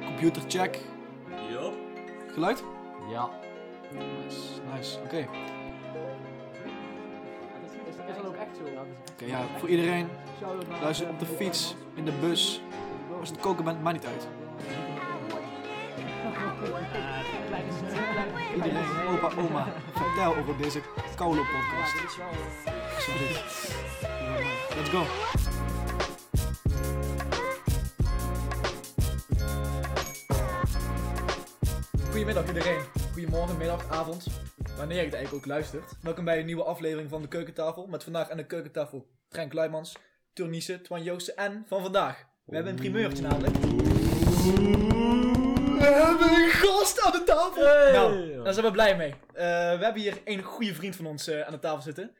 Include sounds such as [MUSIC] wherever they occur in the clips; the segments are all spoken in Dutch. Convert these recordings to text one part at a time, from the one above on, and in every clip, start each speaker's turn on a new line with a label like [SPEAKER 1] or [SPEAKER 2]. [SPEAKER 1] Computer check.
[SPEAKER 2] Yup.
[SPEAKER 1] Geluid?
[SPEAKER 3] Ja.
[SPEAKER 1] Nice, nice. Oké,
[SPEAKER 4] Dat is, is dan ook echt zo.
[SPEAKER 1] Oké, ja, voor iedereen.
[SPEAKER 4] Shout-out naar,
[SPEAKER 1] Luister
[SPEAKER 4] eh,
[SPEAKER 1] op de fiets, in de bus. Als je het koken bent, maakt niet uit. Iedereen, opa, oma, vertel over deze koude podcast. Alsjeblieft. Let's go.
[SPEAKER 5] Goedemiddag iedereen. Goedemorgen, middag, avond. Wanneer je het eigenlijk ook luistert. Welkom bij een nieuwe aflevering van de Keukentafel. Met vandaag aan de keukentafel Frank Luijmans, Turnice, Twan Joosten en van vandaag. We hebben een primeurtje namelijk. We hebben een gast aan de tafel! Nou, daar zijn we blij mee. Eh, we hebben hier een goede vriend van ons eh, aan de tafel zitten.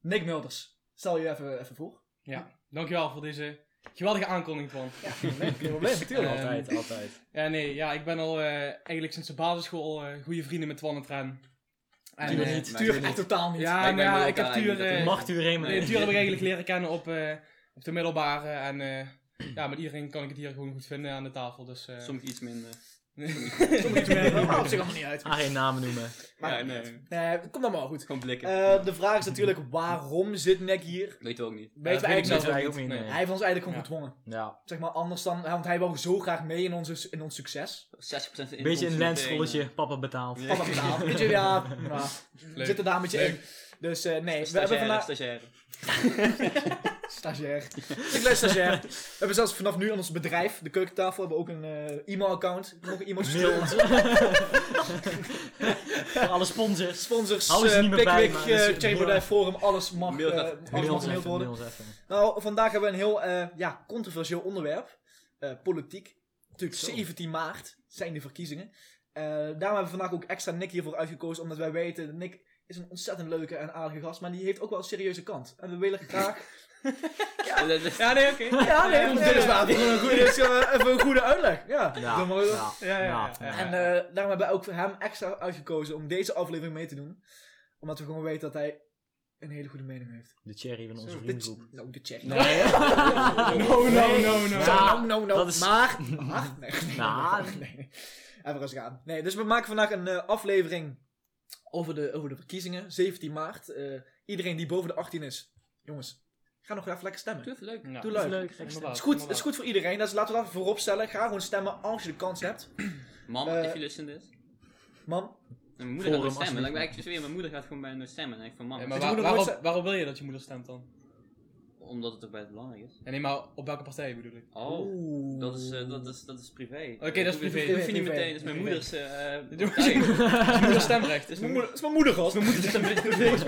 [SPEAKER 5] Nick Mulders. Stel je even, even voor.
[SPEAKER 6] Ja, dankjewel voor deze geweldige aankondiging van.
[SPEAKER 5] Geen [LAUGHS] probleem, natuurlijk.
[SPEAKER 6] Ehm,
[SPEAKER 2] Altijd, altijd.
[SPEAKER 6] ja, nee, ja, ik ben al eh, eigenlijk sinds de basisschool eh goede vrienden met Twan en Tran. En,
[SPEAKER 5] Tuur
[SPEAKER 6] eh,
[SPEAKER 5] niet. Tuur echt totaal niet.
[SPEAKER 6] Ja,
[SPEAKER 2] Maar ik
[SPEAKER 6] nou
[SPEAKER 2] ben
[SPEAKER 6] ja,
[SPEAKER 2] wel
[SPEAKER 6] ik heb
[SPEAKER 2] elkaar
[SPEAKER 6] Tuur,
[SPEAKER 2] eigenlijk
[SPEAKER 6] eh,
[SPEAKER 2] dat
[SPEAKER 6] nee,
[SPEAKER 2] het-
[SPEAKER 3] uur heen,
[SPEAKER 6] Tuur heb ik eigenlijk leren kennen op, eh, op de middelbare. En eh, ja, met iedereen kan ik het hier gewoon goed vinden aan de tafel. Dus, eh,
[SPEAKER 2] Soms iets minder.
[SPEAKER 5] Sommige dingen werken, maar op zich allemaal niet uit.
[SPEAKER 3] [LAUGHS] Ah, geen namen noemen.
[SPEAKER 5] Maar-
[SPEAKER 2] ja, nee.
[SPEAKER 5] Nee, komt allemaal wel goed.
[SPEAKER 2] Gewoon blikken.
[SPEAKER 5] Eh, de vraag is natuurlijk, waarom zit Nick hier?
[SPEAKER 2] Weet we ook niet.
[SPEAKER 5] Weet
[SPEAKER 6] dat
[SPEAKER 5] wij
[SPEAKER 6] weet ik
[SPEAKER 5] eigenlijk zelf
[SPEAKER 6] niet.
[SPEAKER 5] ook.
[SPEAKER 3] eigenlijk ook niet.
[SPEAKER 6] Nee.
[SPEAKER 5] Hij heeft ons eigenlijk gewoon gedwongen.
[SPEAKER 3] Ja.
[SPEAKER 5] Zeg maar anders dan, want hij wou zo graag mee in, onze, in ons succes.
[SPEAKER 2] 60% in
[SPEAKER 3] Beetje een lensrolletje, papa betaalt.
[SPEAKER 2] Ja.
[SPEAKER 5] Vanaf vanavond, weet je, ja, nou, we
[SPEAKER 6] Leuk.
[SPEAKER 5] zitten daar met je
[SPEAKER 6] Leuk.
[SPEAKER 5] in. Dus eh, nee, we hebben
[SPEAKER 2] Stagiaire,
[SPEAKER 5] vandaag...
[SPEAKER 2] stagiaire.
[SPEAKER 5] Stagiair. Ik ben stagiair. We hebben zelfs vanaf nu in ons bedrijf, de keukentafel, hebben we ook een eh, e-mail-account. We mogen e-mails
[SPEAKER 3] Mail
[SPEAKER 5] sturen.
[SPEAKER 3] ons. [LAUGHS] Voor alle sponsors.
[SPEAKER 5] Sponsors,
[SPEAKER 3] Alles is
[SPEAKER 5] eh,
[SPEAKER 3] niet meer bij,
[SPEAKER 5] Pickwick,
[SPEAKER 3] maar dat is
[SPEAKER 5] eh, Cherry
[SPEAKER 3] heel
[SPEAKER 5] Baudet
[SPEAKER 3] erg.
[SPEAKER 5] Forum, alles mag,
[SPEAKER 2] Mail
[SPEAKER 5] eh,
[SPEAKER 2] gaat-
[SPEAKER 5] alles mag
[SPEAKER 3] Mail ons
[SPEAKER 5] gemaild
[SPEAKER 3] even,
[SPEAKER 5] worden.
[SPEAKER 3] mail ons even.
[SPEAKER 5] Nou, vandaag hebben we een heel eh, ja, controversieel onderwerp. Eh, politiek. Natuurlijk, 17 maart zijn de verkiezingen. Eh, daarom hebben we vandaag ook extra Nick hiervoor uitgekozen. Omdat wij weten, dat Nick is een ontzettend leuke en aardige gast. Maar die heeft ook wel een serieuze kant. En we willen graag...
[SPEAKER 6] Ja, nee, oké.
[SPEAKER 5] [LAUGHS] ja, nee,
[SPEAKER 6] nee,
[SPEAKER 5] dit is waar. Dit is een goede- dit is, eh, even een goede uitleg. Ja.
[SPEAKER 3] Ja,
[SPEAKER 5] Doe maar.
[SPEAKER 3] ja,
[SPEAKER 6] Ja, ja, ja,
[SPEAKER 3] Ja.
[SPEAKER 6] ja.
[SPEAKER 5] En [LAUGHS] eh, daarom hebben we ook voor hem extra uitgekozen om deze aflevering mee te doen. Omdat we gewoon weten dat hij een hele goede mening heeft.
[SPEAKER 3] De cherry van onze
[SPEAKER 5] Dit-
[SPEAKER 3] vriendengroep.
[SPEAKER 5] Nou, de check.
[SPEAKER 6] [LAUGHS] No, no, no, no.
[SPEAKER 5] [LAUGHS]
[SPEAKER 3] Ja.
[SPEAKER 5] Nou, nou, nou,
[SPEAKER 3] dat is- [LAUGHS]
[SPEAKER 5] maar... maar- nee, nee,
[SPEAKER 3] Nou.
[SPEAKER 5] nee, nee, nee. Even rustig aan. Nee, dus we maken vandaag een eh, aflevering over de, over de verkiezingen, 17 maart. Eh, iedereen die boven de 18 is, jongens, ga nog even lekker stemmen.
[SPEAKER 2] Doe het leuk.
[SPEAKER 6] Ja.
[SPEAKER 5] Doe leuk.
[SPEAKER 6] Inderdaad,
[SPEAKER 5] Het is goed, het
[SPEAKER 6] inderdaad.
[SPEAKER 5] is goed voor iedereen, dus laten we dat voorop stellen. Ga gewoon stemmen als je de kans hebt.
[SPEAKER 2] Mam,
[SPEAKER 5] Eh,
[SPEAKER 2] if you listen this.
[SPEAKER 5] Man,
[SPEAKER 2] Mijn moeder
[SPEAKER 3] Forum,
[SPEAKER 2] gaat nooit stemmen.
[SPEAKER 3] alsjeblieft.
[SPEAKER 2] Dan ben ik dus weer, mijn moeder gaat gewoon bijna nooit stemmen. En ik van mam,
[SPEAKER 6] Ja,
[SPEAKER 5] Het
[SPEAKER 6] maar
[SPEAKER 5] moet
[SPEAKER 6] waar-
[SPEAKER 5] nog nooit
[SPEAKER 6] waarop,
[SPEAKER 5] zijn-
[SPEAKER 6] waarop wil je dat je moeder stemt dan?
[SPEAKER 2] omdat het toch bij belangrijk is.
[SPEAKER 6] Ja, nee, maar op welke partij bedoel ik?
[SPEAKER 2] Oh, dat is, eh, dat is, dat is privé.
[SPEAKER 6] Oké, dat is privé.
[SPEAKER 2] Dat hoef je niet
[SPEAKER 5] Privé.
[SPEAKER 2] meteen, dat is mijn
[SPEAKER 5] Privé.
[SPEAKER 2] moeders...
[SPEAKER 5] [LAUGHS]
[SPEAKER 2] eh, eh,
[SPEAKER 6] Doe-
[SPEAKER 2] partij.
[SPEAKER 6] Je moeder
[SPEAKER 5] het
[SPEAKER 6] stemrecht. Dus
[SPEAKER 5] is mijn moeder- [LAUGHS] het is mijn moeder, gast.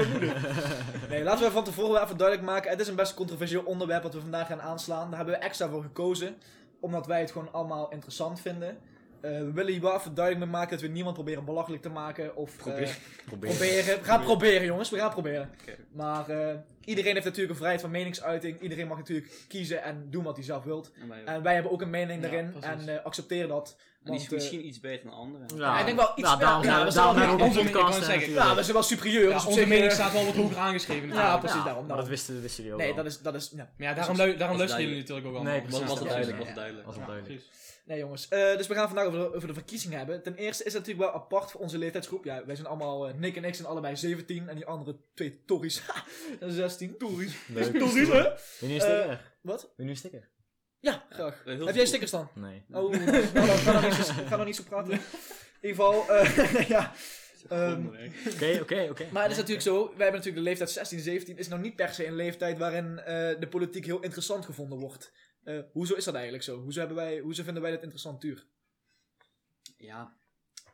[SPEAKER 5] Nee, laten we van tevoren wel even duidelijk maken. Het is een best controversieel onderwerp wat we vandaag gaan aanslaan. Daar hebben we extra voor gekozen. Omdat wij het gewoon allemaal interessant vinden. Eh, we willen hier wel even duidelijk mee maken dat we niemand proberen belachelijk te maken. Of eh,
[SPEAKER 2] Probeer-
[SPEAKER 5] [LAUGHS] proberen. We gaan proberen, jongens. We gaan proberen.
[SPEAKER 2] Oké.
[SPEAKER 5] Maar eh, iedereen heeft natuurlijk een vrijheid van meningsuiting. Iedereen mag natuurlijk kiezen en doen wat hij zelf wilt.
[SPEAKER 2] [LAUGHS] En wij ook.
[SPEAKER 5] En wij hebben ook een mening
[SPEAKER 6] Ja,
[SPEAKER 5] daarin. en
[SPEAKER 6] precies.
[SPEAKER 5] eh, accepteren dat.
[SPEAKER 2] En die is
[SPEAKER 5] Eh, Want, eh,
[SPEAKER 2] misschien iets beter dan anderen.
[SPEAKER 3] Ja,
[SPEAKER 5] ik denk wel iets-
[SPEAKER 3] Nou, daarom
[SPEAKER 5] ja,
[SPEAKER 3] zijn
[SPEAKER 5] dat
[SPEAKER 3] we
[SPEAKER 5] is
[SPEAKER 3] daarom
[SPEAKER 5] wel-
[SPEAKER 3] hebben we ook een
[SPEAKER 6] ik wou
[SPEAKER 3] podcast.
[SPEAKER 6] zeggen,
[SPEAKER 3] hè,
[SPEAKER 5] ja,
[SPEAKER 3] natuurlijk.
[SPEAKER 5] we zijn wel superieur.
[SPEAKER 6] Ja,
[SPEAKER 5] dus op
[SPEAKER 6] onze
[SPEAKER 5] zich,
[SPEAKER 6] mening
[SPEAKER 5] eh,
[SPEAKER 6] staat wel [LAUGHS] wat hoger aangeschreven.
[SPEAKER 5] Ja,
[SPEAKER 6] natuurlijk.
[SPEAKER 5] precies daarom,
[SPEAKER 3] Maar dat
[SPEAKER 5] daarom.
[SPEAKER 3] wisten, wisten jullie ook
[SPEAKER 5] Nee,
[SPEAKER 3] wel.
[SPEAKER 5] dat is, dat is ja,
[SPEAKER 6] Maar ja, daarom, lu- daarom
[SPEAKER 2] is
[SPEAKER 6] luisteren
[SPEAKER 2] duidelijk.
[SPEAKER 6] jullie natuurlijk ook wel.
[SPEAKER 3] Nee,
[SPEAKER 2] Was,
[SPEAKER 3] precies.
[SPEAKER 2] was
[SPEAKER 3] dat
[SPEAKER 2] het
[SPEAKER 5] Ja, ja.
[SPEAKER 2] duidelijk, was het duidelijk.
[SPEAKER 3] Was wel duidelijk.
[SPEAKER 5] Nee, jongens. Eh, dus we gaan vandaag over de, over de verkiezingen hebben. Ten eerste is het natuurlijk wel apart voor onze leeftijdsgroep. Ja, wij zijn allemaal, eh, Nick en ik zijn allebei 17 en die andere twee Tories [LAUGHS] zijn 16. [LAUGHS] Tories.
[SPEAKER 3] Leuk.
[SPEAKER 5] Tories, hè?
[SPEAKER 3] Wil je nu een sticker?
[SPEAKER 5] Eh, Wat?
[SPEAKER 3] Wil je nu een sticker?
[SPEAKER 5] Ja, graag.
[SPEAKER 2] Eh,
[SPEAKER 5] Heb
[SPEAKER 2] heel
[SPEAKER 5] jij
[SPEAKER 2] goed.
[SPEAKER 5] stickers dan?
[SPEAKER 3] Nee.
[SPEAKER 5] Oh, nou, dan ga nog niet zo, ga nog niet zo praten. In ieder geval, eh, [LAUGHS] ja. Ehm,
[SPEAKER 3] Oké, oké, oké.
[SPEAKER 5] maar het is natuurlijk zo, wij hebben natuurlijk de leeftijd 16, 17. Is nou niet per se een leeftijd waarin eh, de politiek heel interessant gevonden wordt. Eh, hoezo is dat eigenlijk zo? Hoezo, hebben wij, hoezo vinden wij dat interessant, Tuur?
[SPEAKER 2] Ja.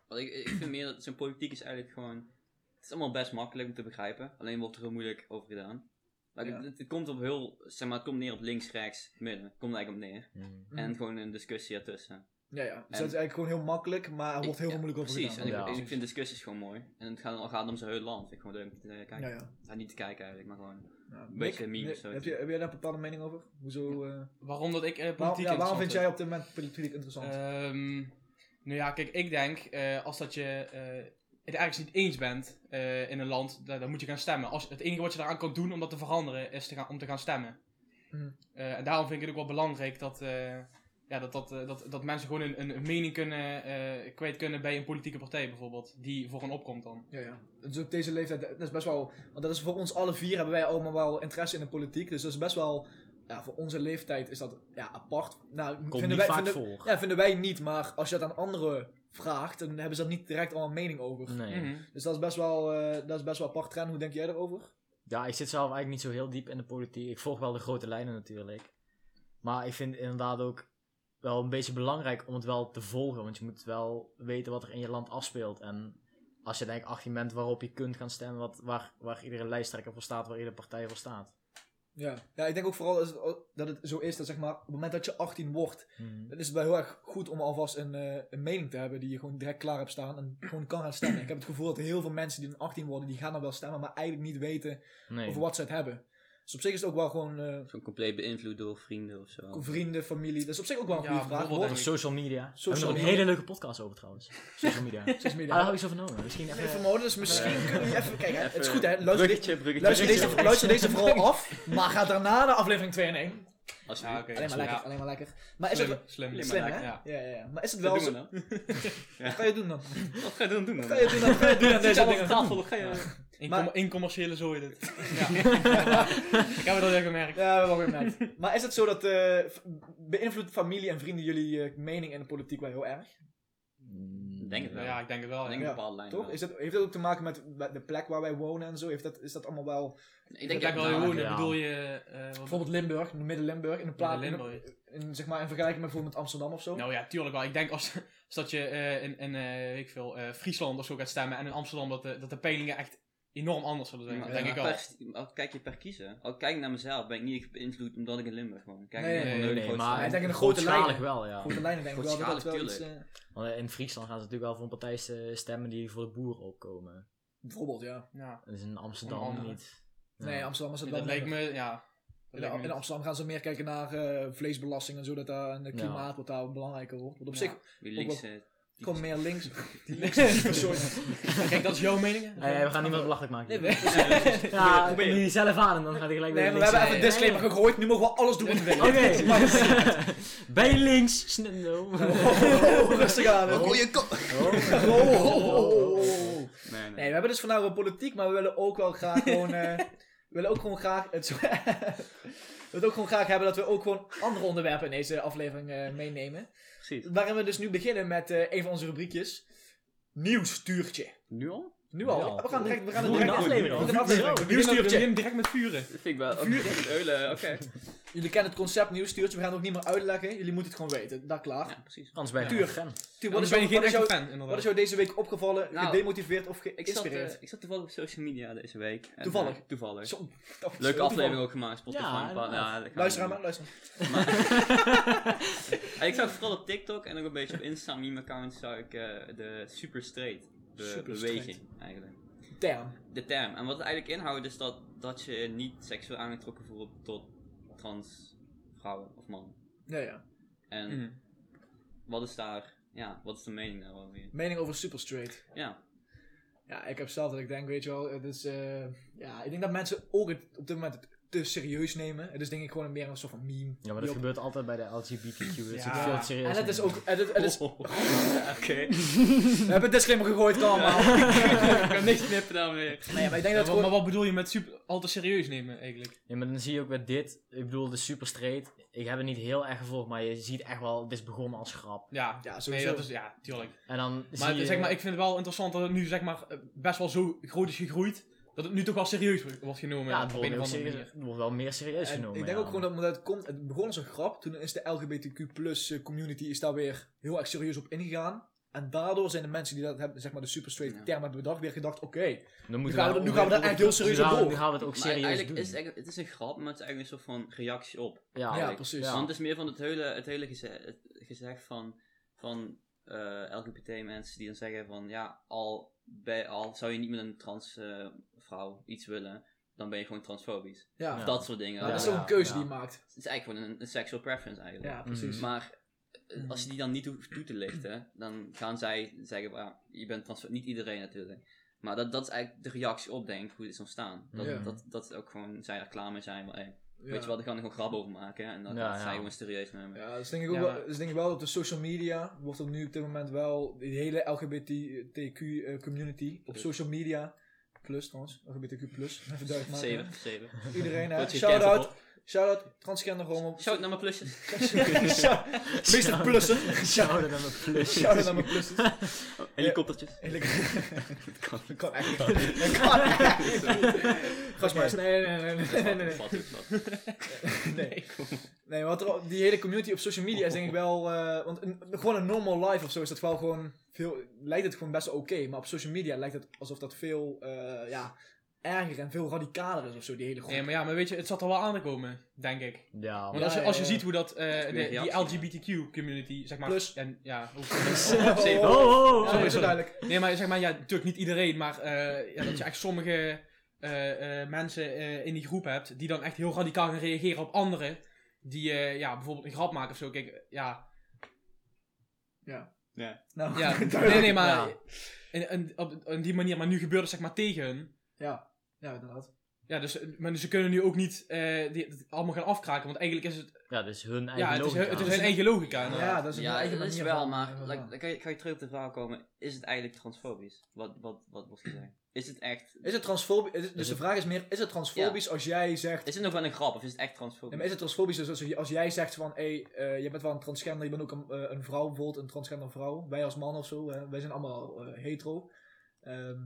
[SPEAKER 2] Want ik, ik vind meer dat zo'n politiek is eigenlijk gewoon... Het is allemaal best makkelijk om te begrijpen. Alleen wordt er heel moeilijk over gedaan. Maar
[SPEAKER 5] Ja.
[SPEAKER 2] het, het- het komt op heel... Zeg maar, het komt neer op links, rechts, midden. Het komt er eigenlijk op neer.
[SPEAKER 5] Mhm.
[SPEAKER 3] Hmm.
[SPEAKER 2] En gewoon een discussie ertussen.
[SPEAKER 5] Ja, ja. Dus dat is
[SPEAKER 2] En-
[SPEAKER 5] eigenlijk gewoon heel makkelijk, maar er wordt heel
[SPEAKER 2] ja,
[SPEAKER 5] veel moeilijk over
[SPEAKER 2] Precies.
[SPEAKER 5] gedaan.
[SPEAKER 2] En ik,
[SPEAKER 3] Ja.
[SPEAKER 2] ik vind discussies gewoon mooi. En het gaat, het gaat om zijn hele land. Vind ik gewoon leuk om te eh, kijken.
[SPEAKER 5] Ja, ja.
[SPEAKER 2] Nou, niet te kijken eigenlijk, maar gewoon...
[SPEAKER 5] Ja,
[SPEAKER 2] beetje
[SPEAKER 5] Nick,
[SPEAKER 2] memes,
[SPEAKER 5] Nick,
[SPEAKER 2] zo.
[SPEAKER 5] Nou, Heb, je, heb jij daar een bepaalde mening over? Hoezo, eh
[SPEAKER 6] Waarom dat ik eh,
[SPEAKER 5] waarom,
[SPEAKER 6] politiek
[SPEAKER 5] ja, waarom vind jij
[SPEAKER 6] interessant
[SPEAKER 5] op dit moment politiek interessant?
[SPEAKER 3] Eh.
[SPEAKER 6] vind? Ehm, nou ja, kijk, ik denk eh, als dat je eh, het ergens niet eens bent eh, in een land, dan, dan moet je gaan stemmen. Als, het enige wat je daaraan kan doen om dat te veranderen, is te gaan, om te gaan stemmen.
[SPEAKER 5] Mhm.
[SPEAKER 6] Eh, en daarom vind ik het ook wel belangrijk dat, eh, ja, dat, dat, eh, dat, dat mensen gewoon een, een mening kunnen, eh, kwijt kunnen bij een politieke partij bijvoorbeeld. Die voor hen opkomt dan.
[SPEAKER 5] Ja, ja. Dus op deze leeftijd, dat is best wel... Want dat is voor ons alle vier hebben wij allemaal wel interesse in de politiek. Dus dat is best wel... Ja, voor onze leeftijd is dat ja, apart. Nou,
[SPEAKER 3] Komt niet
[SPEAKER 5] wij,
[SPEAKER 3] vaak
[SPEAKER 5] vinden,
[SPEAKER 3] voor.
[SPEAKER 5] Ja, vinden wij niet. Maar als je dat aan anderen vraagt, dan hebben ze daar niet direct al een mening over.
[SPEAKER 3] Nee.
[SPEAKER 6] Mhm.
[SPEAKER 5] Dus dat is best wel, eh, dat is best wel apart. Tren, hoe denk jij daarover?
[SPEAKER 3] Ja, ik zit zelf eigenlijk niet zo heel diep in de politiek. Ik volg wel de grote lijnen natuurlijk. Maar ik vind het inderdaad ook wel een beetje belangrijk om het wel te volgen. Want je moet wel weten wat er in je land afspeelt. En als je denk ik 18 bent waarop je kunt gaan stemmen, wat, waar, waar iedere lijsttrekker voor staat, waar iedere partij voor staat.
[SPEAKER 5] Ja. ja, ik denk ook vooral is het- dat het zo is dat zeg maar, op het moment dat je 18 wordt,
[SPEAKER 3] Mhm.
[SPEAKER 5] dan is het wel heel erg goed om alvast een, eh, een mening te hebben die je gewoon direct klaar hebt staan en gewoon kan gaan stemmen. Ik heb het gevoel dat heel veel mensen die dan 18 worden, die gaan dan wel stemmen, maar eigenlijk niet weten
[SPEAKER 3] Nee.
[SPEAKER 5] over wat ze het hebben. Dus op zich is het ook wel gewoon eh,
[SPEAKER 2] Zo'n compleet beïnvloed door vrienden of zo.
[SPEAKER 5] vrienden, familie. Dat is op zich ook wel een
[SPEAKER 6] Ja,
[SPEAKER 5] goede vraag.
[SPEAKER 6] bijvoorbeeld
[SPEAKER 5] hoor.
[SPEAKER 3] Over social media.
[SPEAKER 5] Social
[SPEAKER 3] Social we hebben er
[SPEAKER 5] media.
[SPEAKER 3] een hele leuke podcast over trouwens. Social
[SPEAKER 5] [LAUGHS]
[SPEAKER 3] media. Ah,
[SPEAKER 5] Social
[SPEAKER 3] daar
[SPEAKER 5] media.
[SPEAKER 3] heb ik zo vernomen. Misschien even...
[SPEAKER 5] Nee, vermoeden, dus misschien
[SPEAKER 2] Ja.
[SPEAKER 5] kunnen we even... Kijk, hè,
[SPEAKER 2] Even
[SPEAKER 5] het is goed hè, luister, dit-
[SPEAKER 2] bruggetje, bruggetje.
[SPEAKER 5] luister,
[SPEAKER 2] bruggetje.
[SPEAKER 5] deze, luister deze vooral af, maar ga daarna de aflevering 2 en 1.
[SPEAKER 2] Als
[SPEAKER 6] Ja, oké.
[SPEAKER 5] Alleen maar
[SPEAKER 6] Ja,
[SPEAKER 5] lekker, alleen maar lekker. Maar is
[SPEAKER 6] Slim,
[SPEAKER 5] het,
[SPEAKER 6] slim.
[SPEAKER 2] Slim,
[SPEAKER 5] Slim,
[SPEAKER 2] maar
[SPEAKER 5] hè? Ja.
[SPEAKER 6] ja.
[SPEAKER 5] Ja, ja, Maar is het
[SPEAKER 2] Wat
[SPEAKER 5] wel
[SPEAKER 2] doen we
[SPEAKER 5] zo...
[SPEAKER 2] dan?
[SPEAKER 5] Wat ga je doen dan?
[SPEAKER 2] Wat ga je dan doen?
[SPEAKER 5] Wat ga je doen dan? Wat ga je
[SPEAKER 3] [LAUGHS]
[SPEAKER 5] doen aan deze dingen?
[SPEAKER 2] tafel, wat Oh, ga je...
[SPEAKER 5] Maar-
[SPEAKER 6] Incom incommerciële zooi dit. ja. [LAUGHS] ik heb het al gemerkt.
[SPEAKER 5] Ja, we hebben wel gemerkt. Maar is het zo dat... eh, v- beïnvloedt familie en vrienden jullie eh, mening in de politiek wel heel erg?
[SPEAKER 3] Mm,
[SPEAKER 2] Denk het wel.
[SPEAKER 6] Ja, ik denk het wel.
[SPEAKER 2] Ik
[SPEAKER 6] ja.
[SPEAKER 2] denk een bepaalde lijn.
[SPEAKER 5] Toch?
[SPEAKER 2] wel.
[SPEAKER 5] Is dat, heeft dat ook te maken met wa- de plek waar wij wonen en zo? Heeft dat, is dat allemaal wel...
[SPEAKER 2] Ik denk
[SPEAKER 6] dat
[SPEAKER 2] dat
[SPEAKER 6] wel heel goed.
[SPEAKER 3] ja.
[SPEAKER 6] Ik bedoel je... eh, wat-
[SPEAKER 5] Bijvoorbeeld Limburg, Midden-Limburg. In de plaats... In,
[SPEAKER 6] Limburg.
[SPEAKER 5] in, zeg maar, in vergelijking met bijvoorbeeld Amsterdam of zo.
[SPEAKER 6] Nou ja, tuurlijk wel. Ik denk als, als dat je eh, in, in eh, weet ik veel, eh, Friesland of zo gaat stemmen en in Amsterdam, dat de, dat de peilingen echt enorm anders zullen zijn.
[SPEAKER 2] Maar
[SPEAKER 6] denk ik
[SPEAKER 2] per
[SPEAKER 6] al.
[SPEAKER 2] st- al kijk je per kiezen. Al kijk ik naar mezelf, ben ik niet beïnvloed omdat ik in Limburg woon. Kijk,
[SPEAKER 5] Nee,
[SPEAKER 2] ik ben
[SPEAKER 6] nee,
[SPEAKER 2] gewoon
[SPEAKER 3] Nee,
[SPEAKER 2] leuk,
[SPEAKER 3] maar
[SPEAKER 5] Ja, ik
[SPEAKER 2] groot-
[SPEAKER 5] denk in de grote
[SPEAKER 3] grootschalig
[SPEAKER 5] lijnen.
[SPEAKER 3] wel, ja.
[SPEAKER 5] Grote lijnen denk ik wel dat dat wel
[SPEAKER 2] Grootschalig,
[SPEAKER 5] iets... eh,
[SPEAKER 3] Want eh, in Friesland gaan ze natuurlijk wel voor een partij eh, stemmen die voor de boer opkomen.
[SPEAKER 5] bijvoorbeeld, ja.
[SPEAKER 6] Ja,
[SPEAKER 3] Dat is in
[SPEAKER 6] Onder
[SPEAKER 3] Amsterdam
[SPEAKER 6] andere.
[SPEAKER 3] niet. Ja.
[SPEAKER 5] Nee, Amsterdam is
[SPEAKER 6] dat,
[SPEAKER 5] het wel
[SPEAKER 6] lijkt
[SPEAKER 5] minder.
[SPEAKER 6] me, ja. Dat
[SPEAKER 5] In,
[SPEAKER 6] lijkt me
[SPEAKER 5] in
[SPEAKER 6] niet.
[SPEAKER 5] Amsterdam gaan ze meer kijken naar eh, vleesbelasting en zo. Dat daar, en het
[SPEAKER 3] Ja.
[SPEAKER 5] klimaat wordt daar belangrijker wordt. Want op
[SPEAKER 6] Ja.
[SPEAKER 5] zich
[SPEAKER 2] Wie links... eh, die-
[SPEAKER 5] Kom meer links.
[SPEAKER 6] Kijk, dat is jouw mening?
[SPEAKER 3] Hey, hey, Eh, we gaan niemand belachelijk maken.
[SPEAKER 5] [LAUGHS] Nee,
[SPEAKER 3] Nee,
[SPEAKER 5] we,
[SPEAKER 3] ja, kom je die zelf aan en dan gaat hij
[SPEAKER 5] [LAUGHS]
[SPEAKER 3] gelijk
[SPEAKER 5] nee,
[SPEAKER 3] weer
[SPEAKER 5] maar we
[SPEAKER 3] links
[SPEAKER 5] hebben even
[SPEAKER 3] zijn.
[SPEAKER 5] een disclaimer gegooid. Nu mogen we alles doen wat we willen. [LAUGHS]
[SPEAKER 3] Oké. [LAUGHS] Ben je links? Sn- no.
[SPEAKER 5] Oh, rustig aan. Oh,
[SPEAKER 2] je kop!
[SPEAKER 5] oh, oh, oh, oh, oh.
[SPEAKER 2] Nee, nee.
[SPEAKER 5] Nee, we hebben dus vandaag wel politiek, maar we willen ook wel graag gewoon... eh, we willen ook gewoon graag... Het, [LAUGHS] we willen ook gewoon graag hebben dat we ook gewoon andere onderwerpen in deze aflevering eh, meenemen.
[SPEAKER 2] Precies.
[SPEAKER 5] Waarin we dus nu beginnen met eh, een van onze rubriekjes. Nieuwstuurtje.
[SPEAKER 2] Nu al? nou?
[SPEAKER 5] Nu al.
[SPEAKER 3] Nu al.
[SPEAKER 5] We gaan direct... We gaan het
[SPEAKER 3] Volgende
[SPEAKER 5] direct
[SPEAKER 3] aflevering al.
[SPEAKER 5] Volgende aflevering.
[SPEAKER 3] Zo,
[SPEAKER 5] Nieuwstuurtje.
[SPEAKER 6] Begin direct met vuren.
[SPEAKER 2] Dat vind ik wel. Oké, Eulen, oké.
[SPEAKER 5] Jullie kennen het concept nieuwstuurtje, we gaan het ook niet meer uitleggen. Jullie moeten het gewoon weten, daar klaar.
[SPEAKER 2] Ja, precies.
[SPEAKER 3] Anders ben je
[SPEAKER 5] Tuur.
[SPEAKER 3] fan.
[SPEAKER 5] Tuur, wat,
[SPEAKER 6] Anders
[SPEAKER 5] is
[SPEAKER 6] ben
[SPEAKER 5] jou,
[SPEAKER 6] je geen
[SPEAKER 5] wat, is
[SPEAKER 6] echte
[SPEAKER 5] jou,
[SPEAKER 6] fan,
[SPEAKER 5] wat is
[SPEAKER 6] inderdaad.
[SPEAKER 5] jou deze week opgevallen,
[SPEAKER 2] Nou,
[SPEAKER 5] gedemotiveerd of
[SPEAKER 2] Ik zat, eh,
[SPEAKER 5] geïnspireerd?
[SPEAKER 2] ik zat toevallig op social media deze week. En,
[SPEAKER 5] Toevallig?
[SPEAKER 2] eh, toevallig.
[SPEAKER 5] Zo-
[SPEAKER 2] Leuke
[SPEAKER 5] zo-
[SPEAKER 2] aflevering ook gemaakt, Spotify.
[SPEAKER 3] Ja,
[SPEAKER 2] een paar-
[SPEAKER 3] inderdaad.
[SPEAKER 2] ja, dat
[SPEAKER 5] Luister
[SPEAKER 2] gaan we
[SPEAKER 5] aan
[SPEAKER 2] niet
[SPEAKER 5] me, luister.
[SPEAKER 2] doen. En ik zag vooral op TikTok en ook een beetje op Insta meme account zag ik eh, de super straight be-
[SPEAKER 5] Super straight.
[SPEAKER 2] beweging eigenlijk.
[SPEAKER 5] Term.
[SPEAKER 2] De term. En wat het eigenlijk inhoudt is dat, dat je niet seksueel aangetrokken voelt tot trans vrouwen of mannen.
[SPEAKER 5] Ja, ja.
[SPEAKER 2] En
[SPEAKER 6] Mhm.
[SPEAKER 2] wat is daar, ja, wat is de mening daarover?
[SPEAKER 5] Mening over super straight.
[SPEAKER 2] Ja,
[SPEAKER 5] Ja, ik heb zelf dat ik denk, weet je wel, het is... eh, ja, ik denk dat mensen ook het, op dit moment het te serieus nemen. Het is denk ik gewoon meer een soort van meme.
[SPEAKER 3] Ja, maar
[SPEAKER 5] die
[SPEAKER 3] dat
[SPEAKER 5] op-
[SPEAKER 3] gebeurt altijd bij de LGBTQ. Het is
[SPEAKER 6] Ja.
[SPEAKER 3] ook veel te serieus.
[SPEAKER 5] En het is ook... Het, is- het is, [LAUGHS]
[SPEAKER 2] oké.
[SPEAKER 5] we hebben een disclaimer gegooid, kom maar.
[SPEAKER 2] Ik kan niks knippen daarmee.
[SPEAKER 5] Nee, maar ik denk dat
[SPEAKER 6] Ja,
[SPEAKER 5] het
[SPEAKER 6] maar, maar
[SPEAKER 5] gewoon...
[SPEAKER 6] wat bedoel je met super, al te serieus nemen eigenlijk?
[SPEAKER 3] Ja, maar dan zie je ook bij dit. Ik bedoel, de super straight. Ik heb het niet heel erg gevolgd, maar je ziet echt wel, dit is begonnen als grap.
[SPEAKER 6] Ja,
[SPEAKER 5] Ja,
[SPEAKER 6] nee,
[SPEAKER 5] sowieso.
[SPEAKER 6] dat is, ja, tuurlijk.
[SPEAKER 3] En dan zie
[SPEAKER 6] Maar,
[SPEAKER 3] je...
[SPEAKER 6] het- zeg maar ik vind het wel interessant dat het nu zeg maar, eh, best wel zo groot is gegroeid, dat het nu toch wel serieus wordt- wordt genomen
[SPEAKER 3] ja, het
[SPEAKER 6] op
[SPEAKER 3] wordt,
[SPEAKER 6] een of
[SPEAKER 3] ook
[SPEAKER 6] andere
[SPEAKER 3] serieus-
[SPEAKER 6] manier.
[SPEAKER 3] het wordt wel meer serieus
[SPEAKER 5] En
[SPEAKER 3] genomen.
[SPEAKER 5] ik denk
[SPEAKER 3] ja.
[SPEAKER 5] ook gewoon dat, omdat het komt, het begon als een grap. Toen is de LGBTQ plus eh, community is daar weer heel erg serieus op ingegaan. En daardoor zijn de mensen die dat hebben, zeg maar de super straight
[SPEAKER 2] Ja.
[SPEAKER 5] term hebben bedacht, weer gedacht, oké.
[SPEAKER 3] Dan
[SPEAKER 5] nu
[SPEAKER 3] moeten
[SPEAKER 5] gaan we-
[SPEAKER 3] wel-
[SPEAKER 5] nu gaan we daar echt heel serieus
[SPEAKER 3] nu gaan
[SPEAKER 5] op
[SPEAKER 3] we-
[SPEAKER 5] door.
[SPEAKER 3] Nu gaan we het ook
[SPEAKER 2] Maar
[SPEAKER 3] serieus
[SPEAKER 2] eigenlijk
[SPEAKER 3] doen.
[SPEAKER 2] Is het, eigenlijk- het is een grap, maar het is eigenlijk een soort van reactie op.
[SPEAKER 3] Ja,
[SPEAKER 5] ja,
[SPEAKER 3] [LAUGHS]
[SPEAKER 2] eigenlijk.
[SPEAKER 5] precies.
[SPEAKER 3] Ja.
[SPEAKER 2] Want het is meer van het hele, het hele geze het gezegd van, van eh, LGBT-mensen die dan zeggen van, ja, al, bij, al zou je niet met een trans eh, vrouw iets willen, dan ben je gewoon transfobisch.
[SPEAKER 5] Ja.
[SPEAKER 2] Of
[SPEAKER 3] Ja.
[SPEAKER 2] dat soort dingen.
[SPEAKER 5] Maar
[SPEAKER 3] Ja,
[SPEAKER 5] dat is
[SPEAKER 3] ja,
[SPEAKER 5] ook een keuze
[SPEAKER 3] ja.
[SPEAKER 5] die je maakt.
[SPEAKER 2] Het is eigenlijk gewoon een, een sexual preference eigenlijk.
[SPEAKER 5] Ja, precies.
[SPEAKER 3] Mhm.
[SPEAKER 2] Maar eh, als je die dan niet hoeft toe te lichten, dan gaan zij zeggen, "Ah, je bent trans, niet iedereen natuurlijk. Maar dat, dat is eigenlijk de reactie op, denk ik, hoe dit is ontstaan. Dat,
[SPEAKER 5] Ja.
[SPEAKER 2] dat, dat ook gewoon zij er klaar mee zijn. Maar, hey, Weet je wel, daar gaan er gewoon grap over maken. hè, En dan
[SPEAKER 3] Ja,
[SPEAKER 2] gaat zij
[SPEAKER 3] ja.
[SPEAKER 2] gewoon serieus nemen.
[SPEAKER 5] Ja, dus denk ik ook
[SPEAKER 6] Ja,
[SPEAKER 5] wel,
[SPEAKER 6] maar-
[SPEAKER 5] dus denk ik wel op de social media wordt er nu op dit moment wel die hele LGBTQ eh, community op
[SPEAKER 2] Plus.
[SPEAKER 5] social media plus trouwens, LGBTQ plus, even duidelijk maken.
[SPEAKER 2] Zeven, zeven.
[SPEAKER 5] Iedereen hè,
[SPEAKER 2] Tot je
[SPEAKER 5] shout
[SPEAKER 2] cancel
[SPEAKER 5] out, shout out transgender homo.
[SPEAKER 2] Shout naar mijn plusjes.
[SPEAKER 5] Meester
[SPEAKER 3] [LAUGHS]
[SPEAKER 5] plussen. Shout
[SPEAKER 3] Shout-out aan mijn
[SPEAKER 5] [LAUGHS]
[SPEAKER 3] plus.
[SPEAKER 5] out naar mijn plussen.
[SPEAKER 2] Helikoptertjes.
[SPEAKER 5] [LAUGHS] Dat kan, dat kan echt niet. Dat kan echt niet. Gastmeis, nee, nee, nee, [LAUGHS] nee, nee, nee, nee.
[SPEAKER 2] Wat is dat?
[SPEAKER 5] Nee, nee maar wat er al- die hele community op social media is denk ik wel... eh, want een, gewoon een normal life of zo is dat wel gewoon... Veel, lijkt het gewoon best wel oké. maar op social media lijkt het alsof dat veel eh, ja, erger en veel radicaler is of zo. Die hele groep. [LAUGHS]
[SPEAKER 6] Nee, maar ja, maar weet je, het zat er wel aan te komen, denk ik.
[SPEAKER 3] Ja,
[SPEAKER 6] Want
[SPEAKER 5] Ja,
[SPEAKER 6] als je,
[SPEAKER 5] ja,
[SPEAKER 6] als je
[SPEAKER 5] ja.
[SPEAKER 6] ziet hoe dat, eh, de- die
[SPEAKER 2] reactie,
[SPEAKER 6] LGBTQ-community, zeg maar...
[SPEAKER 5] Plus.
[SPEAKER 6] En, ja, hoe-
[SPEAKER 5] Oh,
[SPEAKER 3] Oh,
[SPEAKER 5] oh,
[SPEAKER 3] oh,
[SPEAKER 5] sorry,
[SPEAKER 6] sorry.
[SPEAKER 5] zo duidelijk.
[SPEAKER 6] Nee, maar zeg maar, ja, natuurlijk niet iedereen, maar eh, ja, dat je echt sommige eh, eh, mensen eh, in die groep hebt die dan echt heel radicaal gaan reageren op anderen. Die eh, ja, bijvoorbeeld een grap maken of zo. Kijk, eh, ja.
[SPEAKER 5] Nou,
[SPEAKER 6] ja.
[SPEAKER 5] [LAUGHS] duidelijk.
[SPEAKER 6] Nee, nee, maar
[SPEAKER 3] Ja.
[SPEAKER 6] in, in- op, in die manier, maar nu gebeurt het zeg maar tegen hun.
[SPEAKER 5] Ja, ja, inderdaad.
[SPEAKER 6] Ja, dus eh, maar ze kunnen nu ook niet eh, die, het allemaal gaan afkraken, want eigenlijk is het,
[SPEAKER 3] Ja, dus hun eigen
[SPEAKER 6] ja, het, is,
[SPEAKER 3] logica.
[SPEAKER 6] hun- het is hun eigen logica.
[SPEAKER 5] Ja,
[SPEAKER 6] inderdaad.
[SPEAKER 5] dat is een
[SPEAKER 2] Ja,
[SPEAKER 5] eigen
[SPEAKER 2] dat is
[SPEAKER 5] manier
[SPEAKER 2] wel,
[SPEAKER 5] van-
[SPEAKER 2] maar
[SPEAKER 5] van-
[SPEAKER 2] like, dan ga je, ga je terug op de vraag komen. Is het eigenlijk transfobisch? Wat, wat, wat wordt gezegd? Is het echt...
[SPEAKER 5] Is het transfobisch? is het- Dus
[SPEAKER 3] Is
[SPEAKER 5] de
[SPEAKER 3] het-
[SPEAKER 5] vraag is meer, is het transfobisch als jij zegt...
[SPEAKER 2] Is het nog wel een grap of is het echt transfobisch?
[SPEAKER 5] Nee, maar is het transfobisch dus als, je- als jij zegt van, hé, hey, eh, je bent wel een transgender, je bent ook een, eh, een vrouw bijvoorbeeld, een transgender vrouw, wij als man of zo, hè, wij zijn allemaal eh, hetero. Ehm,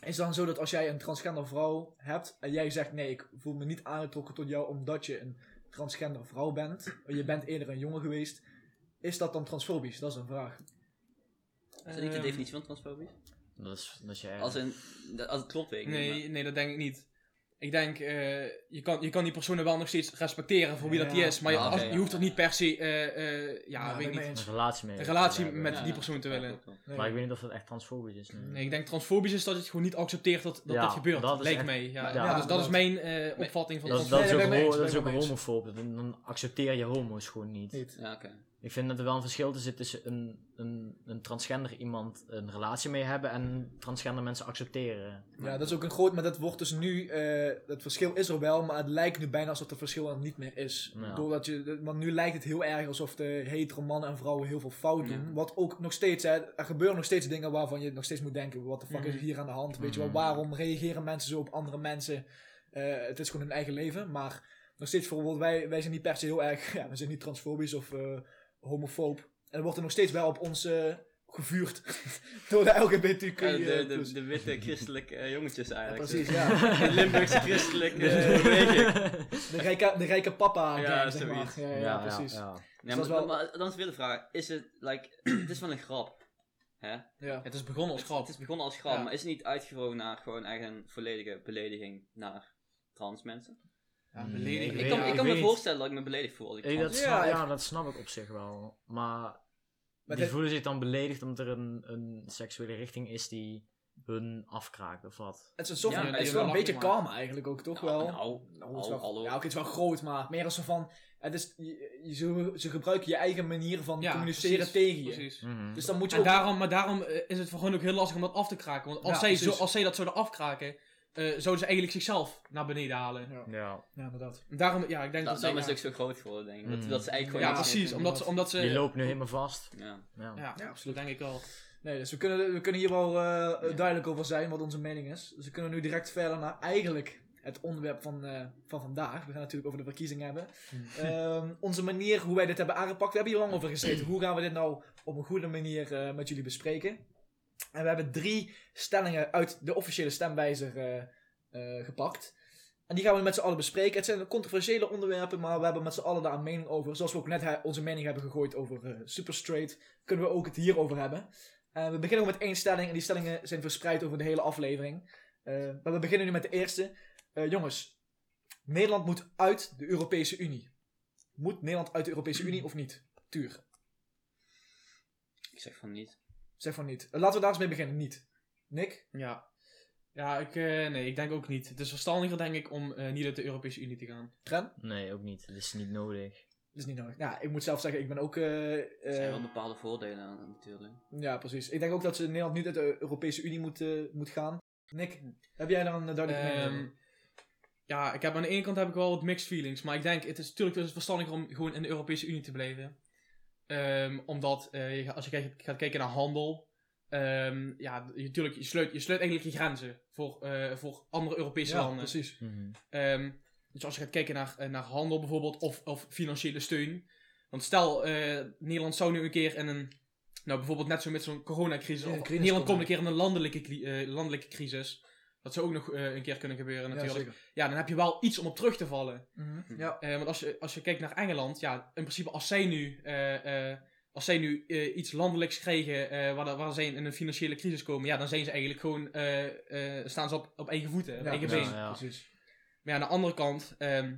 [SPEAKER 5] is het dan zo dat als jij een transgender vrouw hebt en jij zegt, nee, ik voel me niet aangetrokken tot jou omdat je een transgender vrouw bent, je bent eerder een jongen geweest, is dat dan transfobisch? Dat is een vraag.
[SPEAKER 2] Is dat niet de
[SPEAKER 5] Eh,
[SPEAKER 6] Ehm,
[SPEAKER 2] definitie van transfobisch?
[SPEAKER 3] Dat is, dat is je eigen-
[SPEAKER 2] Als, een, dat- als het klopt weet ik niet,
[SPEAKER 6] Nee, nee, dat denk ik niet. Ik denk, eh, je, kan, je kan die personen wel nog steeds respecteren voor wie dat die
[SPEAKER 5] Ja.
[SPEAKER 6] is, maar je,
[SPEAKER 2] Ah, oké,
[SPEAKER 6] als-
[SPEAKER 2] ja.
[SPEAKER 6] je hoeft er niet per se, eh, eh, ja,
[SPEAKER 5] Ja,
[SPEAKER 6] weet ik
[SPEAKER 5] ben
[SPEAKER 6] niet,
[SPEAKER 5] mee
[SPEAKER 3] een
[SPEAKER 5] eens.
[SPEAKER 3] relatie mee.
[SPEAKER 6] een relatie
[SPEAKER 3] te hebben.
[SPEAKER 6] met
[SPEAKER 2] Ja,
[SPEAKER 6] die
[SPEAKER 2] ja.
[SPEAKER 6] persoon te
[SPEAKER 2] Ja,
[SPEAKER 6] willen.
[SPEAKER 2] klopt wel.
[SPEAKER 5] Nee.
[SPEAKER 3] Maar ik weet niet of dat echt transfobisch is. nee.
[SPEAKER 6] Nee, ik denk transfobisch is dat je het gewoon niet accepteert dat dat,
[SPEAKER 3] Ja,
[SPEAKER 6] dat gebeurt.
[SPEAKER 3] dat is
[SPEAKER 6] Lijkt
[SPEAKER 3] echt-
[SPEAKER 6] mij. Ja.
[SPEAKER 3] ja,
[SPEAKER 6] dat, is, dat is
[SPEAKER 5] inderdaad.
[SPEAKER 6] mijn eh, opvatting van
[SPEAKER 2] Ja,
[SPEAKER 3] Dat, is-
[SPEAKER 5] Nee,
[SPEAKER 3] dat is ook,
[SPEAKER 6] trans-
[SPEAKER 5] daar ben ik mee
[SPEAKER 3] ho-
[SPEAKER 5] eens,
[SPEAKER 3] dat is
[SPEAKER 5] daar
[SPEAKER 3] ook
[SPEAKER 5] ben ik mee
[SPEAKER 3] homofoob. Dan, dan accepteer je homo's gewoon niet.
[SPEAKER 5] Niet.
[SPEAKER 2] Ja, oké.
[SPEAKER 3] Ik vind dat er wel een verschil tussen, tussen een, een, een transgender iemand een relatie mee hebben en transgender mensen accepteren.
[SPEAKER 5] [LAUGHS] Ja, dat is ook een groot, maar dat wordt dus nu, eh, het verschil is er wel, maar het lijkt nu bijna alsof het verschil er niet meer is.
[SPEAKER 3] Ja.
[SPEAKER 5] Doordat je, want nu lijkt het heel erg alsof de hetero mannen en vrouwen heel veel fout doen.
[SPEAKER 2] Ja.
[SPEAKER 5] Wat ook nog steeds, hè, er gebeuren nog steeds dingen waarvan je nog steeds moet denken, wat de fuck
[SPEAKER 6] Mhm.
[SPEAKER 5] is hier aan de hand? Weet je wel,
[SPEAKER 3] Mhm.
[SPEAKER 5] waarom reageren mensen zo op andere mensen? Eh, het is gewoon hun eigen leven, maar nog steeds bijvoorbeeld, wij, wij zijn niet per se heel erg, [LAUGHS] ja, we zijn niet transfobisch of eh, homofoob. En er wordt er nog steeds wel op ons eh, gevuurd [LAUGHS] door de LGBTQ.
[SPEAKER 2] Eh, de,
[SPEAKER 5] eh,
[SPEAKER 2] de,
[SPEAKER 5] plus.
[SPEAKER 2] de witte christelijke eh, jongetjes
[SPEAKER 5] Ja,
[SPEAKER 2] eigenlijk.
[SPEAKER 5] precies, ja.
[SPEAKER 2] [LAUGHS] De Limburgse
[SPEAKER 3] [LAUGHS]
[SPEAKER 2] christelijke eh,
[SPEAKER 5] Dus-
[SPEAKER 2] beweging.
[SPEAKER 5] De rijke, de rijke papa.
[SPEAKER 2] Ja,
[SPEAKER 5] gang, zeg maar.
[SPEAKER 2] zoiets.
[SPEAKER 5] Ja, ja,
[SPEAKER 3] Ja,
[SPEAKER 5] precies. Ja,
[SPEAKER 3] ja, ja.
[SPEAKER 5] dat
[SPEAKER 2] Nee, maar,
[SPEAKER 5] is wel-
[SPEAKER 2] maar dan is weer de vraag. Is het, like, [CLEARS THROAT] het is wel een grap. Hè?
[SPEAKER 6] Het is begonnen als grap.
[SPEAKER 2] Het is begonnen als grap,
[SPEAKER 6] Ja.
[SPEAKER 2] maar is het niet uitgewoon naar gewoon echt een volledige belediging naar trans mensen?
[SPEAKER 6] Ja,
[SPEAKER 5] Mm,
[SPEAKER 3] Nee,
[SPEAKER 6] belediging.
[SPEAKER 3] ik
[SPEAKER 2] ik
[SPEAKER 3] weet-
[SPEAKER 2] kan,
[SPEAKER 3] ja,
[SPEAKER 2] ik
[SPEAKER 3] ik
[SPEAKER 2] kan me
[SPEAKER 3] weet niet.
[SPEAKER 2] voorstellen dat ik me beledigd voel als ik
[SPEAKER 3] Ik-
[SPEAKER 2] trans
[SPEAKER 3] dat
[SPEAKER 2] ben.
[SPEAKER 5] Ja,
[SPEAKER 3] snap, ja,
[SPEAKER 5] echt.
[SPEAKER 3] dat snap ik op zich wel. Maar
[SPEAKER 5] Maar
[SPEAKER 3] die
[SPEAKER 5] het-
[SPEAKER 3] voelen zich dan beledigd omdat er een, een seksuele richting is die hun afkraakt of wat.
[SPEAKER 5] Het is een soort
[SPEAKER 2] Ja,
[SPEAKER 5] van,
[SPEAKER 2] die
[SPEAKER 5] het is
[SPEAKER 2] hebben
[SPEAKER 5] wel een
[SPEAKER 6] wel
[SPEAKER 5] beetje
[SPEAKER 6] afgemaakt.
[SPEAKER 5] karma eigenlijk ook, toch wel?
[SPEAKER 2] Nou, nou,
[SPEAKER 5] Nou, het is
[SPEAKER 2] Hallo,
[SPEAKER 5] wel-
[SPEAKER 2] hallo.
[SPEAKER 5] Ja, oké, het is wel groot, maar meer als zo van... Het is, je, je- ze, ze gebruiken je eigen manier van
[SPEAKER 6] Ja,
[SPEAKER 5] communiceren
[SPEAKER 6] precies,
[SPEAKER 5] tegen je.
[SPEAKER 6] precies.
[SPEAKER 3] Mhm.
[SPEAKER 5] Dus dan moet je
[SPEAKER 6] En
[SPEAKER 5] ook...
[SPEAKER 6] daarom, maar daarom eh, is het gewoon ook heel lastig om dat af te kraken. Want als,
[SPEAKER 5] Ja,
[SPEAKER 6] zij, zo,
[SPEAKER 5] precies.
[SPEAKER 6] als zij dat zouden afkraken, eh, zouden ze eigenlijk zichzelf naar beneden halen.
[SPEAKER 5] Ja.
[SPEAKER 3] ja.
[SPEAKER 5] ja, inderdaad.
[SPEAKER 6] Daarom, ja, ik denk
[SPEAKER 2] Da-
[SPEAKER 6] dat,
[SPEAKER 2] daarom is
[SPEAKER 6] ze...
[SPEAKER 2] het ook zo groot geworden, denk ik. Dat,
[SPEAKER 3] Mm.
[SPEAKER 2] dat ze eigenlijk
[SPEAKER 6] Ja,
[SPEAKER 2] gewoon... niks
[SPEAKER 6] precies.
[SPEAKER 2] meer
[SPEAKER 6] Omdat ze... Omdat ze
[SPEAKER 3] Die loopt nu helemaal vast.
[SPEAKER 2] kunnen. Ja.
[SPEAKER 3] Ja.
[SPEAKER 6] ja,
[SPEAKER 5] Eh, Ja,
[SPEAKER 6] absoluut. denk ik wel.
[SPEAKER 5] Nee, dus we kunnen, we kunnen hier wel eh, duidelijk over zijn wat onze mening is. Dus we kunnen nu direct verder naar eigenlijk het onderwerp van, eh, van vandaag. We gaan natuurlijk over de verkiezingen hebben. Ehm, onze manier hoe wij dit hebben aangepakt. We hebben hier lang over gezeten. Hoe gaan we dit nou op een goede manier eh, met jullie bespreken? En we hebben drie stellingen uit de officiële stemwijzer eh, eh, gepakt. En die gaan we met z'n allen bespreken. Het zijn controversiële onderwerpen, maar we hebben met z'n allen daar een mening over. Zoals we ook net eh, onze mening hebben gegooid over eh, Super Straight, kunnen we ook het hierover hebben. Eh, we beginnen ook met één stelling en die stellingen zijn verspreid over de hele aflevering. Eh, maar we beginnen nu met de eerste. Eh, jongens, Nederland moet uit de Europese Unie. Moet Nederland uit de Europese Unie of niet? Tuur,
[SPEAKER 2] Ik zeg van niet.
[SPEAKER 5] zeg van niet. Eh, laten we daar eens mee beginnen, niet. Nick?
[SPEAKER 6] Ja. Ja, ik, eh, nee, ik denk ook niet. Het is verstandiger, denk ik, om eh, niet uit de Europese Unie te gaan.
[SPEAKER 5] Tren?
[SPEAKER 3] Nee, ook niet. Dat is niet nodig.
[SPEAKER 5] Dat is niet nodig. Ja, ik moet zelf zeggen, ik ben ook... eh, eh,
[SPEAKER 2] Er zijn wel bepaalde voordelen aan natuurlijk.
[SPEAKER 5] ja, precies. Ik denk ook dat ze Nederland niet uit de Europese Unie moet, eh, moet gaan. Nick, heb jij daar een duidelijke mening
[SPEAKER 6] Ehm,
[SPEAKER 5] over?
[SPEAKER 6] ja, ik heb aan de ene kant heb ik wel wat mixed feelings. Maar ik denk, het is natuurlijk het is verstandiger om gewoon in de Europese Unie te blijven. Ehm, omdat eh, je gaat- als je kijkt- gaat kijken naar handel. ehm, ja, je, tuurlijk, je, sluit, je sluit eigenlijk je grenzen voor, eh, voor andere Europese
[SPEAKER 5] Ja,
[SPEAKER 6] landen.
[SPEAKER 5] precies.
[SPEAKER 3] Mhm.
[SPEAKER 6] Ehm, dus als je gaat kijken naar, eh, naar handel bijvoorbeeld, of, of financiële steun. Want stel, eh, Nederland zou nu een keer in een. Nou, bijvoorbeeld net zo met zo'n coronacrisis.
[SPEAKER 5] Ja,
[SPEAKER 6] Of
[SPEAKER 5] een crisis
[SPEAKER 6] Nederland
[SPEAKER 5] komen.
[SPEAKER 6] komt een keer in een landelijke, cli- eh, landelijke crisis. Dat zou ook nog eh, een keer kunnen gebeuren,
[SPEAKER 5] Ja,
[SPEAKER 6] natuurlijk. Ja,
[SPEAKER 5] zeker.
[SPEAKER 6] dan heb je wel iets om op terug te vallen.
[SPEAKER 5] Mhm. Ja.
[SPEAKER 6] Eh, want als je, als je kijkt naar Engeland, ja, in principe als zij nu, eh, eh, als zij nu eh, iets landelijks kregen eh, waar, dat- waar zij in een financiële crisis komen, ja, dan zijn ze eigenlijk gewoon, eh, eh, staan ze op, op eigen voeten, op
[SPEAKER 5] Ja,
[SPEAKER 6] eigen
[SPEAKER 3] ja,
[SPEAKER 6] been.
[SPEAKER 3] ja.
[SPEAKER 5] Precies.
[SPEAKER 6] Maar ja, aan de andere kant, ehm,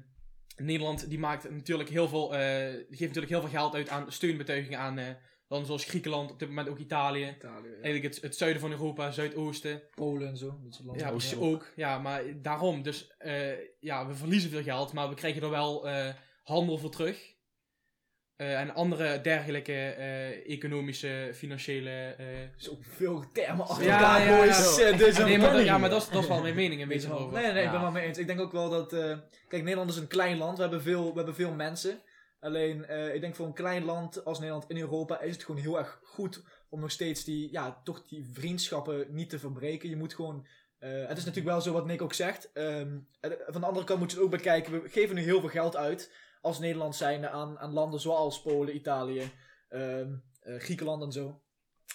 [SPEAKER 6] Nederland die maakt natuurlijk heel veel, eh, die geeft natuurlijk heel veel geld uit aan steunbetuigingen aan eh, landen zoals Griekenland, op dit moment ook Italië.
[SPEAKER 5] Italië, ja.
[SPEAKER 6] Eigenlijk het, het zuiden van Europa, Zuidoosten.
[SPEAKER 5] Polen en zo. Dat soort landen.
[SPEAKER 6] Ja, precies ook. Ja, maar daarom. Dus eh, ja, we verliezen veel geld, maar we krijgen er wel eh, handel voor terug. Eh, en andere dergelijke eh, economische, financiële... eh,
[SPEAKER 5] Zo veel termen achter
[SPEAKER 6] Ja,
[SPEAKER 5] elkaar,
[SPEAKER 6] ja, ja.
[SPEAKER 5] boys. Eh, dit is een
[SPEAKER 6] nee, maar, dat-
[SPEAKER 5] planning.
[SPEAKER 6] ja, maar dat is, dat is wel mijn mening een
[SPEAKER 5] Weet je
[SPEAKER 6] beetje
[SPEAKER 5] wel.
[SPEAKER 6] over.
[SPEAKER 5] Nee, nee, ik ben
[SPEAKER 3] Ja.
[SPEAKER 5] wel mee eens. Ik denk ook wel dat. eh, kijk, Nederland is een klein land. We hebben veel, we hebben veel mensen. Alleen, eh, ik denk voor een klein land als Nederland in Europa is het gewoon heel erg goed om nog steeds die, ja, toch die vriendschappen niet te verbreken. Je moet gewoon. eh, het is natuurlijk wel zo wat Nick ook zegt. ehm, eh, van de andere kant moet je het ook bekijken. We geven nu heel veel geld uit als Nederland zijnde aan, aan landen zoals Polen, Italië, ehm, eh, Griekenland en zo.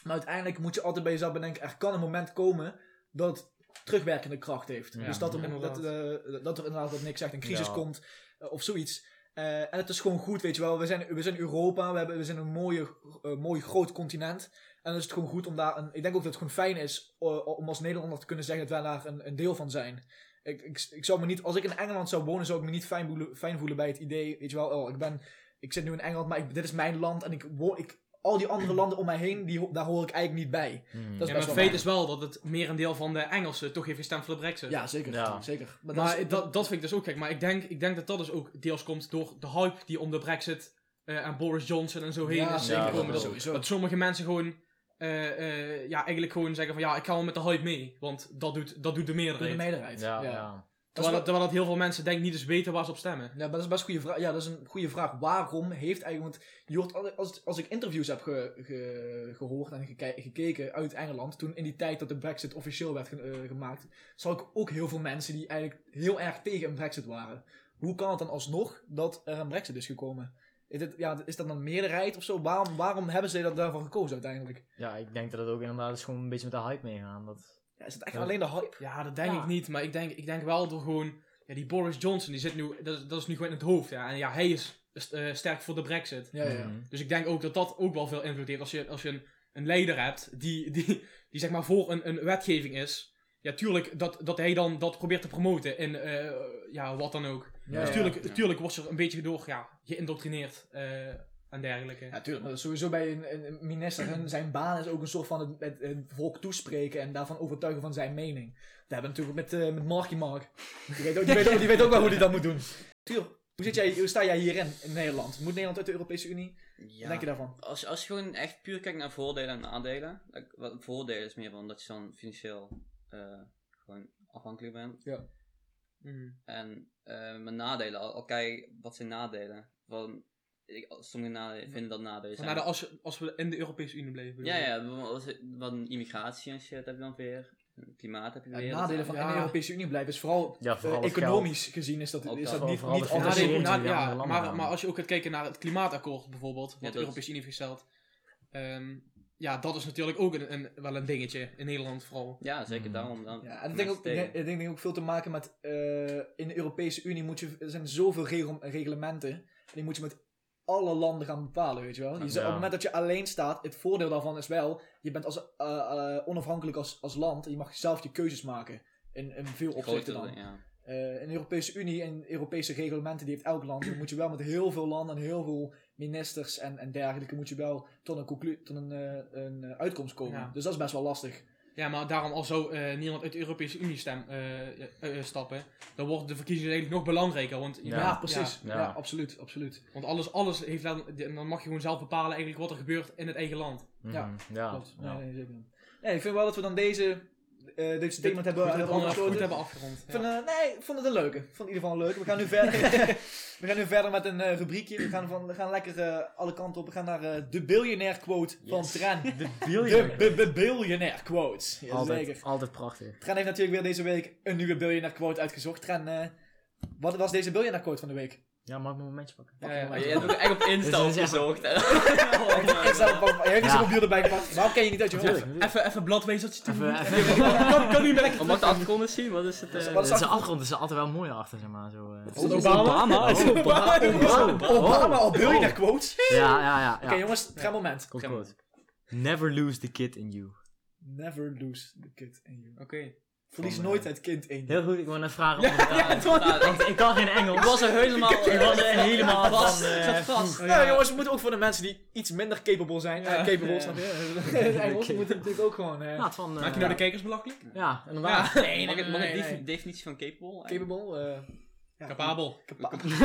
[SPEAKER 5] Maar uiteindelijk moet je altijd bij jezelf bedenken: er kan een moment komen dat terugwerkende kracht heeft.
[SPEAKER 3] Ja,
[SPEAKER 5] dus dat er,
[SPEAKER 6] inderdaad.
[SPEAKER 5] dat, eh, dat er inderdaad wat niks zegt, een crisis
[SPEAKER 3] Ja.
[SPEAKER 5] komt eh, of zoiets. Eh, en het is gewoon goed, weet je wel. We zijn, we zijn Europa, we, hebben, we zijn een mooie, eh, mooi groot continent. En dan is het gewoon goed om daar... Een, ik denk ook dat het gewoon fijn is eh, om als Nederlander te kunnen zeggen dat wij daar een, een deel van zijn. Ik, ik, ik zou me niet... Als ik in Engeland zou wonen, zou ik me niet fijn voelen, fijn voelen bij het idee, weet je wel. Oh, ik ben... Ik zit nu in Engeland, maar ik- dit is mijn land en ik, wo- ik... Al die andere landen om mij heen, die, ho- daar hoor ik eigenlijk niet bij. Dat is
[SPEAKER 3] Mhm.
[SPEAKER 6] Ja, maar
[SPEAKER 5] best
[SPEAKER 6] het
[SPEAKER 5] wel
[SPEAKER 6] feit is wel dat het merendeel van de Engelsen toch heeft gestemd voor de brexit.
[SPEAKER 5] Ja, zeker.
[SPEAKER 3] Ja.
[SPEAKER 5] zeker.
[SPEAKER 6] Maar,
[SPEAKER 5] dat is-
[SPEAKER 6] dat, dat vind ik dus ook gek. Maar ik denk, ik denk dat dat dus ook deels komt door de hype die om de brexit eh, en Boris Johnson en zo heen
[SPEAKER 5] Ja,
[SPEAKER 6] is
[SPEAKER 3] zeker.
[SPEAKER 6] gekomen.
[SPEAKER 3] Ja,
[SPEAKER 6] Dat-
[SPEAKER 5] sowieso.
[SPEAKER 6] Dat sommige mensen gewoon, eh, eh, ja, eigenlijk gewoon zeggen van ja, ik ga wel met de hype mee. Want dat doet, dat doet de
[SPEAKER 5] Door de
[SPEAKER 6] meerderheid.
[SPEAKER 5] meerderheid.
[SPEAKER 3] Ja,
[SPEAKER 5] ja.
[SPEAKER 3] ja.
[SPEAKER 5] Dat is
[SPEAKER 6] terwijl,
[SPEAKER 5] wel-
[SPEAKER 6] dat, terwijl dat heel veel mensen denk ik niet eens weten waar ze op stemmen.
[SPEAKER 5] Ja, maar dat is best een goede vraag. Ja, dat is een goede vraag. Waarom heeft eigenlijk. Want je hoort altijd- als, als ik interviews heb ge- ge- gehoord en geke- gekeken uit Engeland. Toen in die tijd dat de Brexit officieel werd ge- eh, gemaakt. zag ik ook heel veel mensen die eigenlijk heel erg tegen een Brexit waren. Hoe kan het dan alsnog dat er een Brexit is gekomen? Is, dit, ja, is dat dan meerderheid of zo? Waarom, waarom hebben ze dat daarvoor gekozen uiteindelijk?
[SPEAKER 3] Ja, ik denk dat het ook inderdaad is gewoon een beetje met de hype meegaan. Dat...
[SPEAKER 5] Ja, is het echt
[SPEAKER 3] Ja.
[SPEAKER 5] alleen de hype?
[SPEAKER 6] Ja, dat denk
[SPEAKER 5] Ja.
[SPEAKER 6] ik niet. Maar ik denk, ik denk wel door gewoon, ja, die Boris Johnson, die zit nu, dat, is- dat is nu gewoon in het hoofd. Ja. En ja, hij is eh, sterk voor de brexit.
[SPEAKER 5] Ja, ja.
[SPEAKER 3] Mhm.
[SPEAKER 6] Dus ik denk ook dat dat ook wel veel invloed heeft. Als je, als je een, een leider hebt die, die, die zeg maar voor een, een wetgeving is. Ja, tuurlijk dat, dat hij dan dat probeert te promoten in eh, ja, wat dan ook.
[SPEAKER 5] Ja,
[SPEAKER 6] dus
[SPEAKER 5] ja.
[SPEAKER 6] tuurlijk, tuurlijk wordt er een beetje door ja, geïndoctrineerd eh, en dergelijke.
[SPEAKER 5] Ja, tuurlijk. Maar sowieso bij een, een- een minister, hun- zijn baan is ook een soort van het, het, het volk toespreken en daarvan overtuigen van zijn mening. Dat hebben we natuurlijk met, eh met Marky Mark. Die weet, ook, die, weet ook, die weet ook wel hoe hij dat moet doen. Tuur, hoe, zit jij, hoe sta jij hierin, in Nederland? Moet Nederland uit de Europese Unie? Wat denk je daarvan?
[SPEAKER 2] Als, je- als je gewoon echt puur kijkt naar voordelen en nadelen. like, Wat voordelen is meer van dat je dan financieel eh, gewoon afhankelijk bent.
[SPEAKER 6] Mhm.
[SPEAKER 2] En eh mijn nadelen, al, al kijk, wat zijn nadelen? Van, ik, sommige nadelen vinden dat nadelen
[SPEAKER 6] Van,
[SPEAKER 2] zijn.
[SPEAKER 6] nou, dan als, als we in de Europese Unie bleven. bedoel
[SPEAKER 2] ja,
[SPEAKER 6] je?
[SPEAKER 2] ja, bijvoorbeeld als- wat een immigratie en shit heb je dan weer. Klimaat heb je
[SPEAKER 5] Ja,
[SPEAKER 2] weer.
[SPEAKER 5] het nadelen van
[SPEAKER 6] ja.
[SPEAKER 5] in de Europese Unie blijven is vooral,
[SPEAKER 3] Ja, vooral
[SPEAKER 5] eh,
[SPEAKER 3] het
[SPEAKER 5] economisch gezien is dat,
[SPEAKER 2] Ook
[SPEAKER 5] is
[SPEAKER 2] dat.
[SPEAKER 5] dat niet,
[SPEAKER 3] Vooral
[SPEAKER 5] niet
[SPEAKER 3] de
[SPEAKER 5] altijd
[SPEAKER 3] financiering.
[SPEAKER 5] zo
[SPEAKER 6] Nadeel-
[SPEAKER 5] goed.
[SPEAKER 3] financiering. die
[SPEAKER 6] na- ja,
[SPEAKER 3] andere landen
[SPEAKER 6] maar,
[SPEAKER 3] gaan.
[SPEAKER 6] maar als je ook gaat kijken naar het klimaatakkoord bijvoorbeeld, wat de
[SPEAKER 2] dat is-
[SPEAKER 6] Europese Unie heeft gesteld. ehm, ja, dat is natuurlijk ook een, een, wel een dingetje in Nederland vooral.
[SPEAKER 2] Ja, zeker
[SPEAKER 3] Mhm.
[SPEAKER 2] daarom. Dan
[SPEAKER 5] Ja, en dat denk ik ook,
[SPEAKER 2] mensen
[SPEAKER 5] ik denk-
[SPEAKER 2] tegen.
[SPEAKER 5] ik denk ook veel te maken met. eh, in de Europese Unie moet je, er zijn zoveel regel, reglementen. En die moet je met alle landen gaan bepalen, weet je wel. Je, zou- Op
[SPEAKER 3] Ja.
[SPEAKER 5] het moment dat je alleen staat, het voordeel daarvan is wel. Je bent als, eh, eh, onafhankelijk als, als land. En je mag zelf je keuzes maken. In, in veel opzichten
[SPEAKER 2] Grotere,
[SPEAKER 5] dan.
[SPEAKER 2] ja.
[SPEAKER 5] Eh, in de Europese Unie en Europese reglementen die heeft elk land. Dan moet je wel met heel veel landen en heel veel ministers en, en dergelijke. Moet je wel tot een, conclu- tot een, eh, een eh, uitkomst komen.
[SPEAKER 6] Ja.
[SPEAKER 5] Dus dat is best wel lastig.
[SPEAKER 6] Ja, maar daarom al zo eh, Nederland uit de Europese Unie stem, eh, eh, eh, stappen, dan wordt de verkiezingen eigenlijk nog belangrijker. Want,
[SPEAKER 3] Ja.
[SPEAKER 5] Ja, precies.
[SPEAKER 3] Ja.
[SPEAKER 5] ja absoluut, absoluut.
[SPEAKER 6] ja, want alles, alles heeft dan, en dan mag je gewoon zelf bepalen eigenlijk wat er gebeurt in het eigen land.
[SPEAKER 3] Mhm.
[SPEAKER 5] Ja,
[SPEAKER 3] ja.
[SPEAKER 5] Klopt.
[SPEAKER 3] ja.
[SPEAKER 5] Nee, nee, zeker. niet. Nee, ik vind wel dat we dan deze eh, dit statement hebben
[SPEAKER 6] Goed, Dus hebben
[SPEAKER 5] hebben
[SPEAKER 6] we goed
[SPEAKER 5] afgesloten.
[SPEAKER 6] hebben afgerond.
[SPEAKER 5] Ik
[SPEAKER 6] Ja.
[SPEAKER 5] Vind, eh, nee, ik vond het een leuke. Ik vond het in ieder geval een leuke. We gaan nu verder, we gaan nu verder met een eh, rubriekje. We gaan, van, we gaan lekker eh, alle kanten op. We gaan naar eh, de biljonair quote van
[SPEAKER 3] Yes.
[SPEAKER 5] Tran.
[SPEAKER 3] De
[SPEAKER 5] De
[SPEAKER 3] biljoen.
[SPEAKER 5] b- b- biljonair quotes. Jazeker.
[SPEAKER 3] Altijd, altijd prachtig.
[SPEAKER 5] Tran heeft natuurlijk weer deze week een nieuwe biljonair quote uitgezocht. Tran, eh, wat was deze biljonair quote van de week?
[SPEAKER 3] Ja, mag ik mijn momentje pakken?
[SPEAKER 6] Ja, ja,
[SPEAKER 2] Maar
[SPEAKER 6] maar
[SPEAKER 2] je
[SPEAKER 6] je-
[SPEAKER 2] hebt ook
[SPEAKER 5] [LAUGHS]
[SPEAKER 2] echt op Insta
[SPEAKER 3] Dit is echt-
[SPEAKER 2] opgezocht.
[SPEAKER 5] Dus- Ik zou hem ook- Hij heeft
[SPEAKER 3] Ja.
[SPEAKER 5] zijn compuur erbij gepakt. Waarom ken je niet uit je hoofd?
[SPEAKER 3] Natuurlijk, natuurlijk.
[SPEAKER 6] Even, even bladwezen wat je toe
[SPEAKER 3] Even-
[SPEAKER 6] moet.
[SPEAKER 3] even-
[SPEAKER 6] Kan, kan
[SPEAKER 2] [LAUGHS]
[SPEAKER 6] niet meer lekker.
[SPEAKER 2] Om mag de achtergrond eens zien? Wat is het? eh?
[SPEAKER 5] Wat is
[SPEAKER 3] Zijn
[SPEAKER 5] dat?
[SPEAKER 3] achtergrond is er altijd wel mooi achter, zeg maar. Zo, eh.
[SPEAKER 5] Is het
[SPEAKER 2] Obama?
[SPEAKER 3] Oh, Obama.
[SPEAKER 5] Obama, Obama al biljonair quotes? Oké
[SPEAKER 3] Ja, ja, ja. ja.
[SPEAKER 5] jongens, Tran moment.
[SPEAKER 3] Komt goed. Never lose the kid in you.
[SPEAKER 5] Never lose the kid in you.
[SPEAKER 6] Oké.
[SPEAKER 5] Verlies
[SPEAKER 3] Van,
[SPEAKER 5] nooit
[SPEAKER 3] eh,
[SPEAKER 5] het kind in je.
[SPEAKER 3] Heel goed, ik wil net vragen of het daar-
[SPEAKER 2] Ja,
[SPEAKER 3] Ik kan geen Engels.
[SPEAKER 2] Ik was er helemaal...
[SPEAKER 3] Ik was er helemaal
[SPEAKER 2] vast.
[SPEAKER 3] van, eh,
[SPEAKER 2] Ik zat vast.
[SPEAKER 5] Nou jongens, we moeten ook voor de mensen die iets minder capable zijn. eh, capable,
[SPEAKER 6] Ja.
[SPEAKER 5] snap [LAUGHS]
[SPEAKER 3] [LAUGHS]
[SPEAKER 5] je? Engels
[SPEAKER 3] Oké.
[SPEAKER 5] moet natuurlijk ook gewoon... eh,
[SPEAKER 3] Ja, het van... eh,
[SPEAKER 6] Maak je nou de kijkers belachelijk?
[SPEAKER 3] Ja, inderdaad.
[SPEAKER 2] Nee, mag ik, mag ik
[SPEAKER 5] nee,
[SPEAKER 2] die
[SPEAKER 5] nee.
[SPEAKER 2] definitie van capable? eigenlijk?
[SPEAKER 5] Capable? eh, ja,
[SPEAKER 6] Capabel.
[SPEAKER 5] Capabel.
[SPEAKER 6] [LAUGHS]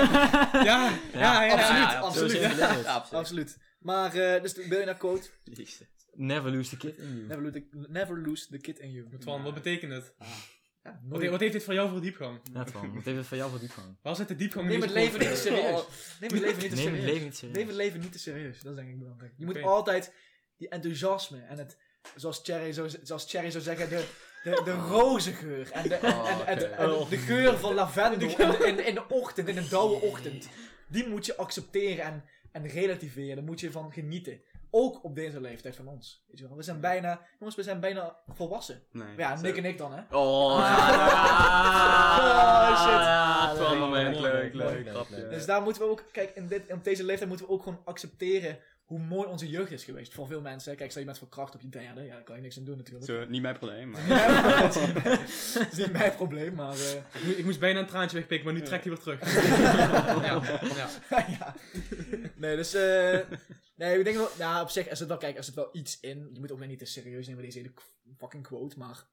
[SPEAKER 6] Ja, ja, ja. ja.
[SPEAKER 5] absoluut,
[SPEAKER 2] ja,
[SPEAKER 5] absoluut.
[SPEAKER 2] zo is het. Ja, absoluut.
[SPEAKER 5] Absoluut. Maar, eh, dus de biljonair quote.
[SPEAKER 2] Liefste.
[SPEAKER 3] Never lose the kid in you.
[SPEAKER 5] Never lose, the, never lose the kid in you.
[SPEAKER 6] Twan, wat betekent het?
[SPEAKER 5] Ja,
[SPEAKER 6] Wat,
[SPEAKER 5] nooit.
[SPEAKER 6] he- wat heeft dit voor jou voor diepgang?
[SPEAKER 3] Net van, wat heeft het van jou voor diepgang?
[SPEAKER 6] Waar zit de diepgang in
[SPEAKER 5] Neem het
[SPEAKER 6] deze
[SPEAKER 5] leven [LAUGHS] niet te
[SPEAKER 6] podcast?
[SPEAKER 5] serieus. Neem het leven niet te
[SPEAKER 3] Neem het
[SPEAKER 5] serieus.
[SPEAKER 3] leven niet serieus.
[SPEAKER 5] Neem het leven niet te serieus. Dat is denk ik belangrijk. Je moet
[SPEAKER 6] Oké.
[SPEAKER 5] altijd die enthousiasme en het, zoals Cherry zou, zoals Thierry zou zeggen, de, de, de rozengeur. En de, en, en, en- en- en de geur van lavendel in de, in, in de ochtend, in een dauwe ochtend. Die moet je accepteren en, en relativeren. Daar moet je van genieten. Ook op deze leeftijd van ons. Weet je wel. We zijn bijna, jongens, we zijn bijna volwassen.
[SPEAKER 2] Nee.
[SPEAKER 5] Maar ja, Nick en ik dan, hè.
[SPEAKER 2] Oh,
[SPEAKER 5] Oh, shit.
[SPEAKER 2] Het was een moment. Leuk, leuk.
[SPEAKER 5] Dus
[SPEAKER 2] Grapje.
[SPEAKER 5] daar moeten we ook, kijk, in dit, op deze leeftijd moeten we ook gewoon accepteren hoe mooi onze jeugd is geweest. Voor veel mensen. Kijk, stel je bent verkracht op je derde, ja, daar kan je niks aan doen natuurlijk.
[SPEAKER 2] Zo, Niet mijn probleem, maar...
[SPEAKER 5] dat is niet mijn probleem, maar eh,
[SPEAKER 6] Ik moest- Ik moest bijna een traantje wegpikken, maar nu trekt hij weer terug. ja, ja.
[SPEAKER 5] eh, [LAUGHS] ja. Nee, dus, eh, nee, ik denk wel, nou, op zich, er zit wel, kijk, er zit wel iets in. Je moet ook net niet te serieus nemen, deze hele k- fucking quote, maar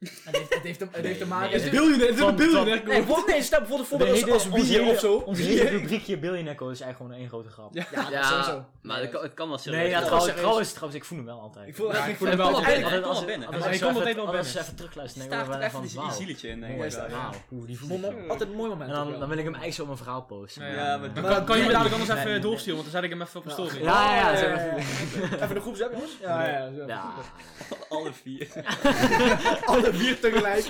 [SPEAKER 5] het heeft, het heeft, te- het heeft te maken...
[SPEAKER 3] nee,
[SPEAKER 5] Nee,
[SPEAKER 6] Biljonair, het is een
[SPEAKER 3] Van-
[SPEAKER 6] biljonair.
[SPEAKER 5] nee, bijvoorbeeld, nee, stel bijvoorbeeld
[SPEAKER 3] De
[SPEAKER 5] voorbeeld
[SPEAKER 3] hele-
[SPEAKER 5] als, als
[SPEAKER 3] onze
[SPEAKER 5] Wii
[SPEAKER 3] hele-
[SPEAKER 5] of zo.
[SPEAKER 3] Ons hele rubriekje Billionaire Code is eigenlijk gewoon één grote grap.
[SPEAKER 6] Ja.
[SPEAKER 5] [LAUGHS] Ja, dat
[SPEAKER 2] Ja,
[SPEAKER 5] sowieso.
[SPEAKER 2] maar het kan- het kan wel
[SPEAKER 3] Nee,
[SPEAKER 2] serieus.
[SPEAKER 3] ja,
[SPEAKER 5] dat was
[SPEAKER 2] zijn.
[SPEAKER 3] trouwens,
[SPEAKER 5] serieus.
[SPEAKER 3] trouwens, trouwens, ik voel hem wel altijd.
[SPEAKER 5] Ik voel,
[SPEAKER 6] Ja, ik
[SPEAKER 5] ik
[SPEAKER 6] voel
[SPEAKER 5] voel
[SPEAKER 6] hem wel
[SPEAKER 2] Kom
[SPEAKER 6] altijd.
[SPEAKER 2] op binnen,
[SPEAKER 3] Altijd
[SPEAKER 2] kom
[SPEAKER 3] als
[SPEAKER 2] op binnen.
[SPEAKER 3] altijd
[SPEAKER 6] Maar
[SPEAKER 3] als
[SPEAKER 6] je
[SPEAKER 3] ik
[SPEAKER 6] komt
[SPEAKER 3] zo
[SPEAKER 6] altijd
[SPEAKER 3] even-
[SPEAKER 6] wel
[SPEAKER 3] als ik
[SPEAKER 6] binnen.
[SPEAKER 3] even terugluister, denk ik
[SPEAKER 2] Staat
[SPEAKER 3] wel
[SPEAKER 2] er
[SPEAKER 3] even van,
[SPEAKER 2] even een
[SPEAKER 3] wauw,
[SPEAKER 2] zieltje in. denk
[SPEAKER 3] mooi
[SPEAKER 2] ik
[SPEAKER 3] is dat.
[SPEAKER 2] wel.
[SPEAKER 3] Wauw, hoe die voelt.
[SPEAKER 5] Mom-
[SPEAKER 3] En
[SPEAKER 5] altijd een mooi moment. ook
[SPEAKER 3] dan,
[SPEAKER 5] wel.
[SPEAKER 3] dan wil ik hem eigenlijk zo op mijn verhaal posten.
[SPEAKER 6] Ja,
[SPEAKER 2] Ja, maar
[SPEAKER 6] Dan
[SPEAKER 5] Maar
[SPEAKER 6] kan, kan je me
[SPEAKER 5] nee,
[SPEAKER 6] dadelijk anders
[SPEAKER 3] nee,
[SPEAKER 6] even
[SPEAKER 3] nee,
[SPEAKER 6] doorsturen, want dan zet ik hem even op story.
[SPEAKER 3] Ja, ja, zo.
[SPEAKER 5] Even de groep zetten, jongens. Ja, ja, zo.
[SPEAKER 3] Ja,
[SPEAKER 2] alle vier.
[SPEAKER 5] [LAUGHS] Alle vier tegelijk.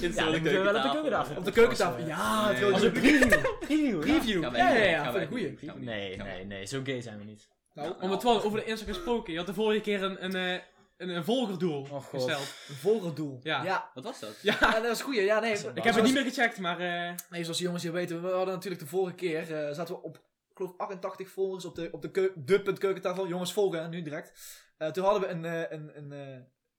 [SPEAKER 2] Dit
[SPEAKER 3] ja, dan kunnen we wel op de keukentafel.
[SPEAKER 5] Op de keukentafel. Ja, het wil
[SPEAKER 3] Als
[SPEAKER 5] een
[SPEAKER 3] een
[SPEAKER 5] preview.
[SPEAKER 3] preview. Preview, ja.
[SPEAKER 5] Ja, ja, ja, ja, vind ik goeie.
[SPEAKER 3] Nee, nee, nee, zo gay zijn we niet.
[SPEAKER 5] Nou,
[SPEAKER 6] Om het wel over de Instagram gesproken, je had de vorige keer een, een, eh, een, een volgerdoel
[SPEAKER 3] God.
[SPEAKER 6] gesteld.
[SPEAKER 5] volgend doel.
[SPEAKER 6] Ja.
[SPEAKER 5] ja.
[SPEAKER 2] Wat was dat?
[SPEAKER 5] Ja, dat is goed. Ja, nee.
[SPEAKER 6] Ik heb het niet meer gecheckt, maar... eh,
[SPEAKER 5] Nee, zoals jullie jongens hier weten, we hadden natuurlijk de vorige keer, eh, zaten we op, ik geloof 88 volgers op de, op de keu- de punt keukentafel. Jongens, volgen, hè, nu direct. Eh, toen hadden we een, eh, een, een, eh,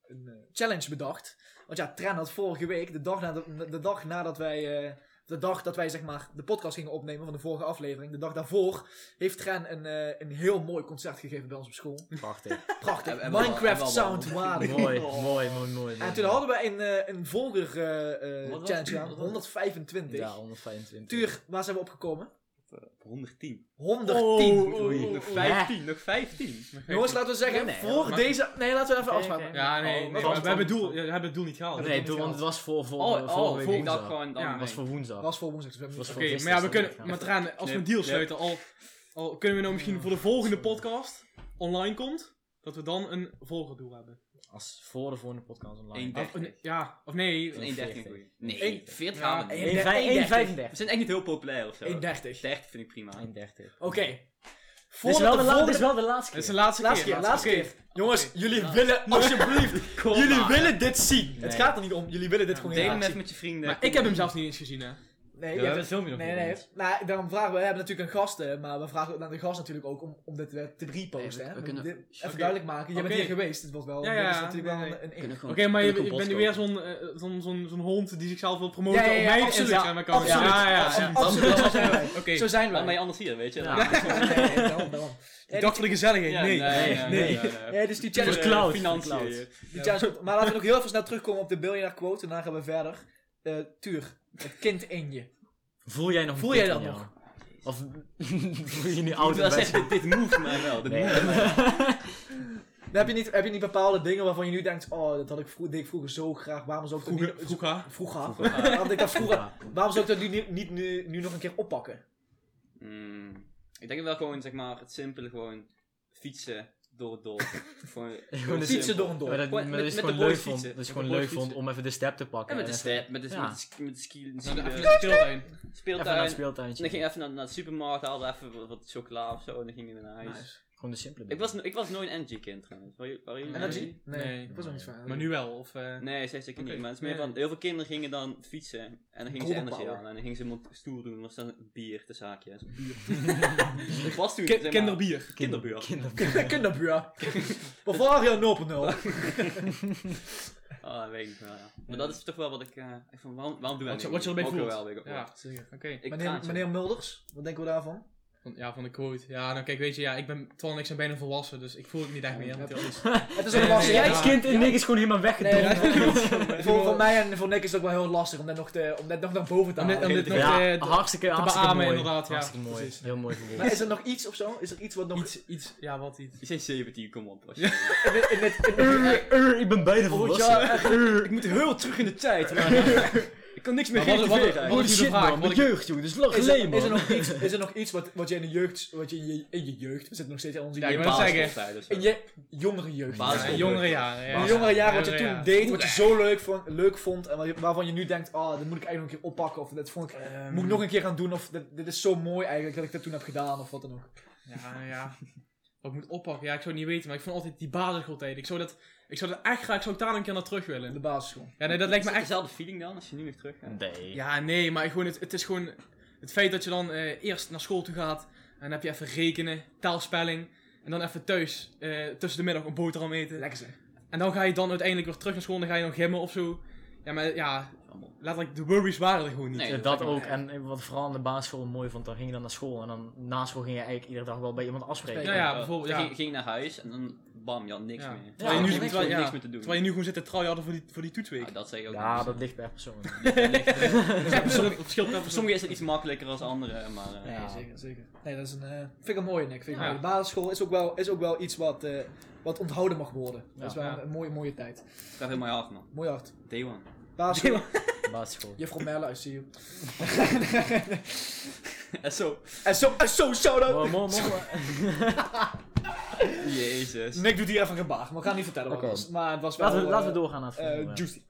[SPEAKER 5] een eh, challenge bedacht. Want ja, Tran had vorige week, de dag, na de, de dag nadat wij, eh, de dag dat wij zeg maar de podcast gingen opnemen van de vorige aflevering, de dag daarvoor, heeft Tran een, eh, een heel mooi concert gegeven bij ons op school.
[SPEAKER 3] Prachtig.
[SPEAKER 5] Prachtig.
[SPEAKER 2] Hebben we wel-
[SPEAKER 5] Minecraft
[SPEAKER 2] hebben we wel
[SPEAKER 5] Sound, waardig.
[SPEAKER 3] Mooi, mooi, mooi, mooi.
[SPEAKER 5] En toen hadden we een, eh, een volger eh, eh,
[SPEAKER 2] Wat was-
[SPEAKER 5] challenge gedaan,
[SPEAKER 2] wat was-
[SPEAKER 5] 125.
[SPEAKER 3] Ja, 125.
[SPEAKER 5] Tuur, waar zijn we opgekomen?
[SPEAKER 2] 110.
[SPEAKER 5] 110.
[SPEAKER 2] Nog 15, nog 15.
[SPEAKER 5] Oh. Jongens, laten we zeggen,
[SPEAKER 3] Nee, nee,
[SPEAKER 5] voor
[SPEAKER 6] maar-
[SPEAKER 5] deze... Nee, laten we even
[SPEAKER 3] Oké,
[SPEAKER 5] afspraken.
[SPEAKER 3] oké.
[SPEAKER 6] Ja, nee,
[SPEAKER 3] Oh,
[SPEAKER 6] nee,
[SPEAKER 3] dat
[SPEAKER 6] maar
[SPEAKER 3] was
[SPEAKER 6] we hebben, het
[SPEAKER 3] dan-
[SPEAKER 6] doel, ja, we hebben het doel niet gehaald.
[SPEAKER 3] Nee, toen, want het was voor, voor,
[SPEAKER 2] Oh,
[SPEAKER 3] vorige
[SPEAKER 2] oh,
[SPEAKER 3] week
[SPEAKER 2] volgende dag
[SPEAKER 3] woensdag.
[SPEAKER 2] gewoon.
[SPEAKER 6] Ja,
[SPEAKER 2] dan
[SPEAKER 3] Het was voor woensdag.
[SPEAKER 5] Dat was voor woensdag. Dus we
[SPEAKER 3] was
[SPEAKER 5] hebben
[SPEAKER 6] Oké,
[SPEAKER 3] voor gisteren
[SPEAKER 6] maar ja, we
[SPEAKER 3] is dat
[SPEAKER 6] kunnen...
[SPEAKER 3] niet
[SPEAKER 6] Maar
[SPEAKER 3] gehaald.
[SPEAKER 6] Traan, als we een
[SPEAKER 2] Knip,
[SPEAKER 6] deal
[SPEAKER 2] knip.
[SPEAKER 6] sluiten, al, al kunnen we nou misschien voor de volgende podcast online komt, dat we dan een volgerdoel hebben.
[SPEAKER 3] Als voor de volgende podcast online.
[SPEAKER 2] 1,30.
[SPEAKER 6] Of, een- ja, of nee...
[SPEAKER 3] Nee.
[SPEAKER 2] 1,30
[SPEAKER 3] 40.
[SPEAKER 2] goeie. Nee,
[SPEAKER 5] Eén-
[SPEAKER 2] 40
[SPEAKER 5] Ja,
[SPEAKER 2] gaan we
[SPEAKER 5] één-
[SPEAKER 2] niet.
[SPEAKER 5] één-
[SPEAKER 3] 1,35.
[SPEAKER 2] We zijn echt niet heel populair of zo.
[SPEAKER 5] 130.
[SPEAKER 2] 30 vind ik prima.
[SPEAKER 3] 1,30.
[SPEAKER 5] Oké. Voor
[SPEAKER 3] Dit is wel de la- dit
[SPEAKER 5] volgende-
[SPEAKER 3] is wel de laatste
[SPEAKER 6] Het is
[SPEAKER 3] keer.
[SPEAKER 6] de laatste,
[SPEAKER 5] Laatste keer, laatste keer. Jongens, jullie willen, alsjeblieft, jullie willen dit zien. Het gaat er niet om, jullie willen dit gewoon
[SPEAKER 2] Deel hem
[SPEAKER 5] graag
[SPEAKER 2] even
[SPEAKER 5] zien.
[SPEAKER 2] met je vrienden.
[SPEAKER 6] Maar ik heb hem zelfs niet eens gezien, hè.
[SPEAKER 5] Nee,
[SPEAKER 3] Ja, dus-
[SPEAKER 5] je hebt-
[SPEAKER 3] dat filmpje nog
[SPEAKER 5] nee,
[SPEAKER 3] niet
[SPEAKER 5] nee.
[SPEAKER 3] eens.
[SPEAKER 5] Nou, daarom vragen we, we hebben natuurlijk een gast, hè, maar we vragen ook naar de gast natuurlijk ook om, om dit eh, te
[SPEAKER 2] Nee,
[SPEAKER 5] reposten.
[SPEAKER 2] we-
[SPEAKER 5] hè.
[SPEAKER 2] we kunnen-
[SPEAKER 5] Dit- even
[SPEAKER 6] Oké.
[SPEAKER 5] duidelijk maken, je bent
[SPEAKER 6] Oké.
[SPEAKER 5] hier geweest, het was wel,
[SPEAKER 6] Ja,
[SPEAKER 5] dit is
[SPEAKER 6] ja,
[SPEAKER 5] natuurlijk
[SPEAKER 6] nee,
[SPEAKER 5] wel een, een,
[SPEAKER 2] Oké,
[SPEAKER 6] Oké, maar je, je bent nu weer zo'n eh, zo'n zo'n zo'n hond die zichzelf wil promoten
[SPEAKER 5] Ja, ja, ja,
[SPEAKER 6] op mijn
[SPEAKER 5] absoluut.
[SPEAKER 6] Instagram-account.
[SPEAKER 5] Absoluut.
[SPEAKER 6] Ja, ja, ja.
[SPEAKER 5] Absoluut, absoluut, zo zijn wij.
[SPEAKER 6] Oké,
[SPEAKER 5] Zo zijn wij.
[SPEAKER 2] Laat mij anders hier, weet je.
[SPEAKER 3] Ja.
[SPEAKER 2] Ja,
[SPEAKER 5] Nee, nee, daarom, daarom.
[SPEAKER 6] ik dacht voor de gezelligheid.
[SPEAKER 2] ja,
[SPEAKER 6] nee.
[SPEAKER 3] nee.
[SPEAKER 5] Nee, dus die
[SPEAKER 2] Voor de
[SPEAKER 5] challenge
[SPEAKER 3] cloud.
[SPEAKER 2] Financiën.
[SPEAKER 3] Cloud.
[SPEAKER 2] joh.
[SPEAKER 5] Die challenge komt. Maar laten we nog heel even snel terugkomen op de biljonair quote. En dan gaan we verder. Eh, tuur, het kind in je.
[SPEAKER 3] Voel jij nog
[SPEAKER 5] Voel
[SPEAKER 3] een
[SPEAKER 5] jij
[SPEAKER 3] dik
[SPEAKER 5] dat
[SPEAKER 3] in jou?
[SPEAKER 5] nog?
[SPEAKER 3] Of [LAUGHS] voel je nu
[SPEAKER 2] Ik moet
[SPEAKER 3] ouder
[SPEAKER 2] [LAUGHS] wel
[SPEAKER 3] best?
[SPEAKER 2] zeggen, dit move mij wel. Dit
[SPEAKER 3] Nee.
[SPEAKER 2] move mij wel.
[SPEAKER 5] Dan heb je, niet, heb je niet bepaalde dingen waarvan je nu denkt, oh, dat had ik, vroeg, deed ik vroeger zo graag, waarom zou ik dat
[SPEAKER 6] Vroeger,
[SPEAKER 5] niet-
[SPEAKER 6] vroeger.
[SPEAKER 5] vroeger. [LAUGHS] waarom, deed ik dat vroeger waarom zou ik dat nu, niet, niet nu, nu nog een keer oppakken?
[SPEAKER 2] [LAUGHS] Mm, ik denk wel gewoon, zeg maar, het simpele gewoon fietsen door het dorp. gewoon
[SPEAKER 3] Gewoon
[SPEAKER 2] Dus
[SPEAKER 5] Fietsen
[SPEAKER 2] simpel.
[SPEAKER 5] door een dorp.
[SPEAKER 3] Maar dat, maar
[SPEAKER 2] Gewoon met-
[SPEAKER 3] dat is
[SPEAKER 2] met
[SPEAKER 3] gewoon
[SPEAKER 2] de boys
[SPEAKER 3] leuk vond.
[SPEAKER 2] fietsen.
[SPEAKER 3] Dat is
[SPEAKER 2] Met
[SPEAKER 3] gewoon
[SPEAKER 2] de boys
[SPEAKER 3] leuk vond
[SPEAKER 2] fietsen.
[SPEAKER 3] om even de step te pakken.
[SPEAKER 2] en met de
[SPEAKER 3] even-
[SPEAKER 2] step, met de,
[SPEAKER 3] ja.
[SPEAKER 2] met de, sk- met de ski, de
[SPEAKER 6] Naar de-
[SPEAKER 2] ski-
[SPEAKER 6] Even naar de speeltuin.
[SPEAKER 3] Even naar het
[SPEAKER 2] speeltuin. En
[SPEAKER 3] speeltuintje.
[SPEAKER 2] dan ging ik even naar, naar de supermarkt, haalde even wat, wat chocola of zo en dan ging ik weer naar huis.
[SPEAKER 3] Gewoon de simpele
[SPEAKER 2] Ik,
[SPEAKER 3] dingen.
[SPEAKER 2] was, no- ik was nooit een energy kind trouwens. Waren waren jullie
[SPEAKER 6] Nee.
[SPEAKER 5] Energy? Nee,
[SPEAKER 6] Nee.
[SPEAKER 5] dat was nog niet van.
[SPEAKER 6] Maar
[SPEAKER 5] [LAUGHS]
[SPEAKER 6] nu wel. Of, eh,
[SPEAKER 2] Nee, zei zeker
[SPEAKER 6] Oké.
[SPEAKER 2] niet. Maar het is meer
[SPEAKER 6] Nee.
[SPEAKER 2] van, heel veel kinderen gingen dan fietsen en dan gingen ze
[SPEAKER 5] Golden
[SPEAKER 2] energy
[SPEAKER 5] power.
[SPEAKER 2] halen en dan gingen ze helemaal stoer doen. Was dan bier, de zaakjes. [LAUGHS] ik was toen,
[SPEAKER 6] ki-
[SPEAKER 2] zeg maar,
[SPEAKER 6] kinderbier.
[SPEAKER 2] kinderbuur.
[SPEAKER 3] Kinderbuur.
[SPEAKER 5] Kinderbuur. Bavaria 0.0.
[SPEAKER 2] Ah, dat weet ik niet meer. Maar dat is toch wel wat ik... eh ik van, waarom, waarom doen wij
[SPEAKER 6] Wat je- wat je
[SPEAKER 2] niet?
[SPEAKER 6] erbij
[SPEAKER 2] Alcohol
[SPEAKER 6] voelt.
[SPEAKER 2] wel, weet ik ook
[SPEAKER 6] Ja,
[SPEAKER 2] wel.
[SPEAKER 6] zeker. Oké.
[SPEAKER 2] Ik
[SPEAKER 5] Meneer,
[SPEAKER 2] traantje.
[SPEAKER 5] meneer Mulders, wat denken we daarvan?
[SPEAKER 6] Van- Ja, van de quote. Ja, nou kijk, weet je, ja, ik ben, Twan en ik zijn bijna volwassen, dus ik voel het niet echt meer. natuurlijk.
[SPEAKER 5] Het is
[SPEAKER 6] Nee,
[SPEAKER 5] wel
[SPEAKER 6] nee,
[SPEAKER 5] lastig.
[SPEAKER 6] nee,
[SPEAKER 3] Jij
[SPEAKER 6] ja.
[SPEAKER 3] kind en Nick is gewoon helemaal
[SPEAKER 5] Nee,
[SPEAKER 3] weggedreven.
[SPEAKER 6] [LAUGHS]
[SPEAKER 5] nee. voor, voor mij en voor Nick is het ook wel heel lastig om dat nog, te, om dat nog naar boven te
[SPEAKER 6] Om dit-
[SPEAKER 5] halen.
[SPEAKER 6] om dit nog,
[SPEAKER 3] Ja,
[SPEAKER 6] eh,
[SPEAKER 3] hartstikke, hartstikke
[SPEAKER 6] beamen
[SPEAKER 3] mooi.
[SPEAKER 6] inderdaad, ja.
[SPEAKER 3] Hartstikke mooi.
[SPEAKER 5] Precies.
[SPEAKER 3] Heel mooi
[SPEAKER 5] Maar
[SPEAKER 3] verwoord.
[SPEAKER 5] is er nog iets of zo? Is er iets wat nog...
[SPEAKER 6] Iets, iets, ja, wat iets.
[SPEAKER 2] Je bent 17, kom
[SPEAKER 6] [LAUGHS]
[SPEAKER 2] op. alsjeblieft.
[SPEAKER 5] In dit, in dit, in dit-
[SPEAKER 3] Eh, eh, ik ben Eh, bijna
[SPEAKER 5] Oh,
[SPEAKER 3] volwassen.
[SPEAKER 5] ja, echt, ik moet heel terug in de tijd.
[SPEAKER 6] [LAUGHS]
[SPEAKER 5] ik kan niks meer
[SPEAKER 6] Maar wat- wat-
[SPEAKER 5] relativeren.
[SPEAKER 6] wat-
[SPEAKER 3] Holy
[SPEAKER 6] is nu de
[SPEAKER 3] shit
[SPEAKER 6] vraag?
[SPEAKER 3] man,
[SPEAKER 6] Wat
[SPEAKER 3] mijn
[SPEAKER 6] ik-
[SPEAKER 3] jeugd jongen, dat is lang
[SPEAKER 5] Is er,
[SPEAKER 3] geleden
[SPEAKER 5] is, er
[SPEAKER 3] man.
[SPEAKER 5] nog iets, is er nog iets wat, wat je in de jeugd, wat je in je, in je jeugd, we zitten nog steeds in onze
[SPEAKER 6] Ja, ik
[SPEAKER 5] jeugd,
[SPEAKER 6] wou net zeggen.
[SPEAKER 2] Basisschooltijd of zo.
[SPEAKER 5] in je jongere jeugd.
[SPEAKER 2] Basis-
[SPEAKER 5] Ja.
[SPEAKER 6] Ja, jongere jaren. Ja.
[SPEAKER 5] In je jongere jaren wat je
[SPEAKER 6] Jongere
[SPEAKER 5] toen
[SPEAKER 6] jaren.
[SPEAKER 5] deed, wat je zo leuk vond, leuk vond en waar je- waarvan je nu denkt, ah, dat moet ik eigenlijk nog een keer oppakken of dat vond ik,
[SPEAKER 6] Ehm,
[SPEAKER 5] moet ik nog een keer gaan doen of dit, dit is zo mooi eigenlijk dat ik dat toen heb gedaan of wat dan ook.
[SPEAKER 6] Ja, nou ja. Wat ik moet oppakken, ja, ik zou het niet weten, maar ik vond altijd die basisschooltijd. Ik zou dat, ik zou dat echt graag, ik zou ook daar een keer naar terug
[SPEAKER 5] In
[SPEAKER 6] willen.
[SPEAKER 5] de basisschool.
[SPEAKER 6] Ja, nee, dat lijkt me
[SPEAKER 2] Is het
[SPEAKER 6] echt...
[SPEAKER 2] dezelfde feeling dan, als je nu weer terug gaat?
[SPEAKER 3] Nee.
[SPEAKER 6] Ja, nee, maar gewoon, het, het is gewoon het feit dat je dan eh, eerst naar school toe gaat en dan heb je even rekenen, taalspelling en dan even thuis eh, tussen de middag een boterham eten.
[SPEAKER 5] Lekker zeg.
[SPEAKER 6] En dan ga je dan uiteindelijk weer terug naar school en dan ga je nog gimmen of zo. Ja, maar ja, letterlijk, de worries waren er gewoon niet.
[SPEAKER 2] Nee,
[SPEAKER 3] Eh,
[SPEAKER 2] dat
[SPEAKER 3] dat
[SPEAKER 2] kan
[SPEAKER 3] ook. En eh, wat vooral aan de basisschool mooi vond, dan ging je dan naar school. En dan na school ging je eigenlijk iedere dag wel bij iemand afspreken.
[SPEAKER 6] Ja, ja, bijvoorbeeld,
[SPEAKER 2] Ik
[SPEAKER 6] ja.
[SPEAKER 2] ging, ging naar huis en dan bam, je had niks
[SPEAKER 6] Ja.
[SPEAKER 2] meer.
[SPEAKER 3] Terwijl je
[SPEAKER 2] Ja,
[SPEAKER 3] nu-
[SPEAKER 2] niks,
[SPEAKER 6] terwijl-
[SPEAKER 2] meer-
[SPEAKER 6] ja.
[SPEAKER 2] niks meer te doen.
[SPEAKER 6] Terwijl je nu gewoon zit te try hadden voor die, voor die toetsweek.
[SPEAKER 2] Ja, dat zeg ik ook
[SPEAKER 3] Ja,
[SPEAKER 2] niet. [LAUGHS]
[SPEAKER 3] dat ligt per persoon.
[SPEAKER 6] [LAUGHS] Ja, persoonlijk- het verschilt per
[SPEAKER 2] Voor
[SPEAKER 6] persoon.
[SPEAKER 2] sommigen is het iets makkelijker dan anderen, maar... eh,
[SPEAKER 3] Ja.
[SPEAKER 5] zeker, zeker. Nee, dat is een, eh, vind ik een mooie, Nick. Vind ik een
[SPEAKER 6] Ja.
[SPEAKER 5] mooie. De basisschool is ook wel, is ook wel iets wat, eh, wat onthouden mag worden.
[SPEAKER 3] Ja.
[SPEAKER 5] Dat is wel
[SPEAKER 6] Ja.
[SPEAKER 5] een, een mooie, mooie tijd.
[SPEAKER 2] Het gaat helemaal af, man.
[SPEAKER 5] Mooi hard.
[SPEAKER 2] Day one.
[SPEAKER 3] [LAUGHS]
[SPEAKER 5] Basisschool.
[SPEAKER 3] Basisschool.
[SPEAKER 5] Juffrouw Merla, I see you.
[SPEAKER 2] En [LAUGHS] zo.
[SPEAKER 5] En zo, en zo, shout-out.
[SPEAKER 3] Mo- mo- mo-
[SPEAKER 2] Jezus.
[SPEAKER 5] Nick doet hier even een gebaar, maar we gaan niet vertellen wat
[SPEAKER 3] Oké.
[SPEAKER 5] het was. Maar het was wel...
[SPEAKER 3] Laten we,
[SPEAKER 5] eh,
[SPEAKER 3] laten we doorgaan naar het
[SPEAKER 5] eh,
[SPEAKER 3] volgende.
[SPEAKER 5] juicy.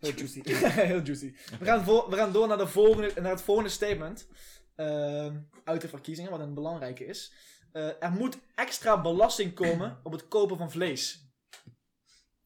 [SPEAKER 5] Heel juicy.
[SPEAKER 3] [LAUGHS]
[SPEAKER 5] [LAUGHS] Heel juicy. We gaan, voor- we gaan door naar, de volgende, naar het volgende statement. Ehm, uit de verkiezingen, wat een belangrijke is. Eh, er moet extra belasting komen op het kopen van vlees.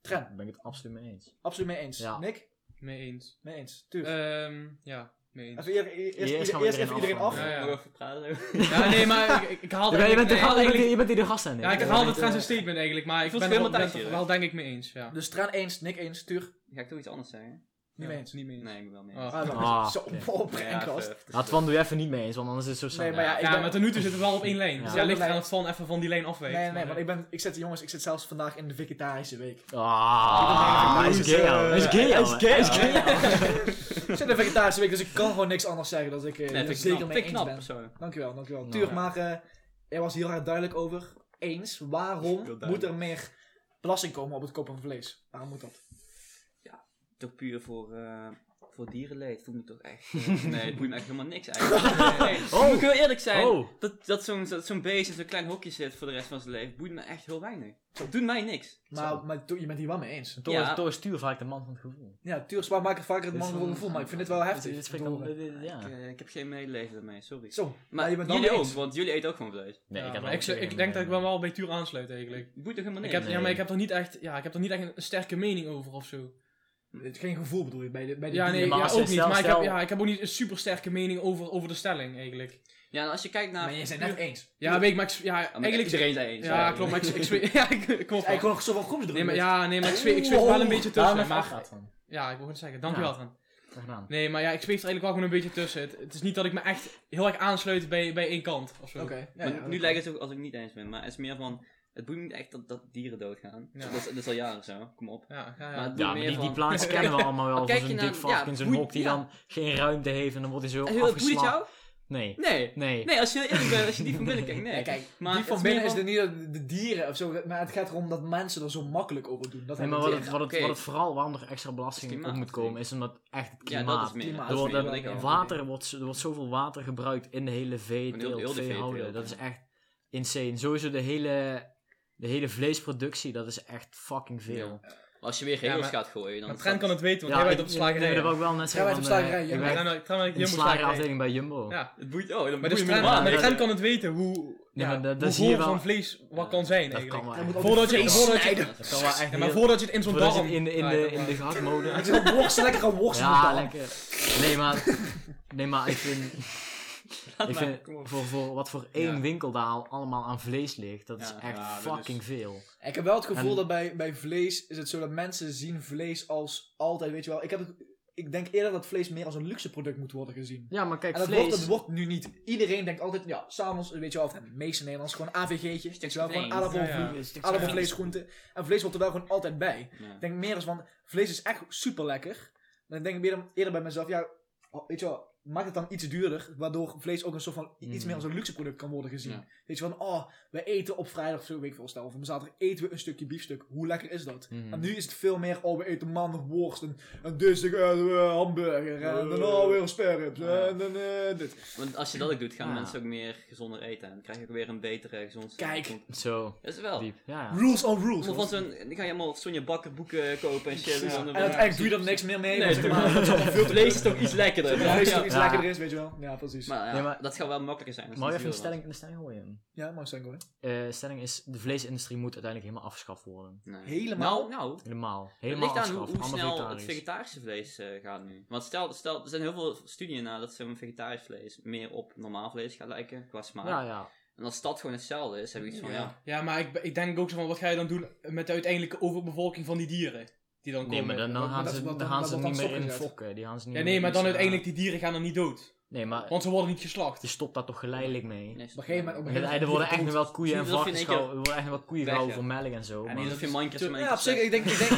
[SPEAKER 5] Trent,
[SPEAKER 3] Daar ben ik het absoluut mee eens.
[SPEAKER 5] absoluut mee eens.
[SPEAKER 3] Ja.
[SPEAKER 5] Nick,
[SPEAKER 6] Mee eens.
[SPEAKER 5] mee eens. Tuur.
[SPEAKER 3] Eh,
[SPEAKER 6] Ehm, ja, mee
[SPEAKER 2] [LAUGHS]
[SPEAKER 6] eens.
[SPEAKER 5] Even eer- eer- eerst,
[SPEAKER 3] Eerst gaan we
[SPEAKER 5] eerst
[SPEAKER 3] iedereen
[SPEAKER 5] even iedereen af.
[SPEAKER 3] afronden.
[SPEAKER 6] Ja, ja.
[SPEAKER 2] Nog even praten.
[SPEAKER 6] Ja, nee, maar ik, ik, ik haal
[SPEAKER 3] Je bent, je bent, de,
[SPEAKER 6] nee,
[SPEAKER 3] gast- je bent,
[SPEAKER 6] eigenlijk-
[SPEAKER 3] je bent hier de gast aan.
[SPEAKER 6] Ja, ik haal het trouwens een statement eigenlijk, maar ik
[SPEAKER 2] voel
[SPEAKER 6] ben er
[SPEAKER 2] het
[SPEAKER 6] wel,
[SPEAKER 2] helemaal
[SPEAKER 6] ben het
[SPEAKER 2] thuis
[SPEAKER 6] er
[SPEAKER 2] hier,
[SPEAKER 6] wel denk ik mee eens, ja.
[SPEAKER 5] Dus Traan eens, Nick eens, Tuur. Niet
[SPEAKER 2] [LAUGHS] Ga ik toch iets anders zeggen?
[SPEAKER 6] Ja,
[SPEAKER 5] mee eens.
[SPEAKER 6] Niet mee eens.
[SPEAKER 2] Nee, ik ben wel mee.
[SPEAKER 6] Oh.
[SPEAKER 5] Ah, nou,
[SPEAKER 3] Ah,
[SPEAKER 5] zo
[SPEAKER 3] oké.
[SPEAKER 5] op [LAUGHS]
[SPEAKER 2] Ja,
[SPEAKER 5] gast.
[SPEAKER 2] even-
[SPEAKER 3] Laat Twan doe je even niet mee eens, want anders is het zo saai.
[SPEAKER 5] Nee, maar ja, ik
[SPEAKER 6] ja,
[SPEAKER 5] ben-
[SPEAKER 6] maar tot nu toe zitten we wel op één lijn.
[SPEAKER 3] Ja.
[SPEAKER 6] Dus ja, ligt
[SPEAKER 5] Ja.
[SPEAKER 6] eraan of Van even van die lijn afweegt.
[SPEAKER 5] Nee, nee,
[SPEAKER 6] maar,
[SPEAKER 5] want ik, ben, ik zit, jongens, ik zit zelfs vandaag in de vegetarische week.
[SPEAKER 3] Ah, hij is gay, hoor. Hij is gay, hoor. Hij is gay.
[SPEAKER 5] ik zit in de vegetarische week, dus ik kan gewoon niks anders zeggen dan dat ik eh,
[SPEAKER 2] Nee,
[SPEAKER 5] hier
[SPEAKER 2] vind ik
[SPEAKER 5] zeker
[SPEAKER 2] knap.
[SPEAKER 5] mee
[SPEAKER 2] Vind ik
[SPEAKER 5] eens
[SPEAKER 2] knap,
[SPEAKER 5] ben.
[SPEAKER 2] persoonlijk.
[SPEAKER 5] Dankjewel, dankjewel.
[SPEAKER 3] Nou,
[SPEAKER 5] Tuur,
[SPEAKER 3] ja.
[SPEAKER 5] maar eh er was heel erg duidelijk over eens.
[SPEAKER 2] Heel
[SPEAKER 5] Waarom moet
[SPEAKER 2] duidelijk.
[SPEAKER 5] er meer belasting komen op het kopen van vlees? Waarom moet dat?
[SPEAKER 2] Toch puur voor, eh, voor dierenleed voel ik me toch echt... eh, [LAUGHS] nee, het boeit me echt helemaal [LAUGHS] niks eigenlijk. Nee, nee. Moet ik heel eerlijk zijn,
[SPEAKER 3] Oh.
[SPEAKER 2] dat, dat zo'n dat zo'n beest in zo'n klein hokje zit voor de rest van zijn leven, boeit me echt heel weinig. Dat doet mij niks.
[SPEAKER 5] Maar, maar Tuur, je bent hier wel mee eens.
[SPEAKER 3] Thor,
[SPEAKER 2] Ja.
[SPEAKER 3] Thor is stuur vaak de man van het gevoel.
[SPEAKER 5] Ja, Tuur, zwaar maak ik vaker het
[SPEAKER 3] Dit is
[SPEAKER 5] mannelijke
[SPEAKER 3] wel-
[SPEAKER 5] gevoel, maar ik vind dit wel
[SPEAKER 3] Dit-
[SPEAKER 5] heftig.
[SPEAKER 3] Dit vind ik dan-
[SPEAKER 5] Verdorie.
[SPEAKER 3] dit- dit- ja.
[SPEAKER 2] Ik, eh, ik heb geen medeleven daarmee, sorry.
[SPEAKER 5] Zo,
[SPEAKER 2] Maar
[SPEAKER 5] je bent wel
[SPEAKER 2] jullie
[SPEAKER 5] mee
[SPEAKER 2] ook,
[SPEAKER 5] eens.
[SPEAKER 2] want jullie eten ook gewoon vlees.
[SPEAKER 3] Nee, ik
[SPEAKER 6] ik,
[SPEAKER 3] heb
[SPEAKER 6] maar
[SPEAKER 3] er
[SPEAKER 6] ik, zou-
[SPEAKER 3] ook
[SPEAKER 6] ik
[SPEAKER 3] geen
[SPEAKER 6] denk dat ik
[SPEAKER 3] idee.
[SPEAKER 6] wel wel bij Tuur aansluit eigenlijk.
[SPEAKER 2] Het boeit toch helemaal
[SPEAKER 6] Ik heb,
[SPEAKER 2] niks.
[SPEAKER 6] ja, maar
[SPEAKER 3] Nee.
[SPEAKER 6] ik heb er niet echt, ja, ik heb er niet echt een, een sterke mening over of zo.
[SPEAKER 5] Geen gevoel bedoel je bij de, bij de
[SPEAKER 6] Ja,
[SPEAKER 5] dieren?
[SPEAKER 6] nee,
[SPEAKER 3] maar
[SPEAKER 6] ja,
[SPEAKER 3] als
[SPEAKER 6] ook
[SPEAKER 3] je
[SPEAKER 6] niet.
[SPEAKER 3] zelf-
[SPEAKER 6] Maar ik heb,
[SPEAKER 3] stel-
[SPEAKER 6] ja, ik heb ook niet een super sterke mening over, over de stelling eigenlijk.
[SPEAKER 2] Ja, en als je kijkt naar...
[SPEAKER 5] Maar jij bent net eens.
[SPEAKER 6] Ja, weet ik, maar ik, ja,
[SPEAKER 2] Ja, maar
[SPEAKER 6] eigenlijk...
[SPEAKER 2] iedereen eh, zijn eens.
[SPEAKER 6] Ja, klopt, maar ik, ik zweer... Ja, ik, kom
[SPEAKER 5] Hij
[SPEAKER 6] op.
[SPEAKER 5] kon nog zoveel groepsdruk.
[SPEAKER 6] Nee, maar,
[SPEAKER 5] met-
[SPEAKER 6] ja, nee, maar ik zweer, ik zweef wel een beetje
[SPEAKER 3] Daarom
[SPEAKER 6] tussen.
[SPEAKER 3] even
[SPEAKER 6] Maar,
[SPEAKER 3] afgaat van.
[SPEAKER 6] ja, ik wil het zeggen. Dankjewel,
[SPEAKER 3] Ja.
[SPEAKER 6] Tran.
[SPEAKER 3] Graag gedaan.
[SPEAKER 6] Nee, maar ja, ik zweef er eigenlijk wel gewoon een beetje tussen. Het, het is niet dat ik me echt heel erg aansluit bij, bij één kant of zo.
[SPEAKER 5] Oké. ja,
[SPEAKER 2] Maar
[SPEAKER 5] ja,
[SPEAKER 2] nu
[SPEAKER 5] dat-
[SPEAKER 2] lijkt het ook als ik niet eens ben, maar het is meer van... Het boeit me niet echt dat, dat dieren doodgaan.
[SPEAKER 6] Ja.
[SPEAKER 2] Dat, is, dat is al jaren zo, kom op.
[SPEAKER 6] Ja, ja,
[SPEAKER 2] Maar
[SPEAKER 6] ja.
[SPEAKER 2] het boeit
[SPEAKER 3] Ja,
[SPEAKER 2] me
[SPEAKER 3] maar
[SPEAKER 2] meer
[SPEAKER 3] die, die
[SPEAKER 2] van-
[SPEAKER 3] plaatjes
[SPEAKER 2] [LAUGHS]
[SPEAKER 3] kennen we allemaal wel.
[SPEAKER 2] Kijk
[SPEAKER 3] Van
[SPEAKER 2] je
[SPEAKER 3] zo'n dik
[SPEAKER 2] naar-
[SPEAKER 3] vark
[SPEAKER 2] ja,
[SPEAKER 3] in zo'n
[SPEAKER 2] boeit-
[SPEAKER 3] hok die
[SPEAKER 2] ja.
[SPEAKER 3] dan geen ruimte heeft en dan wordt hij zo
[SPEAKER 2] En heel- boeit het
[SPEAKER 3] afgeslagen.
[SPEAKER 2] jou?
[SPEAKER 3] Nee.
[SPEAKER 2] Nee.
[SPEAKER 3] Nee.
[SPEAKER 2] Nee, als je heel eerlijk bent, als je die van binnen kijkt, nee.
[SPEAKER 5] Ja, kijk,
[SPEAKER 2] maar
[SPEAKER 5] die van
[SPEAKER 2] het is
[SPEAKER 5] binnen is
[SPEAKER 2] meer
[SPEAKER 5] er niet dat de dieren of zo, maar het gaat erom dat mensen er zo makkelijk over doen. Dat
[SPEAKER 3] Nee,
[SPEAKER 5] hebben
[SPEAKER 3] maar
[SPEAKER 5] we
[SPEAKER 3] wat
[SPEAKER 5] tegen.
[SPEAKER 3] het, wat, het,
[SPEAKER 2] Oké.
[SPEAKER 3] wat het vooral, waarom er extra
[SPEAKER 2] Het
[SPEAKER 3] belasting op
[SPEAKER 2] klimaat,
[SPEAKER 3] moet komen, is omdat echt het
[SPEAKER 2] Ja,
[SPEAKER 3] klimaat.
[SPEAKER 2] dat is meer.
[SPEAKER 5] klimaat.
[SPEAKER 2] dat
[SPEAKER 3] Door
[SPEAKER 2] is meer
[SPEAKER 3] dat
[SPEAKER 2] wat ik al-
[SPEAKER 3] water wordt, zo- er wordt zoveel water gebruikt in de hele
[SPEAKER 2] Heel- heel
[SPEAKER 3] veeteelt,
[SPEAKER 2] de
[SPEAKER 3] veehouden.
[SPEAKER 2] veeteelt,
[SPEAKER 3] Dat
[SPEAKER 2] ja.
[SPEAKER 3] is echt insane. Sowieso de hele, de hele vleesproductie, dat is echt fucking veel.
[SPEAKER 2] Als je weer regels
[SPEAKER 6] Ja, maar-
[SPEAKER 2] gaat gooien, dan...
[SPEAKER 6] Maar
[SPEAKER 2] is
[SPEAKER 6] Trent
[SPEAKER 2] dat-
[SPEAKER 6] kan het weten, want
[SPEAKER 3] ik-
[SPEAKER 6] hij werkt op de
[SPEAKER 3] nee,
[SPEAKER 6] slagerij.
[SPEAKER 3] dat wil ik wel net
[SPEAKER 5] Jij
[SPEAKER 3] zeggen.
[SPEAKER 5] werkt op
[SPEAKER 3] want, eh,
[SPEAKER 5] slagerij,
[SPEAKER 3] ik
[SPEAKER 5] ja.
[SPEAKER 6] Ja,
[SPEAKER 3] werk
[SPEAKER 6] Trent werkt nou op
[SPEAKER 3] in de
[SPEAKER 6] de slagerij.
[SPEAKER 3] slagerafdeling bij Jumbo.
[SPEAKER 6] Ja.
[SPEAKER 2] Het boeit... Oh, dan
[SPEAKER 6] Maar dus
[SPEAKER 2] boeit me
[SPEAKER 6] Trent,
[SPEAKER 2] maar.
[SPEAKER 6] maar
[SPEAKER 2] Dat-
[SPEAKER 6] Trent kan het weten hoe,
[SPEAKER 3] Nee,
[SPEAKER 6] ja,
[SPEAKER 3] maar dat- dat
[SPEAKER 6] hoe
[SPEAKER 3] zie je
[SPEAKER 6] goor
[SPEAKER 3] wel.
[SPEAKER 6] van vlees wat kan zijn
[SPEAKER 3] Dat
[SPEAKER 6] eigenlijk.
[SPEAKER 3] kan wel
[SPEAKER 5] Dan moet
[SPEAKER 3] echt.
[SPEAKER 5] ook
[SPEAKER 6] Voordat
[SPEAKER 5] de
[SPEAKER 6] je-
[SPEAKER 5] vlees
[SPEAKER 6] voordat je-
[SPEAKER 5] snijden.
[SPEAKER 3] Dat kan wel echt
[SPEAKER 6] Ja, maar
[SPEAKER 3] heel-
[SPEAKER 6] voordat je het in zo'n
[SPEAKER 3] voordat je
[SPEAKER 6] darm...
[SPEAKER 3] het in de, in
[SPEAKER 6] Ja,
[SPEAKER 3] de,
[SPEAKER 6] dat-
[SPEAKER 3] in de
[SPEAKER 5] [LAUGHS] Het
[SPEAKER 3] gehaktmode...
[SPEAKER 5] is een worst, lekkere worst met
[SPEAKER 3] Ja,
[SPEAKER 5] taal.
[SPEAKER 3] lekker. Nee, maar... Nee, maar ik vind...
[SPEAKER 2] Laat
[SPEAKER 3] Ik
[SPEAKER 2] maar,
[SPEAKER 3] vind
[SPEAKER 2] kom op.
[SPEAKER 3] voor, voor wat voor één
[SPEAKER 2] Ja.
[SPEAKER 3] winkel daar al allemaal aan vlees ligt, dat is
[SPEAKER 2] Ja,
[SPEAKER 3] echt
[SPEAKER 1] ja, dat
[SPEAKER 3] fucking
[SPEAKER 1] is-
[SPEAKER 3] veel.
[SPEAKER 5] Ik heb wel het gevoel
[SPEAKER 3] En-
[SPEAKER 5] dat bij, bij vlees is het zo dat mensen zien vlees als altijd, weet je wel. Ik, heb het, ik denk eerder dat vlees meer als een luxe product moet worden gezien.
[SPEAKER 3] Ja, maar kijk,
[SPEAKER 5] En dat wordt,
[SPEAKER 3] vlees.
[SPEAKER 5] dat wordt nu niet. Iedereen denkt altijd, ja, s'avonds, weet je wel, of de meeste Nederlanders, gewoon AVG'tje. Weet je wel, gewoon
[SPEAKER 2] vlees.
[SPEAKER 5] aardappel,
[SPEAKER 6] Ja, ja.
[SPEAKER 5] vlees, aardappel, vlees, groente. En vlees wordt er wel gewoon altijd bij.
[SPEAKER 2] Ja.
[SPEAKER 5] Ik denk meer als van, vlees is echt super lekker. Dan denk ik meer, eerder bij mezelf, ja, oh, weet je wel, maak het dan iets duurder, waardoor vlees ook een soort van i- iets
[SPEAKER 3] Mm.
[SPEAKER 5] meer als een luxe product kan worden gezien.
[SPEAKER 2] Ja.
[SPEAKER 5] Weet je van, oh, we eten op vrijdag of zo, weet ik veel, stel, of op zaterdag eten we een stukje biefstuk. Hoe lekker is dat?
[SPEAKER 2] Mm.
[SPEAKER 3] Mhm.
[SPEAKER 5] En nu is het veel meer, oh, we eten maandag worst en, en dinsdag eh, eh, hamburger en dan oh, weer sperrups
[SPEAKER 2] Ja.
[SPEAKER 5] en dan eh, dit.
[SPEAKER 2] Want als je dat ook doet, gaan
[SPEAKER 3] Ja.
[SPEAKER 2] mensen ook meer gezonder eten. En dan krijg je ook weer een betere, gezond...
[SPEAKER 5] Kijk.
[SPEAKER 3] Zo,
[SPEAKER 2] Dat is wel.
[SPEAKER 3] diep. Ja, ja.
[SPEAKER 5] Rules on rules.
[SPEAKER 2] Allemaal van
[SPEAKER 5] hoor.
[SPEAKER 2] zo'n... Dan ga je allemaal Sonja Bakker boeken kopen en shit.
[SPEAKER 5] Ja.
[SPEAKER 2] dan-
[SPEAKER 5] En uiteindelijk doe je er niks meer mee.
[SPEAKER 2] Nee,
[SPEAKER 5] want zeg
[SPEAKER 2] [LAUGHS]
[SPEAKER 5] maar, dat is allemaal veel
[SPEAKER 2] Het
[SPEAKER 5] te
[SPEAKER 2] vlees is toch iets lekkerder.
[SPEAKER 5] veel vlees toch iets
[SPEAKER 3] Ja.
[SPEAKER 5] lekkerder is, weet je wel. Ja, precies.
[SPEAKER 2] Maar, ja,
[SPEAKER 3] Nee, maar-
[SPEAKER 2] dat gaat wel makkelijker zijn. als
[SPEAKER 3] Maar
[SPEAKER 2] het
[SPEAKER 3] even een
[SPEAKER 2] duurder
[SPEAKER 3] stelling, een stelling hoor je hem.
[SPEAKER 5] ja, maar zijn hoor.
[SPEAKER 3] Eh, stelling is, de vleesindustrie moet uiteindelijk helemaal afgeschaft worden.
[SPEAKER 2] was. Nee.
[SPEAKER 5] Helemaal.
[SPEAKER 2] Nou, nou.
[SPEAKER 3] Helemaal.
[SPEAKER 2] Het
[SPEAKER 3] Helemaal
[SPEAKER 2] ligt aan hoe,
[SPEAKER 3] afgeschaft.
[SPEAKER 2] hoe
[SPEAKER 3] allemaal
[SPEAKER 2] snel het
[SPEAKER 3] vegetarisch.
[SPEAKER 2] vegetarische vlees eh, gaat nu. Want stel, stel, er zijn heel veel studieën naar dat zo'n vegetarisch vlees meer op normaal vlees gaat lijken, qua smaak.
[SPEAKER 3] ja, ja.
[SPEAKER 2] En als dat gewoon hetzelfde is, heb ik iets van, ja.
[SPEAKER 6] Ja, maar ik, ik denk ook zo van, wat ga je dan doen met de uiteindelijke overbevolking van die dieren? Die dan
[SPEAKER 3] Nee,
[SPEAKER 6] komen.
[SPEAKER 3] maar dan,
[SPEAKER 5] maar
[SPEAKER 3] dan gaan
[SPEAKER 5] dat-
[SPEAKER 3] ze,
[SPEAKER 5] dat-
[SPEAKER 3] dan gaan
[SPEAKER 5] dat
[SPEAKER 3] ze
[SPEAKER 5] wordt
[SPEAKER 3] niet
[SPEAKER 5] dan
[SPEAKER 3] meer in
[SPEAKER 5] stopgezet.
[SPEAKER 3] fokken. Die gaan ze niet
[SPEAKER 6] ja,
[SPEAKER 3] meer
[SPEAKER 6] nee, maar
[SPEAKER 3] in
[SPEAKER 6] dan
[SPEAKER 3] iets, eh,
[SPEAKER 6] uiteindelijk, die dieren gaan dan niet dood.
[SPEAKER 3] Nee, maar
[SPEAKER 6] Want ze worden niet geslacht.
[SPEAKER 3] je stopt daar toch geleidelijk mee.
[SPEAKER 2] Nee,
[SPEAKER 5] Op een gegeven moment- op een
[SPEAKER 3] En
[SPEAKER 5] gegeven moment
[SPEAKER 3] er worden echt
[SPEAKER 5] dood.
[SPEAKER 3] nog wel koeien en
[SPEAKER 2] Niet alsof je in
[SPEAKER 3] varkens
[SPEAKER 2] één
[SPEAKER 3] gehouden. Er worden echt nog wel koeien
[SPEAKER 2] Weg,
[SPEAKER 3] gehouden
[SPEAKER 2] ja.
[SPEAKER 3] voor melk en zo.
[SPEAKER 2] Ja,
[SPEAKER 3] maar-
[SPEAKER 2] niet alsof je Minecraft
[SPEAKER 5] Ja, op zich. Ik
[SPEAKER 2] [LAUGHS]
[SPEAKER 5] denk, ik denk,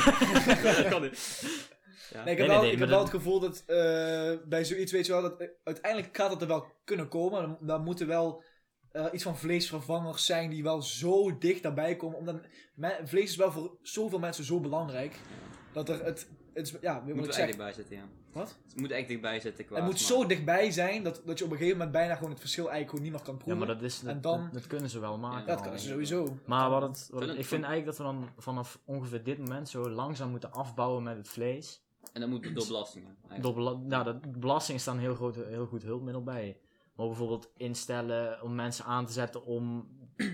[SPEAKER 2] eh,
[SPEAKER 5] [LAUGHS]
[SPEAKER 2] dat kan niet.
[SPEAKER 5] nee, ik
[SPEAKER 3] Nee,
[SPEAKER 5] heb
[SPEAKER 3] nee,
[SPEAKER 5] wel,
[SPEAKER 3] nee,
[SPEAKER 5] ik heb
[SPEAKER 3] maar
[SPEAKER 5] wel
[SPEAKER 3] dat-
[SPEAKER 5] het gevoel dat eh, bij zoiets, weet je wel, dat eh, uiteindelijk gaat dat er wel kunnen komen. Dan, dan moeten wel eh, iets van vleesvervangers zijn die wel zo dicht daarbij komen. Omdat me- vlees is wel voor zoveel mensen zo belangrijk. Dat er het, het is- ja,
[SPEAKER 2] Je
[SPEAKER 5] wat
[SPEAKER 2] moet
[SPEAKER 5] ik
[SPEAKER 2] er echt
[SPEAKER 5] zeg.
[SPEAKER 2] dichtbij zitten, ja.
[SPEAKER 5] Wat?
[SPEAKER 2] Het moet echt dichtbij zitten qua
[SPEAKER 5] Het moet
[SPEAKER 2] smaak.
[SPEAKER 5] zo dichtbij zijn dat, dat je op een gegeven moment bijna gewoon het verschil eigenlijk gewoon niet meer kan
[SPEAKER 3] Ja,
[SPEAKER 5] proeven.
[SPEAKER 3] maar dat, is, dat,
[SPEAKER 5] En dan-
[SPEAKER 3] dat, dat Oh. kunnen ze wel maken.
[SPEAKER 5] dat
[SPEAKER 3] al.
[SPEAKER 5] kan ze sowieso.
[SPEAKER 3] Maar wat het, wat het-
[SPEAKER 2] Zullen-
[SPEAKER 3] ik vind eigenlijk dat we dan vanaf ongeveer dit moment zo langzaam moeten afbouwen met het vlees.
[SPEAKER 2] En dat moet door belastingen. eigenlijk.
[SPEAKER 3] Door bela- nou, dat, belasting is daar een heel, groot, heel goed hulpmiddel bij. Maar bijvoorbeeld instellen om mensen aan te zetten om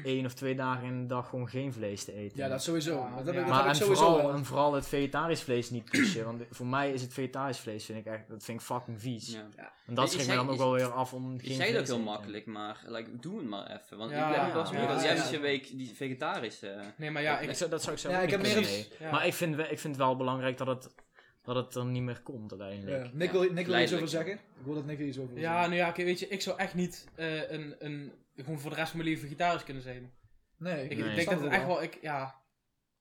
[SPEAKER 3] één of twee dagen in de dag gewoon geen vlees te eten.
[SPEAKER 5] Ja, dat sowieso.
[SPEAKER 6] Ja,
[SPEAKER 5] dat heb
[SPEAKER 6] ja.
[SPEAKER 5] ik, dat
[SPEAKER 3] maar
[SPEAKER 5] heb ik
[SPEAKER 3] en,
[SPEAKER 5] sowieso
[SPEAKER 3] vooral,
[SPEAKER 5] wel.
[SPEAKER 3] en vooral het vegetarisch vlees niet pushen. Want voor mij is het vegetarisch vlees vind ik echt, dat vind ik fucking vies.
[SPEAKER 2] Ja.
[SPEAKER 3] En
[SPEAKER 2] Je- je
[SPEAKER 3] dat schrik me
[SPEAKER 2] zei-
[SPEAKER 3] dan ook
[SPEAKER 2] je-
[SPEAKER 3] wel weer af om geen
[SPEAKER 2] Je zei dat
[SPEAKER 3] vlees
[SPEAKER 2] ook
[SPEAKER 3] te
[SPEAKER 2] heel
[SPEAKER 3] eten.
[SPEAKER 2] makkelijk, maar like, doe het maar even. Want
[SPEAKER 6] Ja,
[SPEAKER 2] ik heb ook wel eens
[SPEAKER 3] ja,
[SPEAKER 2] gehoord dat jij
[SPEAKER 6] ja.
[SPEAKER 2] dus een week die vegetarisch... eh,
[SPEAKER 6] Nee, maar ja,
[SPEAKER 3] Ik
[SPEAKER 6] ik...
[SPEAKER 3] zou, dat zou ik zo
[SPEAKER 5] Ja,
[SPEAKER 3] ook
[SPEAKER 5] ik
[SPEAKER 3] niet
[SPEAKER 5] heb meer
[SPEAKER 3] kunnen,
[SPEAKER 5] iets-
[SPEAKER 3] nee.
[SPEAKER 6] ja.
[SPEAKER 3] Maar ik vind, we- ik vind het wel belangrijk dat het, dat het er niet meer komt uiteindelijk.
[SPEAKER 5] Ja, Nick wil, Nick wil er iets
[SPEAKER 2] Geleidelijk.
[SPEAKER 5] over zeggen. Ik wil dat Nick er iets over wil
[SPEAKER 6] Ja, nou ja, oké, weet je, ik zou echt niet eh, een, een, gewoon voor de rest van mijn leven vegetarisch kunnen zijn.
[SPEAKER 5] zeggen. Nee,
[SPEAKER 3] Nee.
[SPEAKER 6] Ik, ik denk
[SPEAKER 5] snap
[SPEAKER 6] dat het
[SPEAKER 5] het
[SPEAKER 6] echt wel, ik, ja...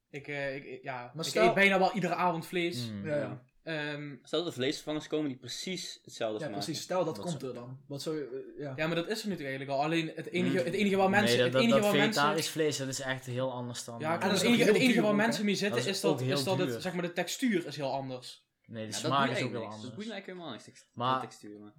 [SPEAKER 6] Ik, eh, ik, ja,
[SPEAKER 5] Maar
[SPEAKER 6] ik
[SPEAKER 5] stel-
[SPEAKER 6] eet bijna wel iedere avond vlees.
[SPEAKER 3] Mm.
[SPEAKER 5] Ja, ja.
[SPEAKER 6] Ehm,
[SPEAKER 2] Stel dat er vleesvervangers komen die precies hetzelfde
[SPEAKER 5] ja
[SPEAKER 2] smaken.
[SPEAKER 5] precies. Stel dat,
[SPEAKER 3] Dat
[SPEAKER 5] komt
[SPEAKER 3] zou-
[SPEAKER 5] er dan. Wat zou je... eh, ja.
[SPEAKER 6] ja, maar dat is er natuurlijk eigenlijk al. Alleen het enige,
[SPEAKER 2] Mm.
[SPEAKER 6] het enige waar mensen...
[SPEAKER 3] nee, dat,
[SPEAKER 6] het enige
[SPEAKER 3] dat, dat
[SPEAKER 6] waar
[SPEAKER 3] vegetarisch
[SPEAKER 6] mensen...
[SPEAKER 3] vlees, dat is echt heel anders dan...
[SPEAKER 6] Ja,
[SPEAKER 3] eh,
[SPEAKER 5] En
[SPEAKER 6] klopt.
[SPEAKER 5] dat
[SPEAKER 6] het
[SPEAKER 5] is ook
[SPEAKER 6] enige,
[SPEAKER 5] heel
[SPEAKER 6] het enige
[SPEAKER 5] duur
[SPEAKER 6] waar
[SPEAKER 5] ook,
[SPEAKER 6] mensen mee zitten
[SPEAKER 3] Dat
[SPEAKER 6] is,
[SPEAKER 3] is ook
[SPEAKER 6] dat,
[SPEAKER 3] heel
[SPEAKER 6] is dat
[SPEAKER 3] duur.
[SPEAKER 6] het, zeg maar, de textuur is heel anders.
[SPEAKER 3] nee, de
[SPEAKER 2] Ja,
[SPEAKER 3] smaak is ook
[SPEAKER 2] boeit eigenlijk
[SPEAKER 3] heel
[SPEAKER 2] niks.
[SPEAKER 3] anders.
[SPEAKER 2] Dat boeit eigenlijk helemaal niks, text-
[SPEAKER 3] Maar-
[SPEAKER 2] de textuur. Maar...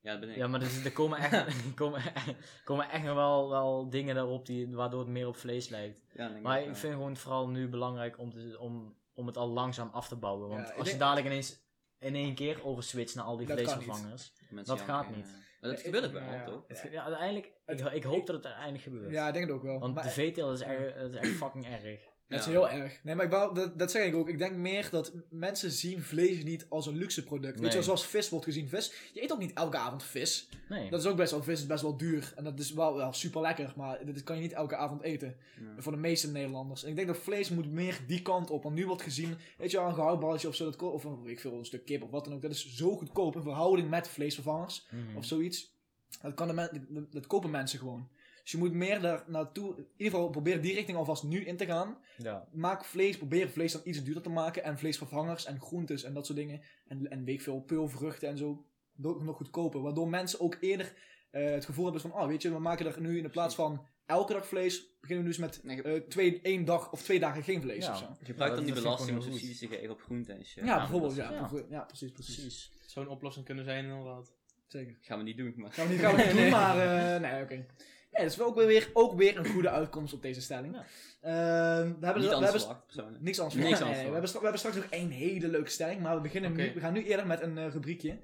[SPEAKER 2] Ja, dat ben ik.
[SPEAKER 3] Ja, maar dus er, er komen echt, [LAUGHS] er komen, er komen echt nog wel, wel dingen daarop die, waardoor het meer op vlees lijkt.
[SPEAKER 2] Ja, denk ik
[SPEAKER 3] Maar
[SPEAKER 2] ook wel.
[SPEAKER 3] ik vind gewoon vooral nu belangrijk om, te, om, om het al langzaam af te bouwen. Want
[SPEAKER 5] Ja, ik
[SPEAKER 3] als je
[SPEAKER 5] denk-
[SPEAKER 3] dadelijk ineens in één keer overswitcht naar al die
[SPEAKER 5] Dat kan niet.
[SPEAKER 3] vleesvervangers.
[SPEAKER 2] Mensen
[SPEAKER 3] dat
[SPEAKER 2] janken,
[SPEAKER 3] gaat niet.
[SPEAKER 2] ja. Maar dat gebeurt ook wel,
[SPEAKER 6] Ja, ja.
[SPEAKER 2] toch?
[SPEAKER 3] Het ge- Ja, uiteindelijk, ik, ik hoop dat het uiteindelijk gebeurt.
[SPEAKER 5] Ja, ik denk het ook wel.
[SPEAKER 3] Want
[SPEAKER 5] maar
[SPEAKER 3] de veeteelt is, erg- dat is echt
[SPEAKER 5] [CLEARS THROAT]
[SPEAKER 3] fucking erg.
[SPEAKER 5] het is
[SPEAKER 2] Ja.
[SPEAKER 5] heel erg. Nee, maar ik wou, dat, dat zeg ik ook. Ik denk meer dat mensen zien vlees niet als een luxe product. Weet
[SPEAKER 3] Nee.
[SPEAKER 5] je wel, zoals vis wordt gezien. Vis, je eet ook niet elke avond vis.
[SPEAKER 3] Nee.
[SPEAKER 5] Dat is ook best wel, vis is best wel duur. En dat is wel, wel super lekker, maar dit kan je niet elke avond eten.
[SPEAKER 2] Ja.
[SPEAKER 5] Voor de meeste Nederlanders. En ik denk dat vlees moet meer die kant op. Want nu wordt gezien, weet je wel, een gehaktballetje of zo, dat, ko- of een, weet ik veel, een stuk kip of wat dan ook. Dat is zo goedkoop in verhouding met vleesvervangers.
[SPEAKER 3] Mhm.
[SPEAKER 5] of zoiets. Dat, kan de men- dat, dat kopen mensen gewoon. Dus je moet meer daar naartoe, in ieder geval probeer die richting alvast nu in te gaan.
[SPEAKER 3] Ja.
[SPEAKER 5] Maak vlees, probeer vlees dan iets duurder te maken. En vleesvervangers en groentes en dat soort dingen. En, en weet ik veel, peulvruchten en zo. Nog nog goedkoper. Waardoor mensen ook eerder eh, eh, het gevoel hebben van, ah weet je, we maken er nu in de plaats van elke dag vlees, beginnen we dus met
[SPEAKER 2] Nee,
[SPEAKER 5] eh, twee, één dag of twee dagen geen vlees
[SPEAKER 3] Ja.
[SPEAKER 5] of zo.
[SPEAKER 2] Gebruik
[SPEAKER 3] Ja,
[SPEAKER 2] dan
[SPEAKER 3] dat
[SPEAKER 2] die
[SPEAKER 3] vind ik
[SPEAKER 2] belasting om
[SPEAKER 3] gewoon heel
[SPEAKER 2] subsidies te geven op groente en shit.
[SPEAKER 5] Ja, bijvoorbeeld,
[SPEAKER 2] dat
[SPEAKER 5] ja,
[SPEAKER 3] ja.
[SPEAKER 5] bijvoorbeeld. ja, precies, precies.
[SPEAKER 6] Zo'n oplossing kunnen zijn inderdaad.
[SPEAKER 5] Zeker.
[SPEAKER 2] gaan we niet doen, maar...
[SPEAKER 5] Gaan we Nou, niet, gaan we niet doen, maar eh, nee, oké. Nee, dat is wel ook weer, ook weer een goede uitkomst op deze stelling.
[SPEAKER 3] Ja.
[SPEAKER 5] Ehm, we hebben,
[SPEAKER 2] Niet
[SPEAKER 5] we
[SPEAKER 2] aan de
[SPEAKER 5] hebben
[SPEAKER 2] slag, persoonlijk.
[SPEAKER 5] Niks anders.
[SPEAKER 2] Niks
[SPEAKER 5] Nee,
[SPEAKER 2] anders
[SPEAKER 5] nee,
[SPEAKER 2] voor.
[SPEAKER 5] we, hebben stra- we hebben straks nog één hele leuke stelling, maar we, beginnen
[SPEAKER 6] Oké.
[SPEAKER 5] nu, we gaan nu eerder met een eh, rubriekje.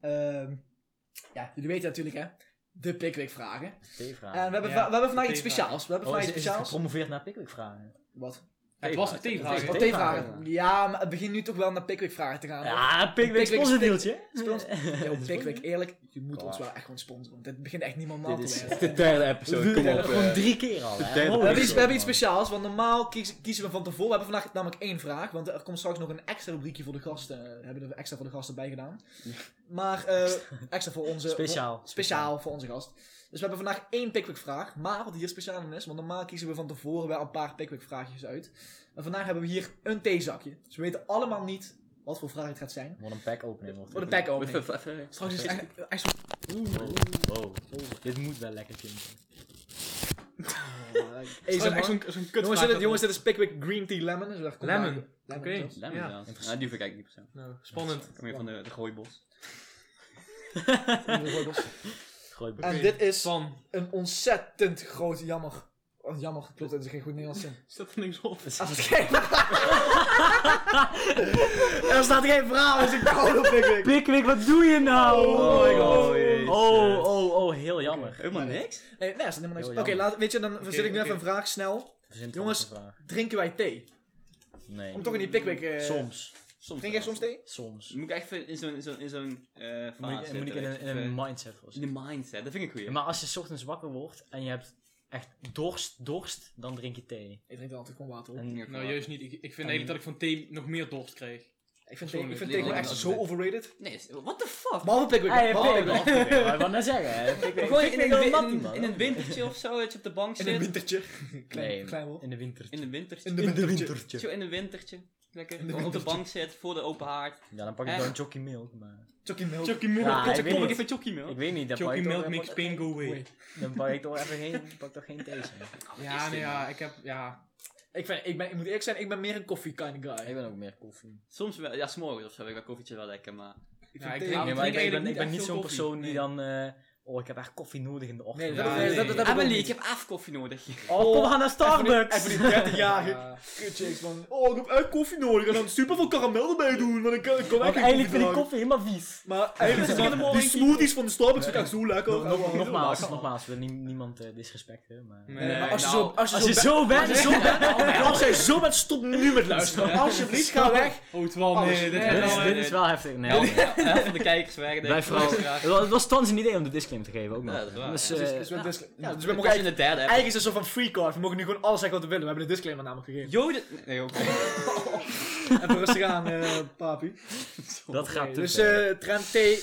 [SPEAKER 5] Ehm, ja, jullie weten natuurlijk hè, de Pickwick vragen.
[SPEAKER 3] T-vraag.
[SPEAKER 5] en we hebben,
[SPEAKER 6] Ja,
[SPEAKER 5] va- we hebben vandaag
[SPEAKER 6] de
[SPEAKER 5] iets
[SPEAKER 6] T-vragen.
[SPEAKER 5] speciaals. We hebben
[SPEAKER 3] Oh,
[SPEAKER 5] vandaag
[SPEAKER 3] is, is
[SPEAKER 5] iets
[SPEAKER 3] het
[SPEAKER 5] speciaals.
[SPEAKER 3] gepromoveerd naar Pickwick vragen?
[SPEAKER 5] Wat?
[SPEAKER 6] het was een tegenvraag.
[SPEAKER 5] Oh,
[SPEAKER 6] hè?
[SPEAKER 5] T-vragen. Ja, maar het begint nu toch wel naar Pickwick vragen te gaan.
[SPEAKER 3] [LAUGHS] Ja, Pickwick
[SPEAKER 5] Pickwick
[SPEAKER 3] sponsordeeltje. [LAUGHS]
[SPEAKER 5] Spons- Yo, Pickwick, eerlijk, je moet
[SPEAKER 3] Klaar.
[SPEAKER 5] ons wel echt gewoon sponsoren, want dit begint echt niemand normaal
[SPEAKER 3] Dit
[SPEAKER 5] te
[SPEAKER 3] is
[SPEAKER 5] worden.
[SPEAKER 3] de derde
[SPEAKER 5] De
[SPEAKER 3] episode, kom
[SPEAKER 5] derde,
[SPEAKER 3] op. eh, Gewoon drie keer al. hè.
[SPEAKER 5] We
[SPEAKER 3] Holy
[SPEAKER 5] hebben, iets, we
[SPEAKER 3] shit,
[SPEAKER 5] hebben iets
[SPEAKER 3] man.
[SPEAKER 5] speciaals, want normaal kies- kiezen we van tevoren. We hebben vandaag namelijk één vraag, want er komt straks nog een extra rubriekje voor de gasten. eh, hebben we extra voor de gasten bij gedaan. Maar eh, extra voor onze...
[SPEAKER 3] Speciaal.
[SPEAKER 5] Speciaal voor onze gast. Dus we hebben vandaag één Pickwick-vraag. Maar wat hier speciaal aan is, want normaal kiezen we van tevoren wel een paar Pickwick-vraagjes uit. En vandaag hebben we hier een theezakje. Dus we weten allemaal niet wat voor vraag het gaat zijn.
[SPEAKER 3] Wat een pack opening wordt
[SPEAKER 5] Wat een
[SPEAKER 3] dit.
[SPEAKER 5] pack
[SPEAKER 2] Even-
[SPEAKER 5] opening.
[SPEAKER 2] even- even-
[SPEAKER 5] Straks is het echt, echt zo...
[SPEAKER 3] Wow. Wow. Dit moet wel lekker klinken.
[SPEAKER 5] Hey,
[SPEAKER 6] Zo'n-
[SPEAKER 5] zeg maar.
[SPEAKER 6] echt zo'n zo'n kutvraag
[SPEAKER 5] Jongens, dit,
[SPEAKER 6] dat-
[SPEAKER 5] jongens, dit is Pickwick Green Tea Lemon. Dus daar komt
[SPEAKER 6] Lemon.
[SPEAKER 5] eigenlijk-
[SPEAKER 6] Oké.
[SPEAKER 5] zelfs.
[SPEAKER 2] Lemon
[SPEAKER 6] Ja.
[SPEAKER 2] zelfs. Nou, die verkijk ik niet persoonlijk.
[SPEAKER 6] Nou, spannend.
[SPEAKER 2] Kom je van de, de gooibos.
[SPEAKER 3] Gooi
[SPEAKER 6] Oké.
[SPEAKER 5] En dit is
[SPEAKER 6] Van,
[SPEAKER 5] een ontzettend groot jammer. Oh, jammer, klopt, het is geen goed Nederlands zin.
[SPEAKER 6] staat er niks op?
[SPEAKER 5] [LAUGHS] Als het geen er staat geen verhaal, is een koude pikwik.
[SPEAKER 3] Pickwick, wat doe je nou?
[SPEAKER 5] Oh my god.
[SPEAKER 2] jezus.
[SPEAKER 3] Oh, oh, oh, heel jammer.
[SPEAKER 2] Helemaal niks?
[SPEAKER 5] Nee, nee, er staat helemaal niks.
[SPEAKER 3] Heel
[SPEAKER 5] Oké,
[SPEAKER 3] jammer.
[SPEAKER 5] laat- weet je, dan verzin ik nu
[SPEAKER 6] oké.
[SPEAKER 5] even een vraag snel.
[SPEAKER 3] Verzint
[SPEAKER 5] Jongens.
[SPEAKER 3] trouwens een vraag.
[SPEAKER 5] Drinken wij thee?
[SPEAKER 3] Nee.
[SPEAKER 5] Om toch in die pikwik... eh
[SPEAKER 3] Soms.
[SPEAKER 2] Soms.
[SPEAKER 5] Drink jij soms thee?
[SPEAKER 3] Soms.
[SPEAKER 2] Moet ik echt in zo'n in zo'n in zo'n eh
[SPEAKER 3] Moet
[SPEAKER 2] fase
[SPEAKER 3] ik, moet ik in, een, in
[SPEAKER 2] zitten,
[SPEAKER 3] een
[SPEAKER 2] weet je,
[SPEAKER 3] mindset voor
[SPEAKER 2] of,
[SPEAKER 3] zitten.
[SPEAKER 2] eh, in de mindset, dat vind ik goed.
[SPEAKER 3] Ja, Maar als je 's ochtends wakker wordt en je hebt echt dorst, dorst, dan drink je thee.
[SPEAKER 5] Ik drink er altijd gewoon water op.
[SPEAKER 3] En
[SPEAKER 6] Nou, juist niet. Ik, ik vind eigenlijk dat ik van thee nog meer dorst kreeg.
[SPEAKER 5] Ik vind thee, ik vind
[SPEAKER 6] Sorry,
[SPEAKER 5] thee
[SPEAKER 2] nee,
[SPEAKER 5] gewoon
[SPEAKER 2] nee,
[SPEAKER 5] echt
[SPEAKER 2] nee,
[SPEAKER 5] zo
[SPEAKER 2] nee.
[SPEAKER 5] overrated. Ah,
[SPEAKER 2] Nee, is- what the fuck?
[SPEAKER 5] [LAUGHS] Behalve pikwik.
[SPEAKER 3] Hey,
[SPEAKER 5] behalve
[SPEAKER 3] Pickwick,
[SPEAKER 5] pikwik.
[SPEAKER 3] Pickwick, wat ik wou net zeggen. hè. Pickwick,
[SPEAKER 2] Gewoon in,
[SPEAKER 3] Pickwick wil
[SPEAKER 2] een win-
[SPEAKER 3] mat
[SPEAKER 2] in-
[SPEAKER 3] niet, man.
[SPEAKER 2] in een wintertje of zo, dat je op de bank zit.
[SPEAKER 5] In een [LAUGHS] wintertje. Klein,
[SPEAKER 3] Nee,
[SPEAKER 5] klein hoor.
[SPEAKER 3] in de winter.
[SPEAKER 2] In een wintertje.
[SPEAKER 5] In de wintertje.
[SPEAKER 2] Zo, in een wintertje. Lekker.
[SPEAKER 5] In de
[SPEAKER 2] Gewoon op de
[SPEAKER 5] wintertje.
[SPEAKER 2] bank zit, voor de open haard.
[SPEAKER 3] Ja, dan pak ik
[SPEAKER 2] Eh.
[SPEAKER 3] wel een jockey milk, maar...
[SPEAKER 5] Chucky milk.
[SPEAKER 6] Chucky Milk.
[SPEAKER 3] Ja, ik weet
[SPEAKER 2] Kom ik
[SPEAKER 3] niet.
[SPEAKER 2] even chockie
[SPEAKER 3] Ik
[SPEAKER 2] milk.
[SPEAKER 3] weet niet, dan pak
[SPEAKER 6] Chucky
[SPEAKER 3] ik toch
[SPEAKER 6] Milk
[SPEAKER 3] helemaal-
[SPEAKER 6] makes pain go away.
[SPEAKER 3] Dan pak ik toch even geen, pak toch geen thee. zeg.
[SPEAKER 6] Ja, nee, ja, ik heb, ja.
[SPEAKER 5] Ik, vind, ik, ben, ik moet eerlijk zijn, ik ben meer een koffie kind guy.
[SPEAKER 3] Ik ben ook meer koffie.
[SPEAKER 2] Soms wel, ja, s'morgens of zo heb ik dat koffietje wel lekker, maar...
[SPEAKER 5] Ik
[SPEAKER 6] Ja,
[SPEAKER 5] vind
[SPEAKER 6] ik
[SPEAKER 5] thee-
[SPEAKER 6] drink-
[SPEAKER 3] Nee, maar ik, ik
[SPEAKER 6] eigenlijk
[SPEAKER 3] ben,
[SPEAKER 6] niet
[SPEAKER 3] ik ben
[SPEAKER 6] echt
[SPEAKER 3] niet
[SPEAKER 6] veel
[SPEAKER 3] zo'n
[SPEAKER 6] koffie,
[SPEAKER 3] persoon die
[SPEAKER 6] nee.
[SPEAKER 3] dan... eh, oh, ik heb echt koffie nodig in de ochtend.
[SPEAKER 5] Nee, dat,
[SPEAKER 6] Ja,
[SPEAKER 5] dat, dat, dat
[SPEAKER 6] nee.
[SPEAKER 5] heb ik ook
[SPEAKER 2] Emily,
[SPEAKER 5] niet.
[SPEAKER 2] Ah, ik heb afkoffie nodig.
[SPEAKER 3] Oh, kom, we gaan naar
[SPEAKER 5] En voor
[SPEAKER 3] Starbucks!
[SPEAKER 5] die [LAUGHS] 30-jarige kutchicks van... Oh, ik heb echt koffie nodig. En dan super veel karamel erbij doen. Want ik kan, ik kan
[SPEAKER 3] [LAUGHS] Want
[SPEAKER 5] echt geen
[SPEAKER 3] eigenlijk vind ik
[SPEAKER 5] drinken.
[SPEAKER 3] koffie helemaal vies.
[SPEAKER 5] [LAUGHS] Maar eigenlijk is het Die smoothies van de Starbucks vind ik echt zo lekker.
[SPEAKER 3] Nog- nog-
[SPEAKER 5] Oh,
[SPEAKER 3] nogmaals, nogmaals, wil nie- niemand eh, disrespecten, maar...
[SPEAKER 5] Nee, maar als je
[SPEAKER 6] nou,
[SPEAKER 5] zo... Als je
[SPEAKER 3] Als je
[SPEAKER 5] zo...
[SPEAKER 3] zo bent, zo [LAUGHS] bent...
[SPEAKER 5] Als jij zo bent, stop nu met
[SPEAKER 3] [LAUGHS]
[SPEAKER 5] luisteren. [LAUGHS] Alsjeblieft, ga
[SPEAKER 6] [LAUGHS]
[SPEAKER 5] weg.
[SPEAKER 6] Oh, terwijl,
[SPEAKER 5] Alles.
[SPEAKER 6] nee, dit
[SPEAKER 5] Nee,
[SPEAKER 3] Dit
[SPEAKER 6] is
[SPEAKER 3] is,
[SPEAKER 6] wel...
[SPEAKER 3] dit is wel heftig, nee.
[SPEAKER 2] Help, help van de kijkers weg.
[SPEAKER 3] Wij vooral... Het was- Het was thans een idee om de disclaimer te geven, ook nog.
[SPEAKER 2] Ja, dat is waar,
[SPEAKER 3] Dus,
[SPEAKER 2] ja.
[SPEAKER 3] eh,
[SPEAKER 5] Dus- dus we- dus- ja, Dus we mogen
[SPEAKER 2] Pas in
[SPEAKER 5] eigenlijk...
[SPEAKER 2] de derde app.
[SPEAKER 5] Eigenlijk is het een soort van free card. We mogen nu gewoon alles zeggen wat we willen. We hebben de disclaimer namelijk gegeven.
[SPEAKER 2] Joden... Nee, oké.
[SPEAKER 5] Even rustig aan, eh, papi.
[SPEAKER 3] dat gaat te
[SPEAKER 5] Dus
[SPEAKER 3] ver.
[SPEAKER 5] eh Trent, thee...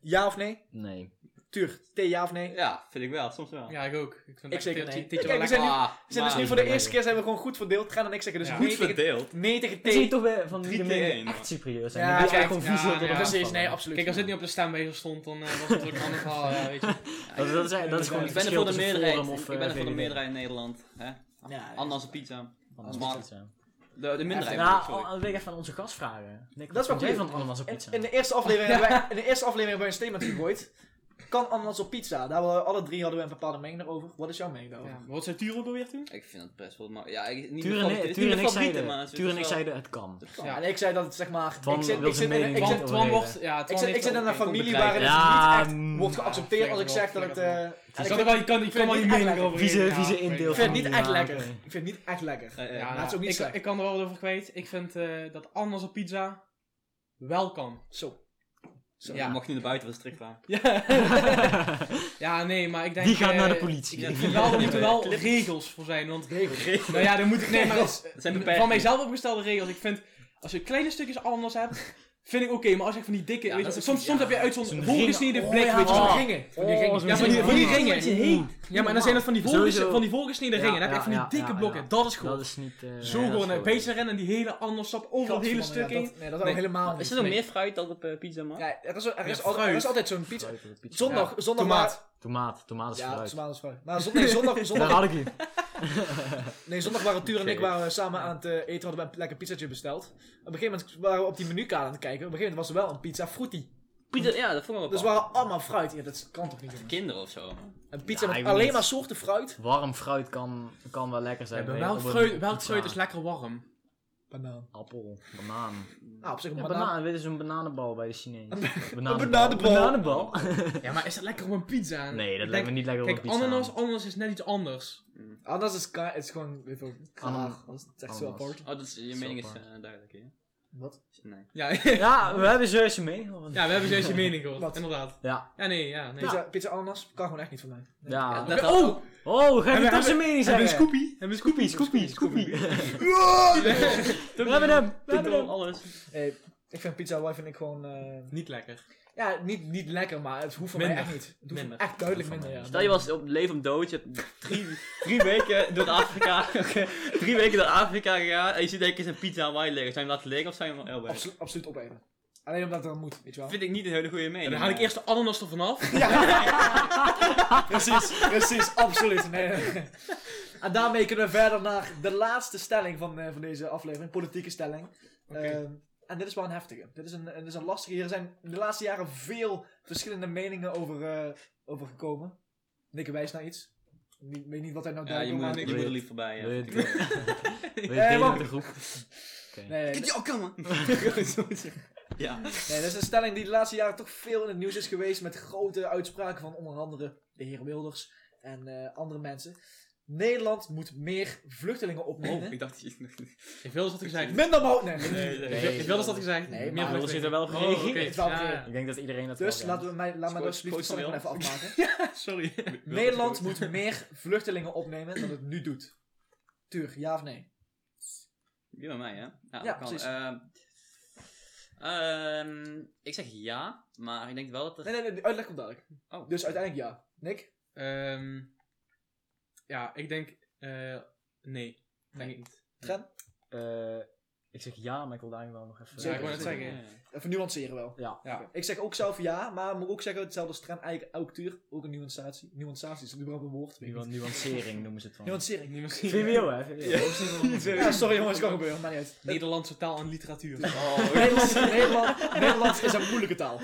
[SPEAKER 5] Ja of nee?
[SPEAKER 3] Nee.
[SPEAKER 5] Tuur, thee ja of nee?
[SPEAKER 2] Ja, vind ik wel, soms wel.
[SPEAKER 6] Ja, ik ook. Ik vind
[SPEAKER 5] Ik
[SPEAKER 6] echt
[SPEAKER 5] zeker
[SPEAKER 6] dit-
[SPEAKER 5] nee.
[SPEAKER 6] dit- dit
[SPEAKER 5] Kijk,
[SPEAKER 6] wel
[SPEAKER 5] we zijn
[SPEAKER 6] lekker.
[SPEAKER 5] nu-
[SPEAKER 2] Ah,
[SPEAKER 5] We zijn dus
[SPEAKER 2] maar-
[SPEAKER 5] nu voor de eerste keer zijn we gewoon goed verdeeld. Gaan en ik zeggen dus
[SPEAKER 6] Ja.
[SPEAKER 5] nee,
[SPEAKER 2] Goed
[SPEAKER 5] tegen,
[SPEAKER 2] verdeeld.
[SPEAKER 5] nee tegen
[SPEAKER 3] Dan zie je
[SPEAKER 5] thee.
[SPEAKER 3] toch weer van die
[SPEAKER 2] Drie
[SPEAKER 3] mensen
[SPEAKER 2] tegen
[SPEAKER 3] die
[SPEAKER 2] één,
[SPEAKER 3] echt serieus zijn.
[SPEAKER 5] Ja,
[SPEAKER 3] Ja, die
[SPEAKER 5] kijk,
[SPEAKER 3] echt gewoon vies
[SPEAKER 6] ja,
[SPEAKER 3] op de
[SPEAKER 6] ja.
[SPEAKER 3] rand
[SPEAKER 5] Precies,
[SPEAKER 3] vallen.
[SPEAKER 5] nee, absoluut.
[SPEAKER 6] Kijk, als dit niet op de stemwijzer stond, dan eh, was het ook een ander verhaal, ja,
[SPEAKER 5] [LAUGHS]
[SPEAKER 6] weet je.
[SPEAKER 3] Dat, dat, is, dat is gewoon
[SPEAKER 2] Ik
[SPEAKER 3] het
[SPEAKER 2] ben er
[SPEAKER 3] verschil
[SPEAKER 2] voor de
[SPEAKER 3] tussen
[SPEAKER 2] meerderheid.
[SPEAKER 3] Forum of,
[SPEAKER 2] Ik ben er
[SPEAKER 3] eh,
[SPEAKER 2] voor de
[SPEAKER 3] VVD.
[SPEAKER 2] meerderheid in Nederland. Hè?
[SPEAKER 5] Ja, ja.
[SPEAKER 2] Anders een pizza.
[SPEAKER 3] Anders
[SPEAKER 2] Maar-
[SPEAKER 3] pizza.
[SPEAKER 2] De, de minderheid.
[SPEAKER 3] Nou,
[SPEAKER 2] sorry.
[SPEAKER 3] al- wil ik even aan onze gast vragen. Nick,
[SPEAKER 5] Dat
[SPEAKER 3] dat
[SPEAKER 5] is
[SPEAKER 3] is
[SPEAKER 5] wel
[SPEAKER 3] wat jij
[SPEAKER 5] goed.
[SPEAKER 3] van allemaal zo'n
[SPEAKER 5] in,
[SPEAKER 3] pizza.
[SPEAKER 5] in de eerste aflevering hebben wij, in de eerste aflevering hebben wij een statement gegooid. Kan ananas op pizza? Daar hadden we, alle drie hadden we een bepaalde mening over. Wat is jouw mening daarover?
[SPEAKER 6] Ja, maar Wat zei Turo ook alweer toen?
[SPEAKER 2] Ik vind dat best wel maar Ja, ik, niet
[SPEAKER 3] Tuur
[SPEAKER 2] mijn
[SPEAKER 3] en, E-
[SPEAKER 2] favoriet- het is
[SPEAKER 3] Tuur
[SPEAKER 2] niet
[SPEAKER 3] en ik
[SPEAKER 2] mijn favoriete, maar
[SPEAKER 3] zeiden,
[SPEAKER 2] het is
[SPEAKER 3] Tuur en ik
[SPEAKER 2] wel-
[SPEAKER 3] zeiden het kan.
[SPEAKER 2] het
[SPEAKER 5] Ja,
[SPEAKER 2] kan.
[SPEAKER 5] en ik zei dat het zeg maar...
[SPEAKER 3] Van
[SPEAKER 5] ik zit,
[SPEAKER 3] wil
[SPEAKER 5] ik
[SPEAKER 3] zijn
[SPEAKER 5] zit, in, een-
[SPEAKER 3] mening
[SPEAKER 5] ik
[SPEAKER 3] niet
[SPEAKER 5] zit,
[SPEAKER 6] Twan,
[SPEAKER 3] over-
[SPEAKER 6] Twan wordt, ja,
[SPEAKER 5] ik
[SPEAKER 6] Twan
[SPEAKER 5] zit, ik
[SPEAKER 6] heeft
[SPEAKER 5] zit in
[SPEAKER 6] ook-
[SPEAKER 5] een
[SPEAKER 6] heeft ook
[SPEAKER 5] familie
[SPEAKER 6] bedreigd.
[SPEAKER 5] waarin het
[SPEAKER 3] Ja,
[SPEAKER 5] niet echt
[SPEAKER 3] mm,
[SPEAKER 5] wordt
[SPEAKER 6] ja,
[SPEAKER 5] geaccepteerd als ik
[SPEAKER 6] flikker
[SPEAKER 5] zeg
[SPEAKER 6] erop,
[SPEAKER 5] dat het...
[SPEAKER 6] flikker
[SPEAKER 5] eh,
[SPEAKER 6] Je
[SPEAKER 5] ik
[SPEAKER 6] kan
[SPEAKER 5] vind-
[SPEAKER 6] er wel- je kan- je kan wel je
[SPEAKER 5] vind het
[SPEAKER 6] mening
[SPEAKER 5] echt
[SPEAKER 6] over
[SPEAKER 3] Vieze,
[SPEAKER 6] geven.
[SPEAKER 3] vieze
[SPEAKER 6] Ja,
[SPEAKER 3] indeel
[SPEAKER 5] ik vind het niet echt
[SPEAKER 3] Ja,
[SPEAKER 5] lekker.
[SPEAKER 3] oké.
[SPEAKER 5] Ik vind het niet echt lekker.
[SPEAKER 2] Eh, eh,
[SPEAKER 6] Ja,
[SPEAKER 5] Maar het is ook niet
[SPEAKER 6] ik,
[SPEAKER 5] slecht.
[SPEAKER 6] ik kan er wel wat over kwijt. Ik vind eh, dat anders op pizza wel kan.
[SPEAKER 5] Zo. Zo.
[SPEAKER 2] ja, mag niet naar buiten, was strikt waar.
[SPEAKER 6] Ja. ja, nee, maar ik
[SPEAKER 3] [LAUGHS]
[SPEAKER 6] denk...
[SPEAKER 3] Die gaat
[SPEAKER 6] eh,
[SPEAKER 3] naar de politie.
[SPEAKER 6] Ik vind wel,
[SPEAKER 5] [LAUGHS]
[SPEAKER 6] er moeten wel regels voor zijn, want... Nou ja, dan moet ik... Nee, maar dat is-
[SPEAKER 3] Eh,
[SPEAKER 2] Dat zijn
[SPEAKER 6] van
[SPEAKER 2] beperkingen.
[SPEAKER 6] mijzelf opgestelde regels. Ik vind, als je kleine stukjes anders hebt, vind ik oké. maar als je echt van die dikke... weet je,
[SPEAKER 3] dat is
[SPEAKER 6] soms,
[SPEAKER 3] ook-
[SPEAKER 6] soms
[SPEAKER 3] ja.
[SPEAKER 6] heb je uit zo'n
[SPEAKER 3] Zo'n
[SPEAKER 6] volgesneden
[SPEAKER 3] ring-
[SPEAKER 6] blik,
[SPEAKER 3] oh, ja,
[SPEAKER 6] weet je wel.
[SPEAKER 3] oh.
[SPEAKER 5] ringen. Van die
[SPEAKER 3] Oh,
[SPEAKER 5] ringen.
[SPEAKER 3] zo'n
[SPEAKER 5] Ja, van die,
[SPEAKER 6] zin.
[SPEAKER 5] van die
[SPEAKER 6] Oh,
[SPEAKER 5] ringen.
[SPEAKER 6] zo'n zin. Ja, maar dan zijn dat van die, volges,
[SPEAKER 3] Sowieso-
[SPEAKER 6] van die volgesneden ringen. Dan heb je echt van die
[SPEAKER 3] ja,
[SPEAKER 6] dikke
[SPEAKER 3] ja,
[SPEAKER 6] blokken.
[SPEAKER 3] ja.
[SPEAKER 6] Dat is goed.
[SPEAKER 3] Dat is niet... eh,
[SPEAKER 6] Zo
[SPEAKER 3] nee, dat
[SPEAKER 6] gewoon
[SPEAKER 3] is
[SPEAKER 6] een
[SPEAKER 3] wel-
[SPEAKER 6] beetje rennen en die hele anders sap over het hele stuk
[SPEAKER 5] Godverdomme, ja,
[SPEAKER 6] heen.
[SPEAKER 5] dat- Nee, dat is ook
[SPEAKER 6] Nee.
[SPEAKER 5] helemaal
[SPEAKER 2] Is
[SPEAKER 5] niet.
[SPEAKER 2] er nog meer fruit dan op eh, pizza, man?
[SPEAKER 5] Ja, er is, er is,
[SPEAKER 6] Ja,
[SPEAKER 5] altijd, er is
[SPEAKER 6] fruit.
[SPEAKER 5] altijd zo'n pizza.
[SPEAKER 3] Fruit op de pizza.
[SPEAKER 5] Zondag, zondag
[SPEAKER 6] Tomaat.
[SPEAKER 5] waren-
[SPEAKER 3] Tomaat, tomaat is
[SPEAKER 5] Ja,
[SPEAKER 3] fruit.
[SPEAKER 5] tomaat is fruit. Maar zondag, nee, zondag,
[SPEAKER 3] Daar
[SPEAKER 5] zondag,
[SPEAKER 3] had ik die.
[SPEAKER 5] nee, zondag waren Tuur en ik
[SPEAKER 3] Oké.
[SPEAKER 5] waren samen aan het eh, eten. Hadden we een lekker pizzaatje besteld. Op een gegeven moment waren we op die menukaart aan het kijken. Op een gegeven moment was er wel een pizza frutti.
[SPEAKER 2] Pieter, ja, dat vond ik wel
[SPEAKER 5] Dus
[SPEAKER 2] apart.
[SPEAKER 5] waren allemaal fruit. Ja, dat kan toch niet, jongens?
[SPEAKER 2] Kinderen of zo.
[SPEAKER 5] Een pizza
[SPEAKER 3] Ja, ik
[SPEAKER 5] met
[SPEAKER 3] weet
[SPEAKER 5] alleen
[SPEAKER 3] niet.
[SPEAKER 5] maar soorten fruit.
[SPEAKER 3] Warm fruit kan, kan wel lekker
[SPEAKER 6] Ja,
[SPEAKER 3] zijn.
[SPEAKER 6] maar
[SPEAKER 3] bij-
[SPEAKER 6] welk
[SPEAKER 3] op een
[SPEAKER 6] fruit, welk
[SPEAKER 3] pizza.
[SPEAKER 6] fruit is lekker warm?
[SPEAKER 5] Banaan.
[SPEAKER 3] Appel, banaan.
[SPEAKER 5] Ah, op zich een
[SPEAKER 3] Ja,
[SPEAKER 5] banaan.
[SPEAKER 3] banaan. Dit is een bananenbal bij de Chinees. Bananenbal.
[SPEAKER 5] bananenbal.
[SPEAKER 3] Bananenbal. [LAUGHS]
[SPEAKER 6] Ja, maar is dat lekker op een pizza?
[SPEAKER 3] Nee, dat lijkt
[SPEAKER 6] Ik
[SPEAKER 3] me
[SPEAKER 6] denk-
[SPEAKER 3] niet lekker op een
[SPEAKER 6] Kijk,
[SPEAKER 3] pizza.
[SPEAKER 6] ananas, ananas is net iets anders.
[SPEAKER 5] Anders is ka- het is gewoon weer veel
[SPEAKER 3] Ananas.
[SPEAKER 5] klaar. Dat is echt zo
[SPEAKER 3] Ananas.
[SPEAKER 5] apart.
[SPEAKER 2] Oh, dat is, je
[SPEAKER 3] Zo
[SPEAKER 2] mening is
[SPEAKER 3] apart.
[SPEAKER 2] eh, duidelijk, hè?
[SPEAKER 5] Wat?
[SPEAKER 2] Nee.
[SPEAKER 6] Ja, [LAUGHS]
[SPEAKER 3] Ja, we hebben Zeusje mee.
[SPEAKER 6] ja we hebben deze mening gehoord,
[SPEAKER 5] Wat?
[SPEAKER 6] inderdaad.
[SPEAKER 3] Ja.
[SPEAKER 6] Ja, nee, ja, nee.
[SPEAKER 5] Pizza, pizza ananas kan gewoon echt niet van mij. Nee.
[SPEAKER 3] Ja.
[SPEAKER 2] Dat-
[SPEAKER 6] oh!
[SPEAKER 3] Oh, ga je
[SPEAKER 6] Hebben-
[SPEAKER 3] toch zijn mening
[SPEAKER 6] Hebben
[SPEAKER 3] zeggen?
[SPEAKER 6] we een Scoopy? Hebben we een Scoopy?
[SPEAKER 3] Scoopie, Scoopie, Scoopie.
[SPEAKER 6] Scoopy.
[SPEAKER 3] We hebben hem, we hebben
[SPEAKER 2] Titel,
[SPEAKER 3] hem.
[SPEAKER 2] alles.
[SPEAKER 5] Eh, ik vind pizza wel vind ik gewoon... eh,
[SPEAKER 6] Niet lekker.
[SPEAKER 5] ja, niet, niet lekker, maar het hoeft voor mij
[SPEAKER 6] Minder.
[SPEAKER 5] echt niet. Het hoeft
[SPEAKER 6] Minder.
[SPEAKER 5] echt duidelijk
[SPEAKER 3] Hoeft
[SPEAKER 5] minder,
[SPEAKER 3] voor mij
[SPEAKER 5] ja.
[SPEAKER 2] Stel je was op leven of dood, je hebt drie, drie weken door Afrika, drie weken door Afrika gegaan en je ziet denk ik een pizza aan wijn liggen. Zou je hem laten liggen of zou je hem wel eten?
[SPEAKER 5] Absolu- absoluut opeten. Alleen omdat het dan moet, weet je wel.
[SPEAKER 2] vind ik niet een hele goede mening.
[SPEAKER 6] Dan haal ik eerst de ananas er vanaf.
[SPEAKER 5] [LAUGHS] precies, precies, absoluut. Nee, nee, nee. En daarmee kunnen we verder naar de laatste stelling van, eh, van deze aflevering, politieke stelling. Ehm, en dit is wel een heftige. Dit is een, dit is een lastige. Hier zijn in de laatste jaren veel verschillende meningen over, eh, over gekomen. Nikke wijst naar iets. Ik weet niet wat hij nou
[SPEAKER 2] Ja, je
[SPEAKER 5] wil,
[SPEAKER 2] moet,
[SPEAKER 5] maar-
[SPEAKER 2] je moet er lief voorbij. Ja.
[SPEAKER 3] Wil je het-
[SPEAKER 2] natuurlijk.
[SPEAKER 3] Wil je
[SPEAKER 5] Eh,
[SPEAKER 3] het delen
[SPEAKER 5] wacht.
[SPEAKER 3] met de groep? Oké.
[SPEAKER 5] Nee, nee,
[SPEAKER 2] Ja, kan man. Ja.
[SPEAKER 5] Nee, dat is een stelling die de laatste jaren toch veel in het nieuws is geweest. Met grote uitspraken van onder andere de heer Wilders en eh, andere mensen. Nederland moet meer vluchtelingen
[SPEAKER 2] Oh,
[SPEAKER 5] opnemen.
[SPEAKER 2] ik dacht je nog niet.
[SPEAKER 6] Ik wil eens dat gezegd.
[SPEAKER 5] Minder mo- nee.
[SPEAKER 2] Nee, nee.
[SPEAKER 3] Nee.
[SPEAKER 6] Ik wil eens dat gezegd.
[SPEAKER 5] Nee,
[SPEAKER 6] Meer
[SPEAKER 5] maar
[SPEAKER 3] Wil
[SPEAKER 6] vlucht
[SPEAKER 3] zit
[SPEAKER 6] weten.
[SPEAKER 3] er wel
[SPEAKER 6] Oh, oké.
[SPEAKER 3] gereageerd.
[SPEAKER 5] Het is wel
[SPEAKER 6] Ja,
[SPEAKER 5] gegeven.
[SPEAKER 6] ja.
[SPEAKER 3] Ik denk dat iedereen dat
[SPEAKER 5] Dus
[SPEAKER 3] wel
[SPEAKER 5] laten we mij, laat mij
[SPEAKER 2] Scoot-
[SPEAKER 5] alsjeblieft de
[SPEAKER 2] scoot
[SPEAKER 5] stelling
[SPEAKER 2] ze
[SPEAKER 5] gewoon even
[SPEAKER 2] wel.
[SPEAKER 6] [LAUGHS]
[SPEAKER 5] afmaken.
[SPEAKER 2] Sorry.
[SPEAKER 5] Nederland moet meer vluchtelingen opnemen dan het nu doet. Tuur, ja of nee?
[SPEAKER 2] Die bij mij, hè? Ja, dat kan.
[SPEAKER 5] precies.
[SPEAKER 2] Ehm, ehm, ik zeg ja, maar ik denk wel dat er...
[SPEAKER 5] Nee, nee, nee, de uitleg komt dadelijk.
[SPEAKER 2] Oh.
[SPEAKER 5] Dus uiteindelijk ja. Nick?
[SPEAKER 6] Ehm, ja, ik denk... eh, nee. Denk ik niet.
[SPEAKER 5] Tren?
[SPEAKER 3] we... Eh, ik zeg ja, maar ik wil daar wel nog even...
[SPEAKER 5] Zeker,
[SPEAKER 6] Ja, ik wou net
[SPEAKER 5] zeker.
[SPEAKER 6] zeggen.
[SPEAKER 5] Even nuanceren wel.
[SPEAKER 3] Ja.
[SPEAKER 6] Ja.
[SPEAKER 5] Ik zeg ook zelf ja, maar moet ook zeggen hetzelfde als Tren. Eigenlijk ook Tuur, ook een nuancatie. Nuancatie is dat überhaupt een woord. Weet ik
[SPEAKER 3] Nuan-
[SPEAKER 5] niet.
[SPEAKER 3] Nuancering noemen ze het van.
[SPEAKER 5] Nuancering.
[SPEAKER 6] Niet misschien.
[SPEAKER 3] VWO, hè? VWO.
[SPEAKER 5] Ja, sorry jongens, kan gebeuren, maar niet uit.
[SPEAKER 6] Nederlandse taal en literatuur.
[SPEAKER 5] Nederlands, Nederland, Nederlands is een moeilijke taal.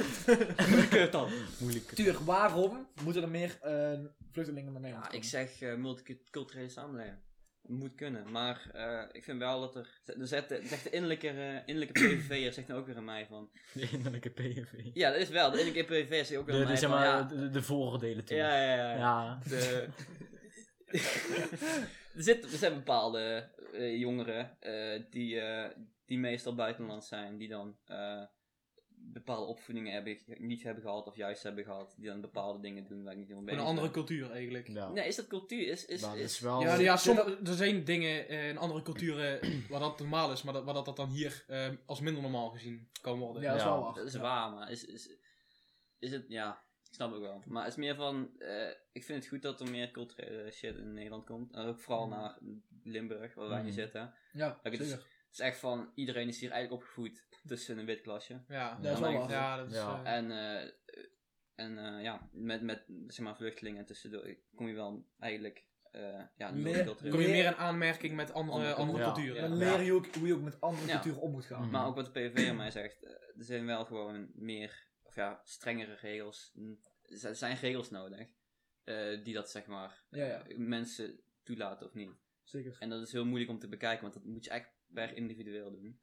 [SPEAKER 3] Moeilijk.
[SPEAKER 5] Tuur, waarom moeten er meer eh, vluchtelingen naar Nederland
[SPEAKER 2] Ja,
[SPEAKER 5] komen?
[SPEAKER 2] ik zeg eh, multiculturele samenleving. Moet kunnen, maar eh, ik vind wel dat er. Er zegt de, zegt de innerlijke, eh, innerlijke PVV'er zegt dan ook weer aan mij van.
[SPEAKER 3] De innerlijke PNV.
[SPEAKER 2] Ja, dat is wel. De innerlijke PVV'er zegt ook weer aan
[SPEAKER 3] De, de,
[SPEAKER 2] mij
[SPEAKER 3] zeg
[SPEAKER 2] van.
[SPEAKER 3] maar,
[SPEAKER 2] Ja,
[SPEAKER 3] de, de vooroordelen toe.
[SPEAKER 2] ja, ja. ja, ja.
[SPEAKER 3] Ja.
[SPEAKER 2] De- [LAUGHS] er, zit, er zijn bepaalde eh, jongeren eh, die, eh, die meestal buitenland zijn, die dan eh, bepaalde opvoedingen hebben, niet hebben gehad of juist hebben gehad, die dan bepaalde dingen doen waar ik niet helemaal mee
[SPEAKER 6] Een
[SPEAKER 2] eens
[SPEAKER 6] andere
[SPEAKER 2] ben.
[SPEAKER 6] cultuur eigenlijk.
[SPEAKER 3] Ja.
[SPEAKER 2] Nee, is dat cultuur? Is, is,
[SPEAKER 3] Maar dat
[SPEAKER 2] is,
[SPEAKER 3] is wel...
[SPEAKER 6] Ja, ja somm- er zijn dingen eh, in andere culturen [CLEARS THROAT] waar dat normaal is, maar dat, waar dat, dat dan hier eh, als minder normaal gezien kan worden.
[SPEAKER 5] Ja, dat is wel
[SPEAKER 3] Ja.
[SPEAKER 5] waar.
[SPEAKER 2] Dat is waar, maar is, is, is het, ja, ik snap het wel. Maar het is meer van, eh, ik vind het goed dat er meer culturele shit in Nederland komt. En ook vooral naar Limburg, waar wij nu
[SPEAKER 3] Mm.
[SPEAKER 2] zitten.
[SPEAKER 5] Ja,
[SPEAKER 2] Kijk, het, is,
[SPEAKER 5] zeker.
[SPEAKER 2] het is echt van, iedereen is hier eigenlijk opgevoed tussen een wit klasje.
[SPEAKER 6] Ja,
[SPEAKER 3] Dat is
[SPEAKER 6] ja,
[SPEAKER 5] wel
[SPEAKER 6] maar-
[SPEAKER 5] waar.
[SPEAKER 6] Ja, dat is...
[SPEAKER 3] Ja.
[SPEAKER 6] eh,
[SPEAKER 2] En, eh, en eh, ja, met, met zeg maar, vluchtelingen tussendoor kom je wel eigenlijk, eh ja,
[SPEAKER 5] Meer-
[SPEAKER 2] multicultureel.
[SPEAKER 6] kom je meer in aanmerking met
[SPEAKER 2] Andere
[SPEAKER 6] andere, andere
[SPEAKER 2] culturen.
[SPEAKER 6] culturen.
[SPEAKER 5] Dan
[SPEAKER 6] Ja.
[SPEAKER 5] leer je ook hoe je ook met andere
[SPEAKER 2] Ja.
[SPEAKER 5] culturen om moet gaan.
[SPEAKER 3] Mhm.
[SPEAKER 2] Maar ook wat de PVV mij zegt, eh, er zijn wel gewoon meer, of ja, strengere regels. N- Er zijn regels nodig eh, die dat zeg maar
[SPEAKER 5] Ja, ja,
[SPEAKER 2] eh, mensen toelaten of niet.
[SPEAKER 5] zeker.
[SPEAKER 2] En dat is heel moeilijk om te bekijken, want dat moet je echt per individueel doen.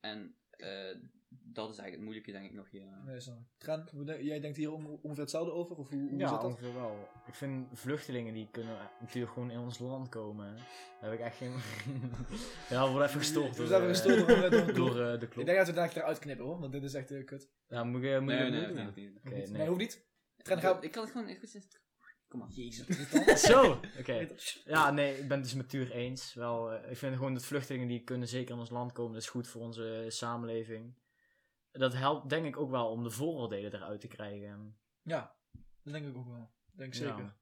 [SPEAKER 2] En eh, dat is eigenlijk het moeilijke denk ik nog hier. aan.
[SPEAKER 5] Nee, snap ik. Tran, hoe denk- jij denkt hier om- ongeveer hetzelfde over? Of hoe, hoe
[SPEAKER 3] Ja,
[SPEAKER 5] zit dat?
[SPEAKER 3] ongeveer wel. Ik vind vluchtelingen die kunnen natuurlijk gewoon in ons land komen. Daar heb ik echt geen. [LAUGHS] ja, we worden even gestoord.
[SPEAKER 5] We
[SPEAKER 3] door,
[SPEAKER 5] zijn
[SPEAKER 3] eh,
[SPEAKER 5] gestoord door- door-
[SPEAKER 3] [LAUGHS] door eh, de
[SPEAKER 5] Ik
[SPEAKER 3] klok.
[SPEAKER 5] denk dat we daar eruit knippen hoor, want dit is echt eh, kut.
[SPEAKER 3] Ja, moet ik eh, moet ik
[SPEAKER 2] Nee,
[SPEAKER 3] het
[SPEAKER 2] nee,
[SPEAKER 3] doen?
[SPEAKER 2] nee, dat niet.
[SPEAKER 3] Oké,
[SPEAKER 5] nee,
[SPEAKER 3] nee.
[SPEAKER 5] hoeft niet. Tran, ga...
[SPEAKER 2] Ik kan het gewoon goed zitten. Kom maar.
[SPEAKER 5] Jezus, wat is dat?
[SPEAKER 3] [LAUGHS] Zo, oké. Ja, nee, ik ben het dus met Tuur eens. Wel, eh, ik vind gewoon dat vluchtelingen die kunnen zeker in ons land komen, dat is goed voor onze eh, samenleving. Dat helpt denk ik ook wel om de vooroordelen eruit te krijgen.
[SPEAKER 5] Ja, dat denk ik ook wel. Denk ik zeker.
[SPEAKER 3] Ja.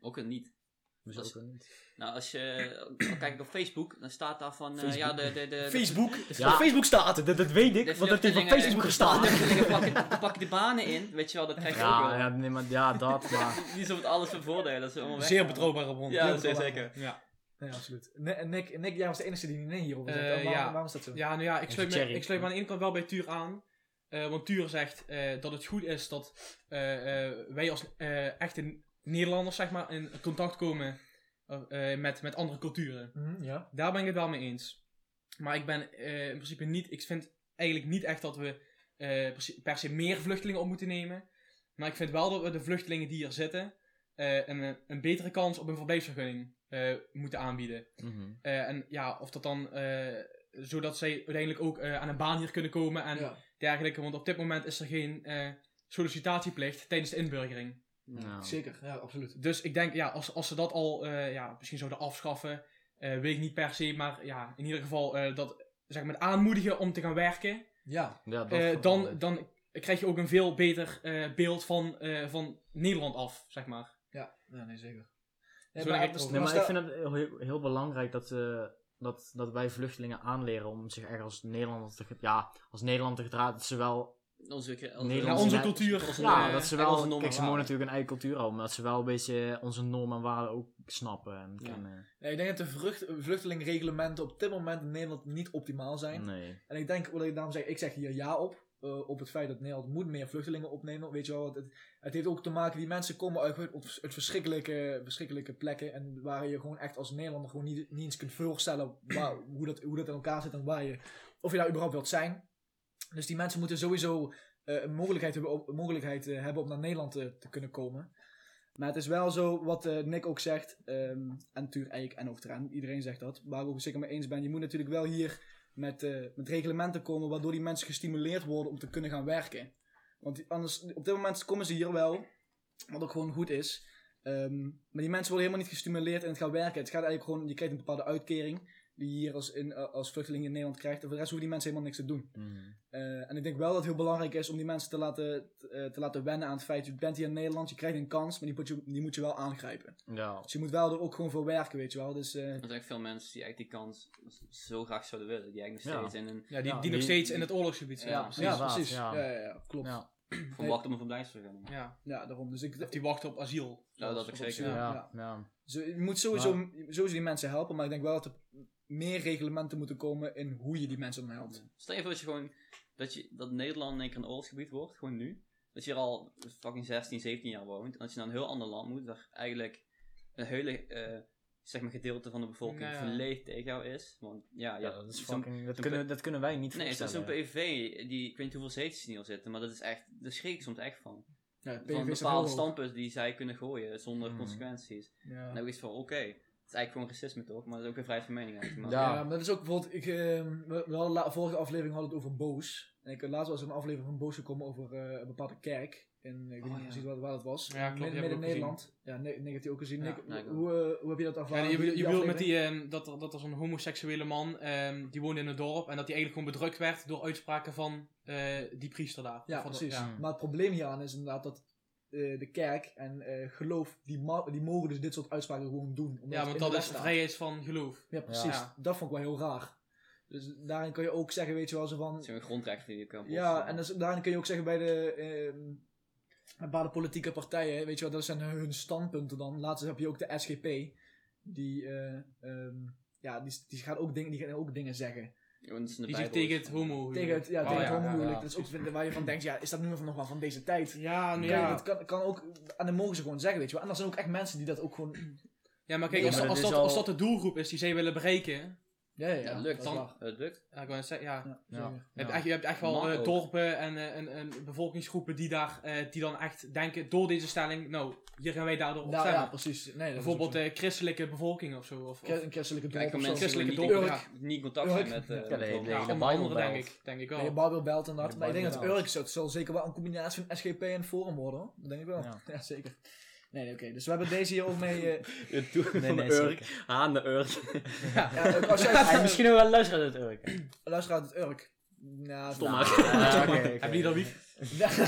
[SPEAKER 2] Ook het niet.
[SPEAKER 3] Hoezo
[SPEAKER 2] Dat is-
[SPEAKER 3] ook niet?
[SPEAKER 2] Nou, als je kijkt op Facebook, dan staat daar van... eh, ja, de, de, de,
[SPEAKER 5] Facebook.
[SPEAKER 3] Ja.
[SPEAKER 5] Op Facebook staat het.
[SPEAKER 3] Dat, dat weet ik, want dat heeft op Facebook
[SPEAKER 2] gestaan.
[SPEAKER 3] gestaan.
[SPEAKER 2] Dan pak je de banen in, weet je wel, dat krijg je ook
[SPEAKER 3] Ja,
[SPEAKER 2] wel.
[SPEAKER 3] ja, nee, maar, ja, dat, maar... [LAUGHS]
[SPEAKER 2] Niet zo met alles voor voordelen, dat is allemaal weg.
[SPEAKER 5] Zeer betrouwbare bron.
[SPEAKER 2] Ja,
[SPEAKER 5] Zeer
[SPEAKER 2] dat is
[SPEAKER 5] betrouwbare
[SPEAKER 2] zeker.
[SPEAKER 5] bron.
[SPEAKER 6] Ja.
[SPEAKER 5] Nee, absoluut. Ne- en Nick, Nick, jij was de enige die nee hierop was.
[SPEAKER 6] Eh,
[SPEAKER 5] waarom,
[SPEAKER 6] ja.
[SPEAKER 5] waarom is dat zo?
[SPEAKER 6] Ja, nou ja, ik
[SPEAKER 3] Even
[SPEAKER 6] sluit, me,
[SPEAKER 3] cherry.
[SPEAKER 6] ik sluit me aan de ene kant wel bij Tuur aan. Eh, want Tuur zegt eh, dat het goed is dat eh, eh, wij als eh, echte Nederlanders zeg maar, in contact komen eh, eh, met, met andere culturen.
[SPEAKER 5] Mhm, ja.
[SPEAKER 6] Daar ben ik het wel mee eens. Maar ik ben eh, in principe niet, ik vind eigenlijk niet echt dat we eh, per se- per se meer vluchtelingen op moeten nemen. Maar ik vind wel dat we de vluchtelingen die hier zitten eh, een, een betere kans op een verblijfsvergunning eh, moeten aanbieden.
[SPEAKER 3] Mhm.
[SPEAKER 6] Eh, en ja, of dat dan. eh, zodat zij uiteindelijk ook eh, aan een baan hier kunnen komen en
[SPEAKER 5] Ja.
[SPEAKER 6] dergelijke. Want op dit moment is er geen eh, sollicitatieplicht tijdens de inburgering.
[SPEAKER 3] Nou.
[SPEAKER 5] Zeker, ja, absoluut.
[SPEAKER 6] Dus ik denk, ja, als, als ze dat al eh, ja, misschien zouden afschaffen, eh, weet ik niet per se. Maar ja, in ieder geval eh, dat zeg maar, het aanmoedigen om te gaan werken.
[SPEAKER 5] Ja,
[SPEAKER 3] Ja, dat
[SPEAKER 6] eh,
[SPEAKER 3] vooral,
[SPEAKER 6] dan,
[SPEAKER 3] hè.
[SPEAKER 6] dan krijg je ook een veel beter eh, beeld van, eh, van Nederland af, zeg maar.
[SPEAKER 5] ja. ja nee, zeker.
[SPEAKER 6] Zo
[SPEAKER 5] maar-
[SPEAKER 6] denk ik ook.
[SPEAKER 3] Nee, maar
[SPEAKER 5] stel-
[SPEAKER 3] ik vind het heel, heel belangrijk dat, eh, dat, dat wij vluchtelingen aanleren om zich erg als Nederlander te, ge- ja, als Nederlander te gedragen. Dat ze wel,
[SPEAKER 2] Onze,
[SPEAKER 3] Nederlandse-
[SPEAKER 6] Ja, onze
[SPEAKER 3] Ja,
[SPEAKER 6] cultuur.
[SPEAKER 2] onze-
[SPEAKER 3] ja,
[SPEAKER 6] eh,
[SPEAKER 3] dat ze
[SPEAKER 2] en onze
[SPEAKER 3] wel,
[SPEAKER 2] normen
[SPEAKER 3] kijk, ze
[SPEAKER 2] en
[SPEAKER 3] mogen
[SPEAKER 2] waarden.
[SPEAKER 3] natuurlijk een eigen cultuur houden, maar dat ze wel een beetje onze normen en waarden ook snappen. En
[SPEAKER 2] Ja.
[SPEAKER 3] kennen.
[SPEAKER 5] Nee, ik denk dat de vrucht- vluchtelingenreglementen op dit moment in Nederland niet optimaal zijn.
[SPEAKER 3] Nee.
[SPEAKER 5] En ik denk, wat ik daarom zeg, ik zeg hier ja op. eh, op het feit dat Nederland moet meer vluchtelingen opnemen. Weet je wel, want het, het heeft ook te maken, die mensen komen uit, uit- uit verschrikkelijke, verschrikkelijke plekken. En waar je gewoon echt als Nederlander gewoon niet, niet eens kunt voorstellen waar, hoe, dat, hoe dat in elkaar zit en waar je, of je daar überhaupt wilt zijn. Dus die mensen moeten sowieso eh, een mogelijkheid hebben, op, een mogelijkheid, eh, hebben om naar Nederland te, te kunnen komen. Maar het is wel zo, wat eh, Nick ook zegt, ehm, en natuurlijk Eik en ook Trent, iedereen zegt dat, waar ik ook zeker mee eens ben. Je moet natuurlijk wel hier met, eh, met reglementen komen waardoor die mensen gestimuleerd worden om te kunnen gaan werken. Want die- anders, op dit moment komen ze hier wel, wat ook gewoon goed is. Ehm, maar die mensen worden helemaal niet gestimuleerd in het gaan werken. Het gaat eigenlijk gewoon, je krijgt een bepaalde uitkering die je hier als, in, eh, als vluchteling in Nederland krijgt. En voor de rest hoeven die mensen helemaal niks te doen.
[SPEAKER 3] Mhm.
[SPEAKER 5] Eh, en ik denk wel dat het heel belangrijk is om die mensen te laten, t- eh, te laten wennen aan het feit, je bent hier in Nederland, je krijgt een kans, maar die moet je, die moet je wel aangrijpen.
[SPEAKER 3] Ja.
[SPEAKER 5] Dus je moet wel er ook gewoon voor werken, weet je wel. Dus, eh,
[SPEAKER 2] Er zijn echt veel mensen die eigenlijk die kans zo graag zouden willen. Die eigenlijk nog
[SPEAKER 3] Ja.
[SPEAKER 2] steeds in een
[SPEAKER 6] Ja, die,
[SPEAKER 3] Ja,
[SPEAKER 6] die
[SPEAKER 3] die-
[SPEAKER 6] nog steeds in het oorlogsgebied zijn.
[SPEAKER 2] Ja,
[SPEAKER 6] precies.
[SPEAKER 5] ja,
[SPEAKER 3] inderdaad,
[SPEAKER 5] precies.
[SPEAKER 3] ja.
[SPEAKER 5] Ja, ja, ja, klopt.
[SPEAKER 3] Ja.
[SPEAKER 2] verwacht om een verblijfsvergunning.
[SPEAKER 6] Ja.
[SPEAKER 5] Ja, daarom. Dus ik,
[SPEAKER 6] Of die wachten op asiel.
[SPEAKER 2] Nou, dat
[SPEAKER 6] Zoals-
[SPEAKER 2] ik
[SPEAKER 6] of op
[SPEAKER 2] zeker.
[SPEAKER 6] asiel.
[SPEAKER 3] Ja,
[SPEAKER 5] Ja,
[SPEAKER 3] ja.
[SPEAKER 5] ja. Zo, je moet sowieso, sowieso die mensen helpen, maar ik denk wel dat er meer reglementen moeten komen in hoe je die mensen dan helpt.
[SPEAKER 2] Stel je voor dat je gewoon dat, je, dat Nederland in één keer een oorlogsgebied wordt, gewoon nu. Dat je er al fucking 16, 17 jaar woont. En dat je naar een heel ander land moet, waar eigenlijk een hele eh, zeg maar gedeelte van de bevolking
[SPEAKER 6] Nou ja.
[SPEAKER 2] volledig tegen jou is. Want ja, ja,
[SPEAKER 3] dat is
[SPEAKER 2] zo'n-
[SPEAKER 3] fucking, dat,
[SPEAKER 2] zo'n
[SPEAKER 3] kunnen, dat kunnen wij niet
[SPEAKER 2] Nee, zo'n zo'n
[SPEAKER 3] voorstellen.
[SPEAKER 2] PV, die, ik weet niet hoeveel zetels die al zitten, maar dat is echt, daar schrik ik soms echt van.
[SPEAKER 5] Ja,
[SPEAKER 2] Van bepaalde standpunten die zij kunnen gooien zonder
[SPEAKER 3] Mhm.
[SPEAKER 2] consequenties. En
[SPEAKER 5] Ja.
[SPEAKER 2] dan is van, oké, het is eigenlijk gewoon racisme toch, maar dat is ook weer vrijheid van mening. Maar,
[SPEAKER 3] Ja.
[SPEAKER 5] Ja, maar dat is ook bijvoorbeeld, ik, ehm, we, we hadden la- vorige aflevering hadden we het over Boos. En ik had laatst was een aflevering van Boos gekomen over eh, een bepaalde kerk. En eh, ik weet
[SPEAKER 2] Oh,
[SPEAKER 5] niet
[SPEAKER 2] ja.
[SPEAKER 5] precies waar, waar dat was.
[SPEAKER 6] Ja, klopt, die
[SPEAKER 5] Midden-
[SPEAKER 6] heb ik ook
[SPEAKER 5] Midden-Nederland. Ja, Nick, Nick heeft die ook gezien.
[SPEAKER 6] Ja,
[SPEAKER 5] Nick,
[SPEAKER 2] ja, ik ook.
[SPEAKER 5] hoe, eh, hoe heb je dat
[SPEAKER 6] Ja,
[SPEAKER 5] ervaren?
[SPEAKER 6] je je bedoelt
[SPEAKER 5] aflevering?
[SPEAKER 6] met die, ehm, dat, er, dat er zo'n homoseksuele man, ehm, die woonde in het dorp, en dat hij eigenlijk gewoon bedrukt werd door uitspraken van eh, die priester daar.
[SPEAKER 5] Ja,
[SPEAKER 6] Van dat-
[SPEAKER 5] precies.
[SPEAKER 6] ja.
[SPEAKER 3] ja.
[SPEAKER 5] Maar het probleem hieraan is inderdaad dat eh, de kerk en eh, geloof, die, ma- die mogen dus dit soort uitspraken gewoon doen. omdat
[SPEAKER 6] Ja,
[SPEAKER 5] het
[SPEAKER 6] want
[SPEAKER 5] in
[SPEAKER 6] dat
[SPEAKER 5] de
[SPEAKER 6] is
[SPEAKER 5] wet staat.
[SPEAKER 6] vrijheid van geloof.
[SPEAKER 5] Ja, precies.
[SPEAKER 6] Ja.
[SPEAKER 5] Dat vond ik wel heel raar. Dus daarin kun je ook zeggen, weet je wel, zo van...
[SPEAKER 2] Het zijn grondrechten die je kan
[SPEAKER 5] Ja, en dat is- daarin kun je ook zeggen bij de... ehm, bij bepaalde politieke partijen, weet je wel, dat zijn hun standpunten dan. Laatst heb je ook de SGP, die... eh, ehm, ja, die, die, gaan ook dingen, die gaan ook dingen zeggen.
[SPEAKER 6] Die zich tegen
[SPEAKER 2] dus
[SPEAKER 6] het homo...
[SPEAKER 5] Tegen het, ja,
[SPEAKER 6] Oh,
[SPEAKER 5] tegen
[SPEAKER 6] ja,
[SPEAKER 5] het homohuwelijk.
[SPEAKER 6] ja.
[SPEAKER 5] Dat is ook vind- waar je van denkt, ja, is dat nu nog wel van deze tijd?
[SPEAKER 6] Ja, nou
[SPEAKER 5] Kun je-
[SPEAKER 6] ja.
[SPEAKER 5] Dat kan, kan ook, en dan mogen ze gewoon zeggen, weet je wel. En er zijn ook echt mensen die dat ook gewoon...
[SPEAKER 6] Ja, maar kijk,
[SPEAKER 3] Ja,
[SPEAKER 6] als,
[SPEAKER 3] maar
[SPEAKER 6] als,
[SPEAKER 3] dat
[SPEAKER 6] dat,
[SPEAKER 3] is al-
[SPEAKER 6] als dat de doelgroep is die zij willen bereiken,
[SPEAKER 5] Ja, ja, ja.
[SPEAKER 2] Ja,
[SPEAKER 5] dat
[SPEAKER 2] lukt
[SPEAKER 5] is
[SPEAKER 2] dan.
[SPEAKER 5] waar.
[SPEAKER 2] Het lukt.
[SPEAKER 6] ja, ik wou net zeggen, ja.
[SPEAKER 5] Ja,
[SPEAKER 3] Ja.
[SPEAKER 5] zeker.
[SPEAKER 6] Je, hebt echt, je hebt echt wel
[SPEAKER 2] Mag
[SPEAKER 6] eh,
[SPEAKER 2] ook.
[SPEAKER 6] dorpen en, eh, en, en bevolkingsgroepen die, daar, eh, die dan echt denken, door deze stelling, nou, hier gaan wij daardoor op
[SPEAKER 5] Nou,
[SPEAKER 6] stemmen.
[SPEAKER 5] ja, precies. Nee, dat is
[SPEAKER 6] Bijvoorbeeld
[SPEAKER 5] ook
[SPEAKER 6] de christelijke bevolking of zo. Of,
[SPEAKER 5] zo. Een
[SPEAKER 6] of,
[SPEAKER 5] cre- een christelijke dorp
[SPEAKER 2] Kijk,
[SPEAKER 5] of
[SPEAKER 2] om
[SPEAKER 5] zo.
[SPEAKER 2] mensen die niet,
[SPEAKER 6] Christelijke
[SPEAKER 2] in-
[SPEAKER 6] dorp,
[SPEAKER 2] niet- niet in contact
[SPEAKER 5] Urk.
[SPEAKER 2] zijn met... eh,
[SPEAKER 3] Ja, nee,
[SPEAKER 2] met-
[SPEAKER 3] nee,
[SPEAKER 6] ja,
[SPEAKER 3] de
[SPEAKER 6] onder
[SPEAKER 3] Bijbel
[SPEAKER 6] andere denk
[SPEAKER 3] belt.
[SPEAKER 6] ik, denk ik
[SPEAKER 5] Ja, je
[SPEAKER 6] wel.
[SPEAKER 5] Bijbel belt inderdaad.
[SPEAKER 3] De
[SPEAKER 5] maar ik denk dat
[SPEAKER 3] Bijbel
[SPEAKER 5] Urk, dat zal zeker wel een combinatie van SGP en Forum worden. hoor. Dat denk ik wel.
[SPEAKER 3] Ja.
[SPEAKER 5] [LAUGHS] Ja, zeker. Nee, nee, oké. Dus we hebben deze hier ook mee... [LAUGHS] eh
[SPEAKER 3] Het doen
[SPEAKER 2] van Urk.
[SPEAKER 3] Aan de Urk.
[SPEAKER 5] ja, ook als jij
[SPEAKER 3] Ja, misschien ook wel luisteren uit Urk.
[SPEAKER 5] [LAUGHS] luister uit het Urk. Nou,
[SPEAKER 3] Stom
[SPEAKER 5] nou,
[SPEAKER 3] maar.
[SPEAKER 5] [LAUGHS] ja,
[SPEAKER 3] oké, oké.
[SPEAKER 6] Hebben jullie dat wie?
[SPEAKER 5] ja. Eh,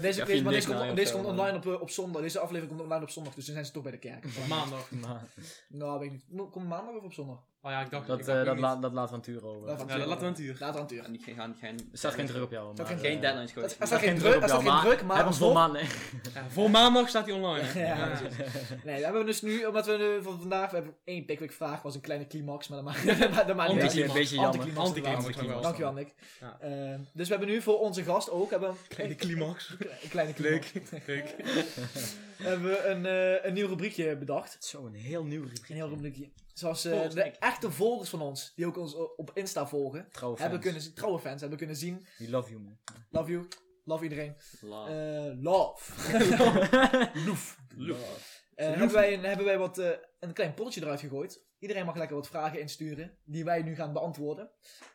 [SPEAKER 5] deze
[SPEAKER 3] Ja,
[SPEAKER 5] deze,
[SPEAKER 3] vind
[SPEAKER 5] maar
[SPEAKER 3] ik
[SPEAKER 5] deze komt,
[SPEAKER 3] nou heel
[SPEAKER 5] deze
[SPEAKER 3] veel,
[SPEAKER 5] komt
[SPEAKER 3] man.
[SPEAKER 5] online op, eh, op zondag. Deze aflevering komt online op zondag, dus dan zijn ze toch bij de [LAUGHS] kerk.
[SPEAKER 6] Op maandag.
[SPEAKER 3] Maar
[SPEAKER 5] nou, weet ik niet. Mo- Komt maandag of op zondag?
[SPEAKER 6] Oh ja, ik dacht
[SPEAKER 3] dat,
[SPEAKER 6] ik
[SPEAKER 3] eh,
[SPEAKER 6] dacht
[SPEAKER 3] dat,
[SPEAKER 6] niet.
[SPEAKER 3] la- dat laat van Tuur over.
[SPEAKER 5] Laat
[SPEAKER 3] Er
[SPEAKER 5] van
[SPEAKER 6] Ja, dat laat een uur.
[SPEAKER 5] Later aan het uur.
[SPEAKER 2] En die gaan geen...
[SPEAKER 3] staat geen druk op jou.
[SPEAKER 5] Staat
[SPEAKER 3] maar,
[SPEAKER 5] geen-
[SPEAKER 3] eh,
[SPEAKER 2] Geen deadlines
[SPEAKER 5] Er
[SPEAKER 2] gewoon.
[SPEAKER 5] staat geen druk, er staat geen druk, maar...
[SPEAKER 3] Heb ons voor
[SPEAKER 5] alsnog-
[SPEAKER 3] maanden.
[SPEAKER 6] Ja, voor maandag staat hij online.
[SPEAKER 3] [LAUGHS]
[SPEAKER 6] hè?
[SPEAKER 5] Ja,
[SPEAKER 6] Ja.
[SPEAKER 5] precies. Nee, we hebben dus nu, omdat we eh, van vandaag, we hebben één pickwick vraag, was een kleine climax, maar dat maakt, [LAUGHS] dat maakt niet uit.
[SPEAKER 3] Een beetje, een beetje jammer.
[SPEAKER 5] Anticlimax.
[SPEAKER 6] Anticlimax.
[SPEAKER 3] Anticlimax.
[SPEAKER 6] ook wel.
[SPEAKER 5] Dankjewel, Nick.
[SPEAKER 6] Ja.
[SPEAKER 5] Eh, dus we hebben nu voor onze gast ook, hebben we een
[SPEAKER 6] Kleine
[SPEAKER 3] [LAUGHS]
[SPEAKER 6] climax.
[SPEAKER 5] een kleine climax.
[SPEAKER 6] Leuk.
[SPEAKER 5] hebben we een, eh, een nieuw rubriekje bedacht.
[SPEAKER 3] Zo, een heel nieuw
[SPEAKER 5] Een
[SPEAKER 3] rubriek.
[SPEAKER 5] heel rubriekje. Zoals eh,
[SPEAKER 6] Volgens
[SPEAKER 5] de
[SPEAKER 6] Nick.
[SPEAKER 5] echte volgers van ons, die ook ons o- op Insta volgen,
[SPEAKER 3] Trouwe fans.
[SPEAKER 5] hebben kunnen, zien- trouwe fans, hebben kunnen zien.
[SPEAKER 3] We love you, man.
[SPEAKER 5] Love you. Love iedereen.
[SPEAKER 2] Love.
[SPEAKER 5] Eh, love. Eh, hebben, wij een, hebben wij wat, eh, een klein polletje eruit gegooid. Iedereen mag lekker wat vragen insturen, die wij nu gaan beantwoorden.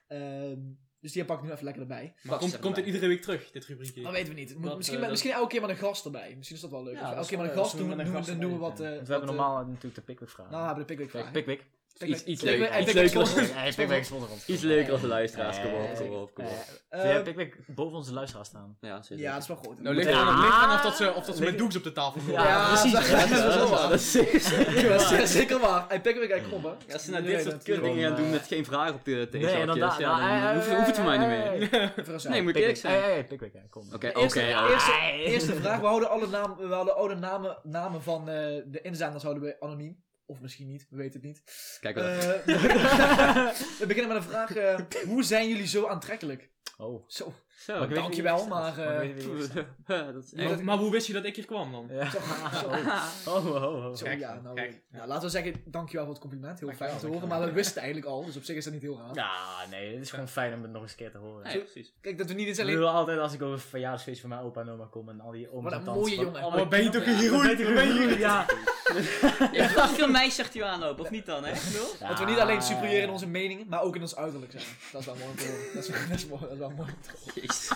[SPEAKER 5] Ehm, dus die pak ik nu even lekker erbij.
[SPEAKER 6] Maar komt, komt dit iedere week terug, dit rubriekje?
[SPEAKER 3] Oh,
[SPEAKER 5] Dat weten we niet. Moet-
[SPEAKER 2] Dat,
[SPEAKER 5] misschien,
[SPEAKER 2] eh,
[SPEAKER 5] met-
[SPEAKER 2] dat-
[SPEAKER 5] misschien elke keer met een gast erbij. Misschien is dat wel leuk.
[SPEAKER 2] Ja,
[SPEAKER 5] Of
[SPEAKER 2] dat
[SPEAKER 5] elke
[SPEAKER 2] is
[SPEAKER 5] keer met een
[SPEAKER 2] wel
[SPEAKER 5] gast
[SPEAKER 2] leuk.
[SPEAKER 5] doen,
[SPEAKER 2] Als we met
[SPEAKER 5] doen,
[SPEAKER 2] een gast
[SPEAKER 5] dan doen we
[SPEAKER 2] erbij
[SPEAKER 5] wat... eh,
[SPEAKER 3] Want we
[SPEAKER 5] wat,
[SPEAKER 3] hebben
[SPEAKER 5] eh,
[SPEAKER 3] normaal natuurlijk de Pickwick vragen.
[SPEAKER 5] Nou, we hebben de pickwick
[SPEAKER 3] Kijk,
[SPEAKER 5] vragen.
[SPEAKER 3] Pickwick.
[SPEAKER 5] Pickwick.
[SPEAKER 2] Iets, iets
[SPEAKER 5] Pickwick-
[SPEAKER 2] leuker.
[SPEAKER 5] eh,
[SPEAKER 2] Iets
[SPEAKER 5] Pickwick
[SPEAKER 2] leuker als,
[SPEAKER 5] sponsor.
[SPEAKER 3] Nee, Pickwick is onder ons.
[SPEAKER 2] iets leuker als de luisteraars. Kom op,
[SPEAKER 3] Nee.
[SPEAKER 2] kom op, kom
[SPEAKER 3] Eh,
[SPEAKER 2] op.
[SPEAKER 3] vind
[SPEAKER 5] Eh,
[SPEAKER 3] jij Pickwick boven onze luisteraars staan?
[SPEAKER 2] Ja, zeker.
[SPEAKER 5] Ja, dat is wel goed.
[SPEAKER 6] Nou, ligt aan,
[SPEAKER 3] Ja.
[SPEAKER 6] ligt aan of dat ze, of dat ze
[SPEAKER 3] Ligt-
[SPEAKER 6] met doeks op de tafel gooien.
[SPEAKER 5] Ja,
[SPEAKER 3] precies.
[SPEAKER 5] [LAUGHS] dat is-
[SPEAKER 3] Ja,
[SPEAKER 5] dat is wel waar.
[SPEAKER 2] dat is zeker.
[SPEAKER 5] [LAUGHS] Ja, dat is zeker waar. Hij pickwick, hij krompen.
[SPEAKER 2] Als ze naar
[SPEAKER 5] Nee,
[SPEAKER 2] dit
[SPEAKER 5] dat
[SPEAKER 2] soort
[SPEAKER 5] is
[SPEAKER 2] kutdingen
[SPEAKER 3] gewoon,
[SPEAKER 2] gaan doen
[SPEAKER 3] eh,
[SPEAKER 2] met geen vraag op de theezakjes,
[SPEAKER 3] Nee, en dan daar- nou, eh,
[SPEAKER 2] ja,
[SPEAKER 3] daar-
[SPEAKER 2] dan hoeft, hoeft het voor mij niet meer.
[SPEAKER 3] Hey, hey, hey.
[SPEAKER 2] Nee, [LAUGHS] moet ik eerlijk
[SPEAKER 3] Pickwick. Hey,
[SPEAKER 2] zijn.
[SPEAKER 3] hey, hey, Pickwick, hey, eh, kom.
[SPEAKER 2] Oké,
[SPEAKER 5] Eerste,
[SPEAKER 2] oké. ja.
[SPEAKER 5] eerste,
[SPEAKER 3] Hey.
[SPEAKER 5] eerste vraag. We houden alle, naam, we houden alle namen, namen van eh, de inzenders houden we anoniem. Of misschien niet, we weten het niet.
[SPEAKER 2] Kijk wel.
[SPEAKER 5] Eh, [LAUGHS] we beginnen met een vraag. eh, hoe zijn jullie zo aantrekkelijk?
[SPEAKER 3] Oh.
[SPEAKER 5] Zo,
[SPEAKER 2] Zo.
[SPEAKER 3] [LAUGHS] Maar ik weet
[SPEAKER 2] dank-
[SPEAKER 3] niet
[SPEAKER 5] dankjewel,
[SPEAKER 3] wie het is.
[SPEAKER 5] maar,
[SPEAKER 3] ik
[SPEAKER 5] eh,
[SPEAKER 3] weet niet wie het is.
[SPEAKER 2] dat is
[SPEAKER 6] Maar,
[SPEAKER 2] echt...
[SPEAKER 6] maar hoe wist je dat ik hier kwam dan?
[SPEAKER 3] Ja.
[SPEAKER 5] zo, zo.
[SPEAKER 3] Oh, oh, oh.
[SPEAKER 5] Zo,
[SPEAKER 6] Kijk,
[SPEAKER 5] ja, nou,
[SPEAKER 6] kijk,
[SPEAKER 5] eh,
[SPEAKER 6] ja.
[SPEAKER 5] nou, laten we zeggen, dankjewel voor het compliment. Heel
[SPEAKER 6] Dankjewel,
[SPEAKER 5] fijn om te horen, maar we wisten het eigenlijk al, dus op zich is dat niet heel raar.
[SPEAKER 3] Ja, nee, het is gewoon fijn om het nog eens een keer te horen.
[SPEAKER 2] Nee, precies.
[SPEAKER 5] Kijk, dat we niet eens
[SPEAKER 3] Ik
[SPEAKER 5] alleen...
[SPEAKER 3] bedoel altijd als ik over een verjaarsfeest van mijn opa en oma kom en al die ooms
[SPEAKER 5] Wat
[SPEAKER 3] en
[SPEAKER 5] een
[SPEAKER 3] tantes
[SPEAKER 5] mooie
[SPEAKER 3] van
[SPEAKER 5] jongen.
[SPEAKER 3] alle
[SPEAKER 6] Oh, ben je toch
[SPEAKER 3] kinderen-
[SPEAKER 6] een
[SPEAKER 3] Ja,
[SPEAKER 6] geroeid?
[SPEAKER 3] ben je toch een geroeid, ja.
[SPEAKER 2] Je hebt wel veel meisjes achter je aanlopen, of niet dan, hè? Lul?
[SPEAKER 5] Dat we niet alleen superieur in onze meningen, maar ook in ons uiterlijk zijn. Dat is wel mooi om te horen. Dat is, dat is mooi. Dat is wel mooi.
[SPEAKER 2] Jezus.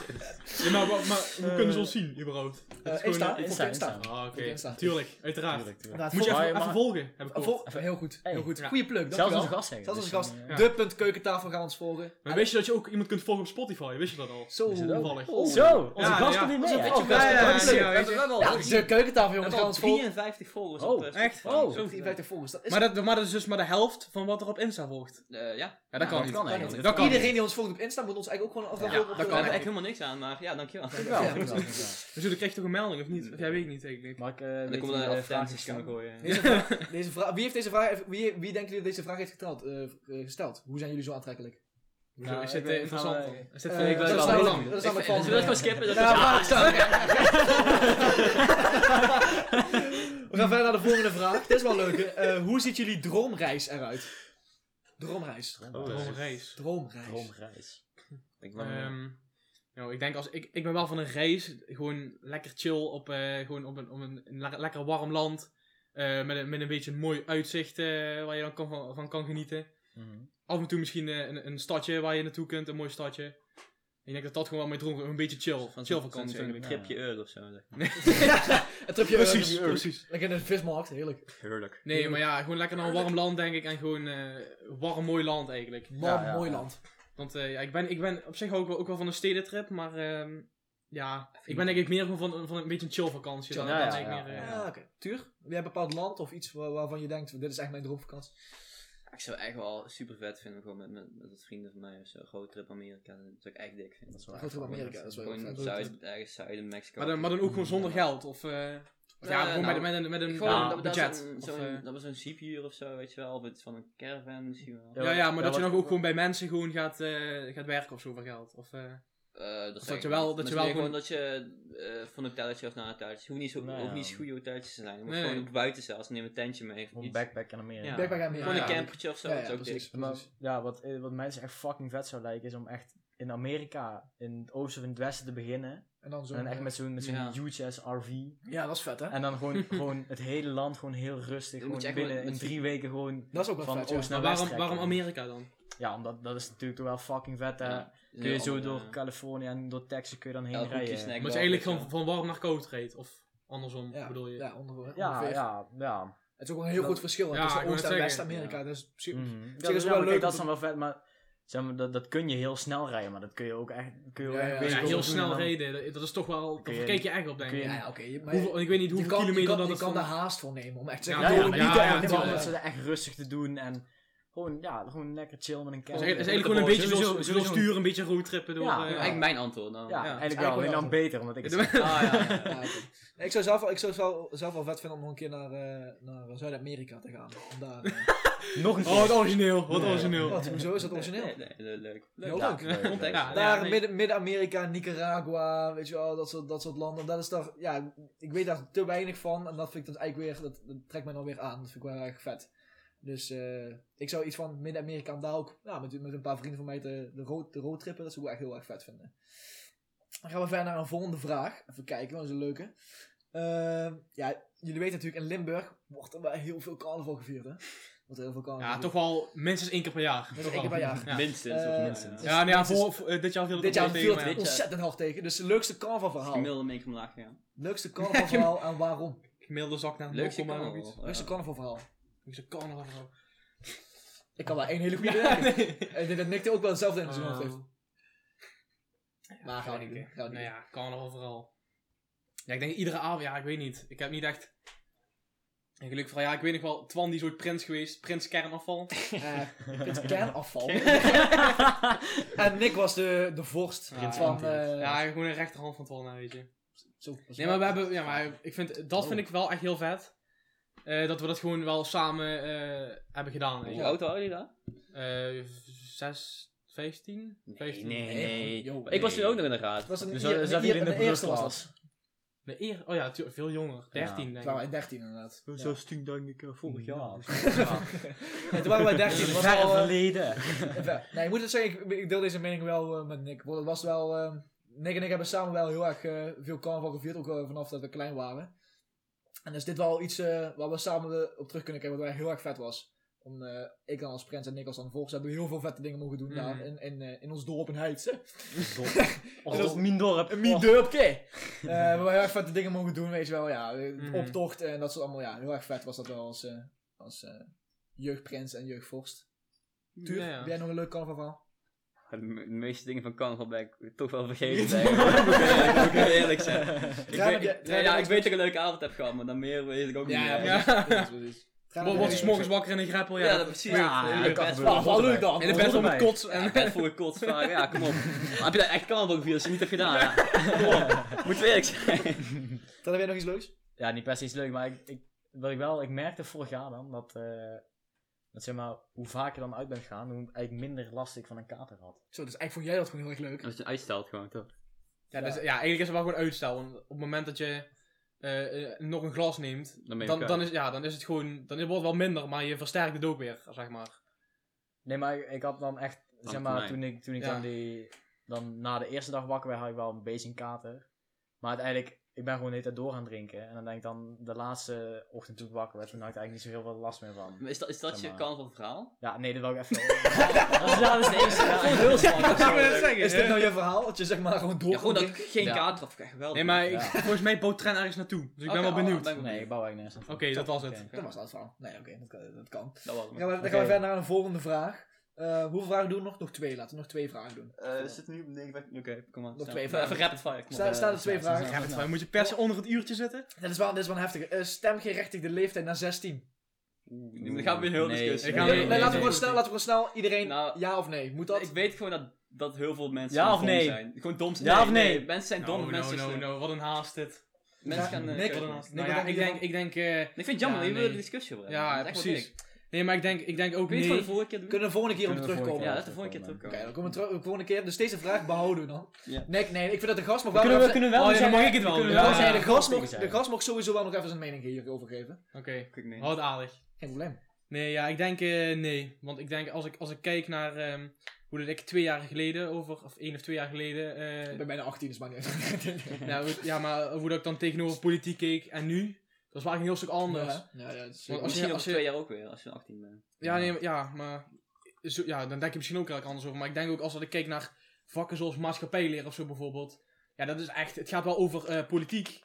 [SPEAKER 6] Ja, maar, maar, maar
[SPEAKER 3] Eh,
[SPEAKER 6] hoe kunnen ze ons zien, überhaupt?
[SPEAKER 5] Eh,
[SPEAKER 6] is gewoon
[SPEAKER 5] Insta,
[SPEAKER 6] een-
[SPEAKER 5] Insta,
[SPEAKER 3] Insta,
[SPEAKER 5] Insta.
[SPEAKER 3] Insta.
[SPEAKER 6] Ah, oké.
[SPEAKER 5] Insta.
[SPEAKER 6] Tuurlijk, uiteraard.
[SPEAKER 3] Tuurlijk, tuurlijk.
[SPEAKER 5] Inderdaad,
[SPEAKER 6] Moet je
[SPEAKER 5] volg-
[SPEAKER 3] Maar je
[SPEAKER 6] even, even
[SPEAKER 3] mag-
[SPEAKER 6] volgen, heb ik
[SPEAKER 5] Ah,
[SPEAKER 6] gehoord.
[SPEAKER 5] vol- Nou, heel goed,
[SPEAKER 3] Hey.
[SPEAKER 5] heel goed.
[SPEAKER 6] Ja.
[SPEAKER 5] Goeie pluk,
[SPEAKER 3] Zelfs
[SPEAKER 5] dankjewel.
[SPEAKER 3] onze gast zeggen.
[SPEAKER 5] Zelfs onze
[SPEAKER 3] dus
[SPEAKER 5] gast.
[SPEAKER 3] dan, eh,
[SPEAKER 5] De punt keukentafel gaan we ons volgen.
[SPEAKER 6] Maar wist je dat je ook iemand kunt volgen op Spotify? Wist je dat al?
[SPEAKER 5] Zo.
[SPEAKER 3] Is het ook?
[SPEAKER 6] Toevallig.
[SPEAKER 5] Oh.
[SPEAKER 3] Zo, onze
[SPEAKER 6] Ja,
[SPEAKER 3] gast
[SPEAKER 6] ja.
[SPEAKER 3] komt niet mee. hè?
[SPEAKER 5] Oh,
[SPEAKER 6] Ja, ja, ja,
[SPEAKER 5] dat is
[SPEAKER 6] ja,
[SPEAKER 5] leuk.
[SPEAKER 6] weet je.
[SPEAKER 5] Ja, de keukentafel jongens gaan
[SPEAKER 2] al
[SPEAKER 5] ons volgen.
[SPEAKER 2] 53 volgers
[SPEAKER 3] Oh,
[SPEAKER 2] op eh,
[SPEAKER 6] echt?
[SPEAKER 2] Spotify.
[SPEAKER 3] Oh.
[SPEAKER 2] Zo,
[SPEAKER 5] 54 volgers. Dat is
[SPEAKER 6] Maar dat, maar dat is dus maar de helft van wat er op Insta volgt.
[SPEAKER 2] eh, ja.
[SPEAKER 6] Ja, dat
[SPEAKER 3] dat
[SPEAKER 6] kan niet.
[SPEAKER 3] kan
[SPEAKER 6] Dat
[SPEAKER 3] eigenlijk
[SPEAKER 6] kan
[SPEAKER 3] niet.
[SPEAKER 6] Dat kan niet.
[SPEAKER 5] Iedereen die ons volgt op Insta moet ons eigenlijk ook gewoon
[SPEAKER 2] Ja,
[SPEAKER 5] afvragen.
[SPEAKER 2] daar kan ik
[SPEAKER 5] kan
[SPEAKER 2] eigenlijk helemaal niks aan, maar ja, dankjewel.
[SPEAKER 3] Ja,
[SPEAKER 5] Ja.
[SPEAKER 3] vind ik wel, vind ik wel.
[SPEAKER 6] Dus jullie krijgen toch een melding, of niet? Of jij weet niet, ik denk.
[SPEAKER 3] Mag ik eh,
[SPEAKER 2] En dan
[SPEAKER 3] weet
[SPEAKER 2] komen
[SPEAKER 3] die,
[SPEAKER 2] er
[SPEAKER 3] eh,
[SPEAKER 2] advertenties
[SPEAKER 3] vragen?
[SPEAKER 2] gaan gooien.
[SPEAKER 5] Deze vraag, deze vraag, wie heeft deze vraag, even- wie, wie denken jullie dat deze vraag heeft geteld, eh, eh, gesteld? Hoe zijn jullie zo aantrekkelijk?
[SPEAKER 6] Hoezo?
[SPEAKER 3] Nou,
[SPEAKER 6] is dit
[SPEAKER 3] ik weet-
[SPEAKER 6] eh, interessant?
[SPEAKER 3] nou,
[SPEAKER 6] dan?
[SPEAKER 3] eh,
[SPEAKER 6] Is dit
[SPEAKER 5] eh,
[SPEAKER 6] van- ik
[SPEAKER 5] dat
[SPEAKER 6] weet
[SPEAKER 5] is
[SPEAKER 6] wel
[SPEAKER 5] nou
[SPEAKER 6] heel
[SPEAKER 5] lang.
[SPEAKER 6] lang.
[SPEAKER 5] Dat is aan de
[SPEAKER 2] Zullen we dat gewoon skippen? Dat
[SPEAKER 5] Ja,
[SPEAKER 2] is-
[SPEAKER 5] vraag staan.
[SPEAKER 6] [LAUGHS]
[SPEAKER 5] We gaan verder naar de volgende vraag. Dit is wel leuk. hè. Eh, hoe ziet jullie droomreis eruit? Droomreis.
[SPEAKER 3] Oh,
[SPEAKER 6] Droom reis.
[SPEAKER 5] Droomreis.
[SPEAKER 3] Droomreis.
[SPEAKER 2] Ik wou-
[SPEAKER 6] Ehm, nou, ik denk als ik, ik ben wel van een reis, gewoon lekker chill op, eh, gewoon op een, op een, een le- lekker warm land. eh, met, een, met een beetje een mooi uitzicht eh, waar je dan kan, van, van kan genieten.
[SPEAKER 3] Mhm.
[SPEAKER 6] Af en toe misschien eh, een, een stadje waar je naartoe kunt, een mooi stadje. Ik denk dat dat gewoon wel mijn droom een beetje chill, chill
[SPEAKER 2] van zo'n-
[SPEAKER 6] vakantie
[SPEAKER 2] zo'n
[SPEAKER 6] eigenlijk.
[SPEAKER 2] tripje Earl of zo. zeg maar.
[SPEAKER 5] [LAUGHS] Een tripje
[SPEAKER 6] Precies,
[SPEAKER 5] eh,
[SPEAKER 6] precies.
[SPEAKER 5] Lekker in de vismarkt, heerlijk.
[SPEAKER 2] Heerlijk.
[SPEAKER 6] Nee, maar ja, gewoon lekker naar een warm land denk ik en gewoon eh, een warm mooi land eigenlijk.
[SPEAKER 5] Man,
[SPEAKER 3] Ja, ja,
[SPEAKER 5] mooi
[SPEAKER 3] ja.
[SPEAKER 5] land.
[SPEAKER 6] Want eh, ja, ik, ben, ik ben op zich ook wel, ook wel van een stedentrip, maar ehm, ja, ik ben denk ik meer gewoon van, van een beetje een chill vakantie.
[SPEAKER 5] Chill,
[SPEAKER 6] dan,
[SPEAKER 3] ja,
[SPEAKER 6] dan
[SPEAKER 3] ja,
[SPEAKER 6] denk
[SPEAKER 3] ja,
[SPEAKER 6] ik meer,
[SPEAKER 5] Ja,
[SPEAKER 6] eh,
[SPEAKER 5] Ah, oké. Tuur, jij een bepaald land of iets waar- waarvan je denkt, dit is echt mijn droomvakantie.
[SPEAKER 2] Ik zou echt wel super vet vinden, gewoon met, met, met wat vrienden van mij of zo. Grote trip Amerika, dat zou ik echt dik vinden.
[SPEAKER 3] Dat is wel
[SPEAKER 5] Grote
[SPEAKER 3] echt
[SPEAKER 5] Amerika,
[SPEAKER 3] wel
[SPEAKER 5] dat is wel heel
[SPEAKER 2] Gewoon
[SPEAKER 5] vet.
[SPEAKER 2] zuid, ergens zuiden Mexico.
[SPEAKER 6] Maar dan, maar dan ook gewoon zonder geld, of... eh, ja, gewoon met,
[SPEAKER 2] nou,
[SPEAKER 6] met een, met een
[SPEAKER 2] Gewoon,
[SPEAKER 3] Ja,
[SPEAKER 2] dat, dat,
[SPEAKER 6] budget.
[SPEAKER 2] was een-
[SPEAKER 6] Of,
[SPEAKER 2] zo'n-
[SPEAKER 6] eh,
[SPEAKER 2] dat was zo'n jeephuur of zo, weet je wel. Of het van een caravan misschien wel.
[SPEAKER 3] Ja.
[SPEAKER 6] ja, ja, maar
[SPEAKER 3] Ja,
[SPEAKER 6] dat je
[SPEAKER 3] wat-
[SPEAKER 6] nog ook gewoon bij mensen gewoon gaat, eh, gaat werken of zo voor geld. Of, eh,
[SPEAKER 2] Eh, dat zeg
[SPEAKER 6] dat
[SPEAKER 2] ik
[SPEAKER 6] je wel-
[SPEAKER 2] niet.
[SPEAKER 6] dat
[SPEAKER 2] Maar
[SPEAKER 6] je
[SPEAKER 2] het
[SPEAKER 6] wel
[SPEAKER 2] is meer gewoon dat je eh, van een hotelletje of naar een hotelletje. Het hoeft niet, zo,
[SPEAKER 3] Nou ja.
[SPEAKER 2] hoeft niet goede hotelletjes te zijn. Maar
[SPEAKER 6] Nee.
[SPEAKER 2] gewoon ook buiten zelfs. Neem een tentje mee. Of
[SPEAKER 3] Een
[SPEAKER 2] iets.
[SPEAKER 3] backpack in Amerika.
[SPEAKER 6] Ja.
[SPEAKER 5] Backpack aan
[SPEAKER 2] Gewoon
[SPEAKER 6] Ja,
[SPEAKER 2] een
[SPEAKER 6] ja.
[SPEAKER 2] campertje of zo.
[SPEAKER 5] Ja,
[SPEAKER 2] dat
[SPEAKER 5] ja,
[SPEAKER 2] is ook
[SPEAKER 5] precies.
[SPEAKER 2] dik.
[SPEAKER 3] Maar, ja, wat, eh, wat mensen echt fucking vet zou lijken is om echt in Amerika, in het oosten of in het westen te beginnen.
[SPEAKER 5] En dan eh, zo.
[SPEAKER 3] En dan echt met zo'n met zo'n
[SPEAKER 2] Ja.
[SPEAKER 3] huge ass RV.
[SPEAKER 5] Ja, dat is vet, hè?
[SPEAKER 3] En dan
[SPEAKER 2] [LAUGHS]
[SPEAKER 3] gewoon, gewoon het hele land gewoon heel rustig.
[SPEAKER 2] Dan moet
[SPEAKER 3] Gewoon
[SPEAKER 2] je echt
[SPEAKER 3] binnen
[SPEAKER 2] met-
[SPEAKER 3] in
[SPEAKER 2] met-
[SPEAKER 3] drie weken gewoon
[SPEAKER 5] Dat is ook wel
[SPEAKER 3] van
[SPEAKER 5] vet,
[SPEAKER 3] oost
[SPEAKER 5] ja.
[SPEAKER 3] naar
[SPEAKER 6] maar
[SPEAKER 3] west
[SPEAKER 6] waarom,
[SPEAKER 3] trekken.
[SPEAKER 6] waarom Amerika dan?
[SPEAKER 3] Ja, omdat dat is natuurlijk toch wel fucking vet. Hè?
[SPEAKER 2] Ja.
[SPEAKER 3] kun je zo
[SPEAKER 2] Andere-
[SPEAKER 3] door Californië en door Texas kun je dan heen
[SPEAKER 2] elk hoekje
[SPEAKER 3] rijden.
[SPEAKER 2] snackbar,
[SPEAKER 6] Omdat je eigenlijk
[SPEAKER 2] weet
[SPEAKER 6] gewoon van warm naar koud reed, of andersom,
[SPEAKER 5] ja,
[SPEAKER 6] bedoel je?
[SPEAKER 5] Ja, ongeveer.
[SPEAKER 3] Ja,
[SPEAKER 5] ongeveer.
[SPEAKER 3] ja, ja.
[SPEAKER 5] Het is ook wel een heel
[SPEAKER 3] Dat-
[SPEAKER 5] goed verschil hè,
[SPEAKER 6] Ja, ik
[SPEAKER 5] tussen
[SPEAKER 6] wou
[SPEAKER 5] Oost-
[SPEAKER 6] net
[SPEAKER 5] en
[SPEAKER 6] zeggen.
[SPEAKER 5] West-Amerika. Dus,
[SPEAKER 3] Mhm.
[SPEAKER 5] super-
[SPEAKER 3] Ja,
[SPEAKER 5] is wel
[SPEAKER 3] dus ja, maar
[SPEAKER 5] leuk
[SPEAKER 3] kijk,
[SPEAKER 5] om
[SPEAKER 3] dat is dan wel vet, maar Zeg maar, dat, dat kun je heel snel rijden, maar dat kun je ook echt... Kun je ook
[SPEAKER 5] Ja,
[SPEAKER 3] echt
[SPEAKER 5] ja, ja,
[SPEAKER 3] weten
[SPEAKER 6] Ja,
[SPEAKER 3] wat
[SPEAKER 6] heel
[SPEAKER 3] je moet doen
[SPEAKER 6] snel
[SPEAKER 3] en dan-
[SPEAKER 6] reden. dat- Dat is toch wel.
[SPEAKER 3] Kun
[SPEAKER 6] Daar
[SPEAKER 3] je-
[SPEAKER 6] verkeek je eigenlijk op,
[SPEAKER 3] kun
[SPEAKER 6] denk
[SPEAKER 3] je-
[SPEAKER 6] ik.
[SPEAKER 5] Ja, oké. maar
[SPEAKER 6] Hoeveel, ik weet niet
[SPEAKER 5] je
[SPEAKER 6] hoeveel
[SPEAKER 5] kan, je
[SPEAKER 6] kilometer
[SPEAKER 5] kan,
[SPEAKER 6] dat
[SPEAKER 5] je
[SPEAKER 6] het
[SPEAKER 5] kan
[SPEAKER 6] van-
[SPEAKER 5] daar haast voor nemen om echt te
[SPEAKER 6] Ja,
[SPEAKER 5] zeggen...
[SPEAKER 3] Ja, ja,
[SPEAKER 5] doe
[SPEAKER 3] maar
[SPEAKER 5] het
[SPEAKER 3] niet
[SPEAKER 5] niet,
[SPEAKER 3] te
[SPEAKER 6] ja,
[SPEAKER 5] hè,
[SPEAKER 3] hard,
[SPEAKER 5] doe
[SPEAKER 3] maar
[SPEAKER 5] het
[SPEAKER 3] dat
[SPEAKER 6] ja.
[SPEAKER 3] ze
[SPEAKER 5] niet.
[SPEAKER 3] dat echt rustig te doen en gewoon, ja, gewoon lekker chillen met een
[SPEAKER 6] Dus
[SPEAKER 3] kerk.
[SPEAKER 6] eigenlijk- is eigenlijk gewoon een beetje
[SPEAKER 3] Sowieso-
[SPEAKER 6] zo, zo
[SPEAKER 3] sowieso-
[SPEAKER 6] sturen, een beetje roadtrippen door.
[SPEAKER 3] Ja,
[SPEAKER 6] eh,
[SPEAKER 3] ja.
[SPEAKER 6] [LAUGHS]
[SPEAKER 2] Eigenlijk mijn antwoord dan.
[SPEAKER 3] Ja,
[SPEAKER 6] Ja,
[SPEAKER 3] eigenlijk wel.
[SPEAKER 5] eigenlijk
[SPEAKER 3] Alleen
[SPEAKER 5] wel.
[SPEAKER 3] dan beter, omdat ik het
[SPEAKER 6] Ja,
[SPEAKER 3] zeg.
[SPEAKER 2] Ah, ja, ja, ja.
[SPEAKER 5] [LAUGHS] Ja, oké. Nee, Ik zou, zelf, wel- ik zou zelf, zelf wel vet vinden om nog een keer naar, eh, naar Zuid-Amerika te gaan. Om daar, eh,
[SPEAKER 3] Nog een
[SPEAKER 6] Oh,
[SPEAKER 3] keer.
[SPEAKER 6] wat origineel. Wat
[SPEAKER 5] Nee.
[SPEAKER 6] origineel.
[SPEAKER 5] Wat, hoezo is dat origineel?
[SPEAKER 2] Nee, nee, le- leuk.
[SPEAKER 5] Heel Ja, leuk.
[SPEAKER 3] leuk, leuk.
[SPEAKER 2] Ontdekt.
[SPEAKER 6] Ja,
[SPEAKER 5] Daar,
[SPEAKER 6] nee.
[SPEAKER 5] midden- Midden-Amerika, Nicaragua, weet je wel, dat soort, dat soort landen. Dat is daar, ja, ik weet daar te weinig van. En dat vind ik dan eigenlijk weer, dat, dat trekt mij dan weer aan. Dat vind ik wel erg vet. Dus eh, ik zou iets van Midden-Amerika en daar ook, nou, met, met een paar vrienden van mij te, de, road, de roadtrippen, dat zou ik wel echt heel erg vet vinden. Dan gaan we verder naar een volgende vraag. Even kijken, dat is een leuke. Ehm, ja, jullie weten natuurlijk, in Limburg wordt er wel heel veel carnaval gevierd, hè? Wordt er heel veel carnaval
[SPEAKER 6] Ja, toch wel minstens één keer per jaar.
[SPEAKER 5] Minstens
[SPEAKER 6] Toch
[SPEAKER 5] één keer per
[SPEAKER 6] wel.
[SPEAKER 5] jaar.
[SPEAKER 6] Ja.
[SPEAKER 2] Minstens,
[SPEAKER 5] Eh,
[SPEAKER 2] of minstens.
[SPEAKER 6] Ja, nou ja, voor, voor, eh, dit jaar viel het
[SPEAKER 5] Dit
[SPEAKER 6] ook
[SPEAKER 5] jaar
[SPEAKER 6] wel
[SPEAKER 5] viel
[SPEAKER 6] tegen,
[SPEAKER 5] het
[SPEAKER 6] maar
[SPEAKER 5] ontzettend hard tegen. Dus het leukste carnavalverhaal.
[SPEAKER 2] Gemiddelde meek omlaag gegaan.
[SPEAKER 5] Leukste carnavalverhaal en waarom?
[SPEAKER 6] ja. Gemiddelde zak naar
[SPEAKER 2] Leuk,
[SPEAKER 6] Mokko,
[SPEAKER 2] je
[SPEAKER 6] maar
[SPEAKER 2] kan
[SPEAKER 6] ook iets.
[SPEAKER 2] wel.
[SPEAKER 5] Leukste carnavalverhaal.
[SPEAKER 6] Ik zeg, kan nog
[SPEAKER 5] [LAUGHS]
[SPEAKER 6] even
[SPEAKER 5] Ik kan daar één hele goede
[SPEAKER 6] Ja,
[SPEAKER 5] bedenken.
[SPEAKER 6] nee.
[SPEAKER 5] En ik denk dat Nick er ook wel hetzelfde in zijn hoofd heeft.
[SPEAKER 6] Nou
[SPEAKER 5] Maar gaan we niet doen. Gaan we niet
[SPEAKER 6] ja, kan nog overal. Ja, ik denk iedere avond, ja, ik weet niet. Ik heb niet echt... En gelukkig vooral, ja, ik weet nog wel, Twan die is ooit prins geweest. Prins Kernafval.
[SPEAKER 5] doen. Eh, Het kernafval. [LAUGHS] en Nick was de, de vorst
[SPEAKER 6] Ah, Ja,
[SPEAKER 5] van... eh,
[SPEAKER 6] Ja, gewoon een rechterhand van Twan, hè, weet je.
[SPEAKER 5] zo,
[SPEAKER 6] Nee, maar we hebben, ja, maar ik vind, dat vind ik wel echt heel vet. Eh, dat we dat gewoon wel samen eh, hebben gedaan. weet je.
[SPEAKER 2] Hoe oud waren jullie daar?
[SPEAKER 6] Eh, zes, vijftien? Vijftien.
[SPEAKER 5] nee. Yo.
[SPEAKER 2] Ik was toen ook nog in de raad.
[SPEAKER 5] Het was een,
[SPEAKER 3] Dus
[SPEAKER 5] eer-
[SPEAKER 3] dat-
[SPEAKER 5] een
[SPEAKER 3] dat
[SPEAKER 5] eer-
[SPEAKER 3] jullie in
[SPEAKER 5] een
[SPEAKER 3] de
[SPEAKER 5] eerste was
[SPEAKER 3] brugklas.
[SPEAKER 5] dat.
[SPEAKER 6] Nee, eer- oh ja, natuurlijk, veel jonger. Dertien,
[SPEAKER 5] Toen
[SPEAKER 6] denk
[SPEAKER 5] waren
[SPEAKER 6] ik.
[SPEAKER 5] wij 13 inderdaad. Ja.
[SPEAKER 3] tien denk ik vorig
[SPEAKER 5] jaar.
[SPEAKER 3] [LAUGHS] Ja.
[SPEAKER 5] Ja, toen waren wij 13. Het was
[SPEAKER 3] Verre
[SPEAKER 5] al, eh,
[SPEAKER 3] verleden.
[SPEAKER 5] Ja, eh, nee, ik moet het zeggen, ik, ik deel deze mening wel eh, met Nick. Want Het was wel, eh, Nick en ik hebben samen wel heel erg eh, veel carnaval gevierd, ook eh, vanaf dat we klein waren. En is dit wel iets eh, waar we samen eh, op terug kunnen kijken, wat wel heel erg vet was. Om, eh, ik dan als prins en Nick als dan volgens hebben we heel veel vette dingen mogen doen
[SPEAKER 6] Mhm.
[SPEAKER 5] daar in, in, eh, in ons dorp in
[SPEAKER 6] [LAUGHS]
[SPEAKER 5] Heidse.
[SPEAKER 3] Of dat mijn dorp.
[SPEAKER 5] Een dorpje! Eh, we hebben heel erg vette dingen mogen doen, weet je wel. Ja, eh,
[SPEAKER 6] Mhm.
[SPEAKER 5] optocht en dat soort allemaal. Ja, heel erg vet was dat wel als, eh, als eh, jeugdprins en jeugdvorst. Tuur,
[SPEAKER 6] Ja, ja.
[SPEAKER 5] heb jij nog een leuk carnavalverhaal?
[SPEAKER 2] De me- de meeste dingen van carnaval ben ik toch wel vergeten. denk ik. Moet ik eerlijk- moet ik heel eerlijk zijn. Ik
[SPEAKER 5] Draai
[SPEAKER 2] weet,
[SPEAKER 5] met je-
[SPEAKER 2] ik-
[SPEAKER 5] draai
[SPEAKER 2] ja,
[SPEAKER 5] met
[SPEAKER 2] ik weet dat ik een leuke avond heb gehad, maar dan meer weet ik ook
[SPEAKER 5] Ja,
[SPEAKER 2] niet.
[SPEAKER 5] ja,
[SPEAKER 2] meer.
[SPEAKER 6] Ja. Wordt wordt
[SPEAKER 5] is
[SPEAKER 6] hij s'morgens wakker in een greppel? Ja,
[SPEAKER 2] Ja, dat precies.
[SPEAKER 3] Ja,
[SPEAKER 2] In
[SPEAKER 3] ja,
[SPEAKER 2] de
[SPEAKER 3] dat kan
[SPEAKER 2] bed-
[SPEAKER 3] gebeuren.
[SPEAKER 5] wel leuk dan.
[SPEAKER 6] En de best wel met kots. En
[SPEAKER 2] Ja, bed voor je kots vragen. Ja, kom op. Heb je dat echt carnaval gevierd als je niet hebt gedaan? Ja. [LAUGHS] Kom op. Moet je eerlijk zijn.
[SPEAKER 5] Dan heb jij nog iets leuks?
[SPEAKER 3] Ja, niet per se iets leuk, maar ik, ik, wat ik wel, ik merkte vorig jaar dan dat, eh, dat zeg maar, hoe vaker dan uit bent gegaan, hoe eigenlijk minder last ik van een kater had.
[SPEAKER 5] Zo, dus eigenlijk vond jij dat gewoon heel erg leuk.
[SPEAKER 2] Als je uitstelt gewoon, toch?
[SPEAKER 6] Ja, dus, ja, eigenlijk is het wel gewoon uitstel. Want op het moment dat je eh, eh, nog een glas neemt,
[SPEAKER 2] Dan ben je eh,
[SPEAKER 6] dan,
[SPEAKER 2] klaar.
[SPEAKER 6] dan, is, ja, dan is het gewoon, dan wordt het wel minder, maar je versterkt het ook weer, zeg maar.
[SPEAKER 3] Nee, maar ik, ik had dan echt, zeg maar,
[SPEAKER 2] termijn.
[SPEAKER 3] toen ik, toen ik
[SPEAKER 6] Ja.
[SPEAKER 3] dan die, dan na de eerste dag wakker werd, had ik wel een beetje een kater. Maar uiteindelijk, ik ben gewoon de hele tijd door gaan drinken. En dan denk ik dan, de laatste ochtend toen ik wakker werd, toen had ik eigenlijk niet zo heel veel last meer van.
[SPEAKER 2] Maar Is dat, is dat
[SPEAKER 3] Zeg
[SPEAKER 2] je
[SPEAKER 3] maar.
[SPEAKER 2] carnaval verhaal?
[SPEAKER 3] Ja, nee, dat wil ik even... dat, is, ja, dat is de eerste. Ja, heel spannend.
[SPEAKER 6] Dat wil ik zeggen.
[SPEAKER 5] Is dit nou je verhaal? Dat je zeg maar gewoon door...
[SPEAKER 2] Ja, gewoon dat ik geen
[SPEAKER 3] Ja.
[SPEAKER 2] kaart of echt wel.
[SPEAKER 6] Nee, maar ik,
[SPEAKER 3] Ja.
[SPEAKER 6] volgens mij bouwt Trent ergens naartoe. Dus ik ben wel benieuwd. Oké,
[SPEAKER 3] Nee, ik bouw eigenlijk nergens aan.
[SPEAKER 6] dat was het.
[SPEAKER 3] Oké.
[SPEAKER 5] Dat was dat verhaal. Nee, oké, dat kan- dat kan.
[SPEAKER 2] Dat was
[SPEAKER 5] Dan
[SPEAKER 2] het.
[SPEAKER 5] gaan we, dan gaan we verder naar een volgende vraag. Eh, hoeveel vragen doen we nog? Nog twee, laten we nog twee vragen doen.
[SPEAKER 2] Eh, we zitten nu op 59. Oké, kom maar.
[SPEAKER 5] Nog
[SPEAKER 2] snel.
[SPEAKER 5] twee
[SPEAKER 2] Even-
[SPEAKER 5] vragen.
[SPEAKER 2] Even rapid fire. kom op.
[SPEAKER 5] Sta- staan er twee
[SPEAKER 3] ja,
[SPEAKER 5] vragen?
[SPEAKER 3] ja,
[SPEAKER 6] Ja, maar
[SPEAKER 2] Nou.
[SPEAKER 6] Moet je per se onder het uurtje zitten?
[SPEAKER 5] Dit is wel, dit is wel een heftige. Eh, stemgerechtigde leeftijd naar 16.
[SPEAKER 2] Oeh, Dan gaan we weer heel
[SPEAKER 3] Nee,
[SPEAKER 2] discussie.
[SPEAKER 6] ik ga
[SPEAKER 5] nee,
[SPEAKER 6] nee,
[SPEAKER 5] nee, laten, we
[SPEAKER 6] nee,
[SPEAKER 5] gewoon
[SPEAKER 6] nee.
[SPEAKER 5] snel, laten we gewoon snel iedereen
[SPEAKER 2] Nou,
[SPEAKER 5] ja of nee. Moet dat?
[SPEAKER 2] Ik weet gewoon dat, dat heel veel mensen
[SPEAKER 3] Ja
[SPEAKER 2] gewoon
[SPEAKER 3] of
[SPEAKER 2] dom
[SPEAKER 3] nee?
[SPEAKER 2] zijn. Gewoon dom zijn.
[SPEAKER 3] Ja of nee?
[SPEAKER 2] Mensen zijn dom.
[SPEAKER 6] No, no,
[SPEAKER 2] mensen
[SPEAKER 6] no,
[SPEAKER 2] zijn-
[SPEAKER 6] no, wat een haast dit.
[SPEAKER 2] Mensen
[SPEAKER 5] Ja,
[SPEAKER 2] gaan... eh,
[SPEAKER 5] Nick,
[SPEAKER 2] keuze
[SPEAKER 6] Wat een
[SPEAKER 2] maken.
[SPEAKER 6] haast.
[SPEAKER 5] Nee,
[SPEAKER 6] Nou
[SPEAKER 5] wat
[SPEAKER 6] ja,
[SPEAKER 5] denk
[SPEAKER 6] ik
[SPEAKER 5] je
[SPEAKER 6] denk, ik denk, eh,
[SPEAKER 2] Ik vind het jammer,
[SPEAKER 6] Ja,
[SPEAKER 2] hier willen we
[SPEAKER 6] nee.
[SPEAKER 2] de discussie over hebben.
[SPEAKER 6] ja,
[SPEAKER 2] Dat is echt wel
[SPEAKER 6] precies. Nee, maar ik denk, ik denk ook
[SPEAKER 2] Ik weet het van de
[SPEAKER 6] nee.
[SPEAKER 2] vorige keer doen.
[SPEAKER 5] Kunnen we volgende keer op
[SPEAKER 3] Kunnen we
[SPEAKER 5] terugkomen?
[SPEAKER 3] volgende
[SPEAKER 2] Ja,
[SPEAKER 5] Oké,
[SPEAKER 2] dat is de vorige keer eh,
[SPEAKER 3] Oké,
[SPEAKER 2] terugkomen.
[SPEAKER 5] dan komen we terug, volgende keer. Dus deze vraag behouden we dan.
[SPEAKER 2] Ja.
[SPEAKER 5] Nee, nee, ik vind dat de gast mag
[SPEAKER 3] We
[SPEAKER 5] wel
[SPEAKER 3] kunnen, we
[SPEAKER 5] even-
[SPEAKER 3] kunnen wel
[SPEAKER 6] Oh, ja,
[SPEAKER 3] zeggen-
[SPEAKER 6] dan mag ik het
[SPEAKER 3] we
[SPEAKER 6] wel.
[SPEAKER 3] kunnen
[SPEAKER 6] Ja,
[SPEAKER 5] Ja,
[SPEAKER 6] ja,
[SPEAKER 5] zei, de,
[SPEAKER 3] zeggen-
[SPEAKER 5] gast
[SPEAKER 3] tegen
[SPEAKER 5] mag, de
[SPEAKER 3] zeggen.
[SPEAKER 5] gast mag sowieso wel nog even zijn mening hierover geven.
[SPEAKER 6] Oké,
[SPEAKER 2] Ik weet het niet.
[SPEAKER 6] wat aardig.
[SPEAKER 5] Geen probleem.
[SPEAKER 6] Nee, ja, ik denk eh, nee. Want ik denk, als ik, als ik kijk naar ehm, hoe dat ik twee jaar geleden over, of één of twee jaar geleden... eh,
[SPEAKER 5] Ik ben bijna 18, dus maar niet.
[SPEAKER 6] nou, hoe- ja, maar hoe dat ik dan tegenover politiek keek en nu, dat was wel een heel stuk anders. Ja,
[SPEAKER 5] Ja, ja, dus, eh, ja, dat is
[SPEAKER 6] Want
[SPEAKER 5] zeker.
[SPEAKER 6] als je-
[SPEAKER 2] Misschien over
[SPEAKER 6] als je-
[SPEAKER 2] twee jaar ook weer, als je 18 bent.
[SPEAKER 6] nee, maar- ja maar zo, ja, dan denk je misschien ook heel erg anders over. Maar ik denk ook als dat ik kijk naar vakken zoals maatschappijleer of zo bijvoorbeeld. Ja, dat is echt, het gaat wel over eh, politiek.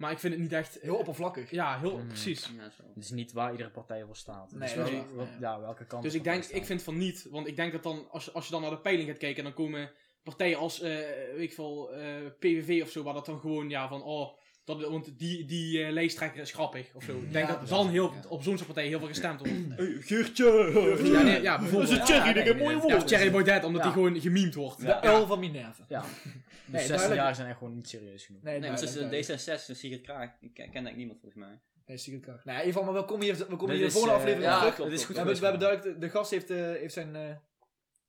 [SPEAKER 6] Maar ik vind het niet echt...
[SPEAKER 5] Heel oppervlakkig.
[SPEAKER 6] Ja, heel
[SPEAKER 3] Mm.
[SPEAKER 6] precies.
[SPEAKER 2] Ja, zo.
[SPEAKER 3] Het is niet waar iedere partij voor staat. Het
[SPEAKER 5] Nee,
[SPEAKER 3] is
[SPEAKER 6] dat
[SPEAKER 3] wel-
[SPEAKER 6] is
[SPEAKER 5] waar.
[SPEAKER 3] wel- ja, welke kant.
[SPEAKER 6] Dus
[SPEAKER 3] de
[SPEAKER 6] ik denk,
[SPEAKER 3] partij
[SPEAKER 6] ik
[SPEAKER 3] staat.
[SPEAKER 6] vind van niet. Want ik denk dat dan, als, je- als je dan naar de peiling gaat kijken, dan komen partijen als, eh, weet ik veel, eh, PVV of zo, waar dat dan gewoon, ja, van, oh, dat, want die, die eh, lijsttrekker is grappig of zo. Ik denk
[SPEAKER 5] Ja,
[SPEAKER 6] dat
[SPEAKER 5] ja,
[SPEAKER 6] dan heel,
[SPEAKER 5] ja.
[SPEAKER 6] op zo'n soort partijen heel veel gestemd wordt.
[SPEAKER 5] Geurtje!
[SPEAKER 6] ja, nee, ja, bijvoorbeeld.
[SPEAKER 3] een cherry, die heeft mooie
[SPEAKER 6] Ja, of Thierry Baudet, omdat
[SPEAKER 3] Ja.
[SPEAKER 6] die gewoon gememd wordt.
[SPEAKER 5] De uil van Minerva.
[SPEAKER 3] Ja.
[SPEAKER 5] Nee,
[SPEAKER 3] Dus 16
[SPEAKER 5] duidelijk.
[SPEAKER 3] jaar zijn echt gewoon niet serieus genoeg.
[SPEAKER 5] Nee,
[SPEAKER 2] Nee, maar tussen
[SPEAKER 5] duidelijk, duidelijk.
[SPEAKER 2] D66 en Sigrid Kraag ken, ken eigenlijk niemand volgens mij.
[SPEAKER 5] Nee, Secret Card. Nou, in ieder geval, maar we komen hier, we komen
[SPEAKER 3] Dit
[SPEAKER 5] hier de
[SPEAKER 3] is,
[SPEAKER 5] volgende
[SPEAKER 3] eh,
[SPEAKER 5] aflevering
[SPEAKER 2] ja,
[SPEAKER 5] op terug.
[SPEAKER 2] klopt,
[SPEAKER 3] Het is goed
[SPEAKER 5] We hebben, we hebben
[SPEAKER 3] geweest,
[SPEAKER 5] duidelijk, de, de gast heeft, eh, heeft zijn, eh,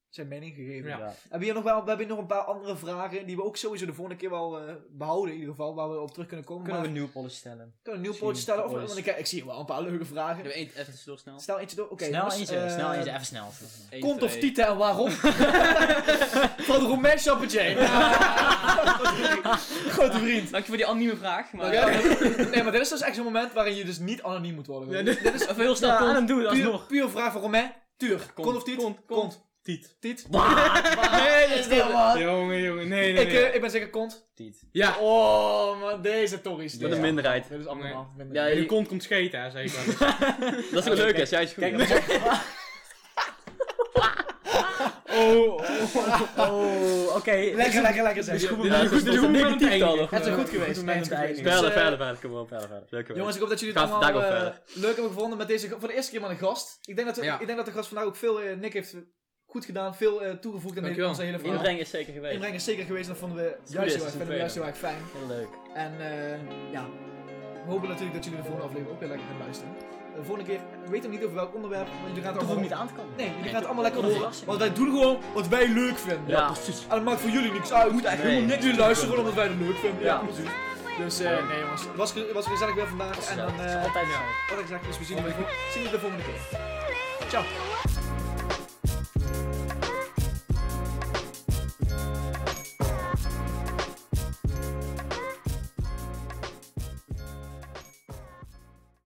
[SPEAKER 5] zijn mening gegeven.
[SPEAKER 6] Ja.
[SPEAKER 3] Ja.
[SPEAKER 5] Hebben we, hier nog wel, we hebben hier nog een paar andere vragen die we ook sowieso de volgende keer wel eh, behouden in ieder geval, waar we op terug kunnen komen.
[SPEAKER 3] Kunnen we
[SPEAKER 5] maar,
[SPEAKER 3] een nieuwe polis stellen?
[SPEAKER 5] kunnen we een nieuw
[SPEAKER 3] misschien
[SPEAKER 5] poortje stellen? Of,
[SPEAKER 3] ooit-
[SPEAKER 5] want ik, ik zie hier wel een paar leuke
[SPEAKER 2] Ik
[SPEAKER 5] vragen.
[SPEAKER 2] heb één even zo snel.
[SPEAKER 5] Snel eentje door. Oké,
[SPEAKER 3] snel
[SPEAKER 5] jongens,
[SPEAKER 3] eentje,
[SPEAKER 5] eh,
[SPEAKER 3] snel eentje, even snel.
[SPEAKER 2] Eén,
[SPEAKER 5] Komt of
[SPEAKER 2] twee.
[SPEAKER 5] Tita en waarom? Van Romain Champagné. [LAUGHS] Grote vriend.
[SPEAKER 2] Dank je voor die anonieme vraag. Maar
[SPEAKER 5] Ja, nee, maar dit is dus echt zo'n moment waarin je dus niet anoniem moet worden.
[SPEAKER 2] dit is even heel snel.
[SPEAKER 3] Ja,
[SPEAKER 2] komt.
[SPEAKER 3] aan hem doen,
[SPEAKER 5] puur,
[SPEAKER 3] alsnog.
[SPEAKER 5] puur vraag van Romain. Tuur. Kont of tiet? Kont. Kont.
[SPEAKER 6] Tiet.
[SPEAKER 5] Tiet.
[SPEAKER 3] Nee, dat is
[SPEAKER 5] Ja, man.
[SPEAKER 6] Jongen, jongen, nee, nee,
[SPEAKER 5] Ik,
[SPEAKER 6] nee.
[SPEAKER 5] eh, ik ben zeker kont.
[SPEAKER 3] niet.
[SPEAKER 6] Ja,
[SPEAKER 5] Oh, maar deze Torries.
[SPEAKER 2] [LAUGHS] Wat een
[SPEAKER 5] deze.
[SPEAKER 2] minderheid.
[SPEAKER 5] Dit is allemaal minder.
[SPEAKER 2] Ja,
[SPEAKER 6] in de
[SPEAKER 2] je-
[SPEAKER 6] kont komt scheten, hè, zeg ik wel.
[SPEAKER 2] dat is wel leuk, hè? Jij is goed.
[SPEAKER 3] Kijk, dat
[SPEAKER 6] Oh,
[SPEAKER 3] Oh, oké.
[SPEAKER 5] Lekker, lekker, lekker zeg.
[SPEAKER 2] Ja,
[SPEAKER 6] dit
[SPEAKER 2] dat is
[SPEAKER 6] is goed
[SPEAKER 2] een
[SPEAKER 6] moment om te
[SPEAKER 2] negatief dan nog.
[SPEAKER 6] eindigen.
[SPEAKER 3] eh,
[SPEAKER 5] Het is goed geweest. Nee, het is goed
[SPEAKER 3] Verder,
[SPEAKER 5] geweest.
[SPEAKER 3] verder,
[SPEAKER 5] Dus, eh,
[SPEAKER 3] verder. Kom op, verder, verder. Leuk
[SPEAKER 5] Jongens, ik hoop dat jullie
[SPEAKER 2] Gaat
[SPEAKER 5] het allemaal
[SPEAKER 2] vandaag wel
[SPEAKER 5] eh, leuk hebben gevonden met deze voor de eerste keer met een gast. Ik denk dat, we-
[SPEAKER 6] Ja.
[SPEAKER 5] ik denk dat de gast vandaag ook veel, eh, Nick heeft goed gedaan, veel eh, toegevoegd aan
[SPEAKER 6] Dankjewel.
[SPEAKER 5] onze hele verhaal.
[SPEAKER 2] Inbreng is zeker geweest.
[SPEAKER 5] Inbreng is zeker geweest, dat vonden we
[SPEAKER 2] is
[SPEAKER 5] juist,
[SPEAKER 2] een
[SPEAKER 5] heel, erg, vinden we
[SPEAKER 2] tweede.
[SPEAKER 5] juist heel erg fijn.
[SPEAKER 3] Heel leuk.
[SPEAKER 5] En eh, ja, we hopen natuurlijk dat jullie de volgende aflevering ook weer lekker gaan luisteren. De volgende keer weten we niet over welk onderwerp, want jullie gaan het
[SPEAKER 3] Dat hoef
[SPEAKER 5] allemaal...
[SPEAKER 3] ik niet aan te komen.
[SPEAKER 5] Nee, jullie gaan het
[SPEAKER 3] toch-
[SPEAKER 5] allemaal lekker
[SPEAKER 3] dat is een
[SPEAKER 5] horen,
[SPEAKER 3] verrassing.
[SPEAKER 5] want wij doen gewoon wat wij leuk vinden.
[SPEAKER 3] Ja, precies.
[SPEAKER 5] En dat maakt voor jullie niks uit. Moet
[SPEAKER 2] eigenlijk helemaal niks
[SPEAKER 5] Jullie luisteren gewoon omdat wij het leuk vinden.
[SPEAKER 3] Ja.
[SPEAKER 5] precies. Dus eh, nee jongens, het was, ge- was gezellig weer vandaag. En dan,
[SPEAKER 3] Het is
[SPEAKER 5] eh,
[SPEAKER 3] altijd zo.
[SPEAKER 5] wat ik zeg, dus we zien jullie, zien jullie de volgende keer. Ciao.
[SPEAKER 7] Ciao.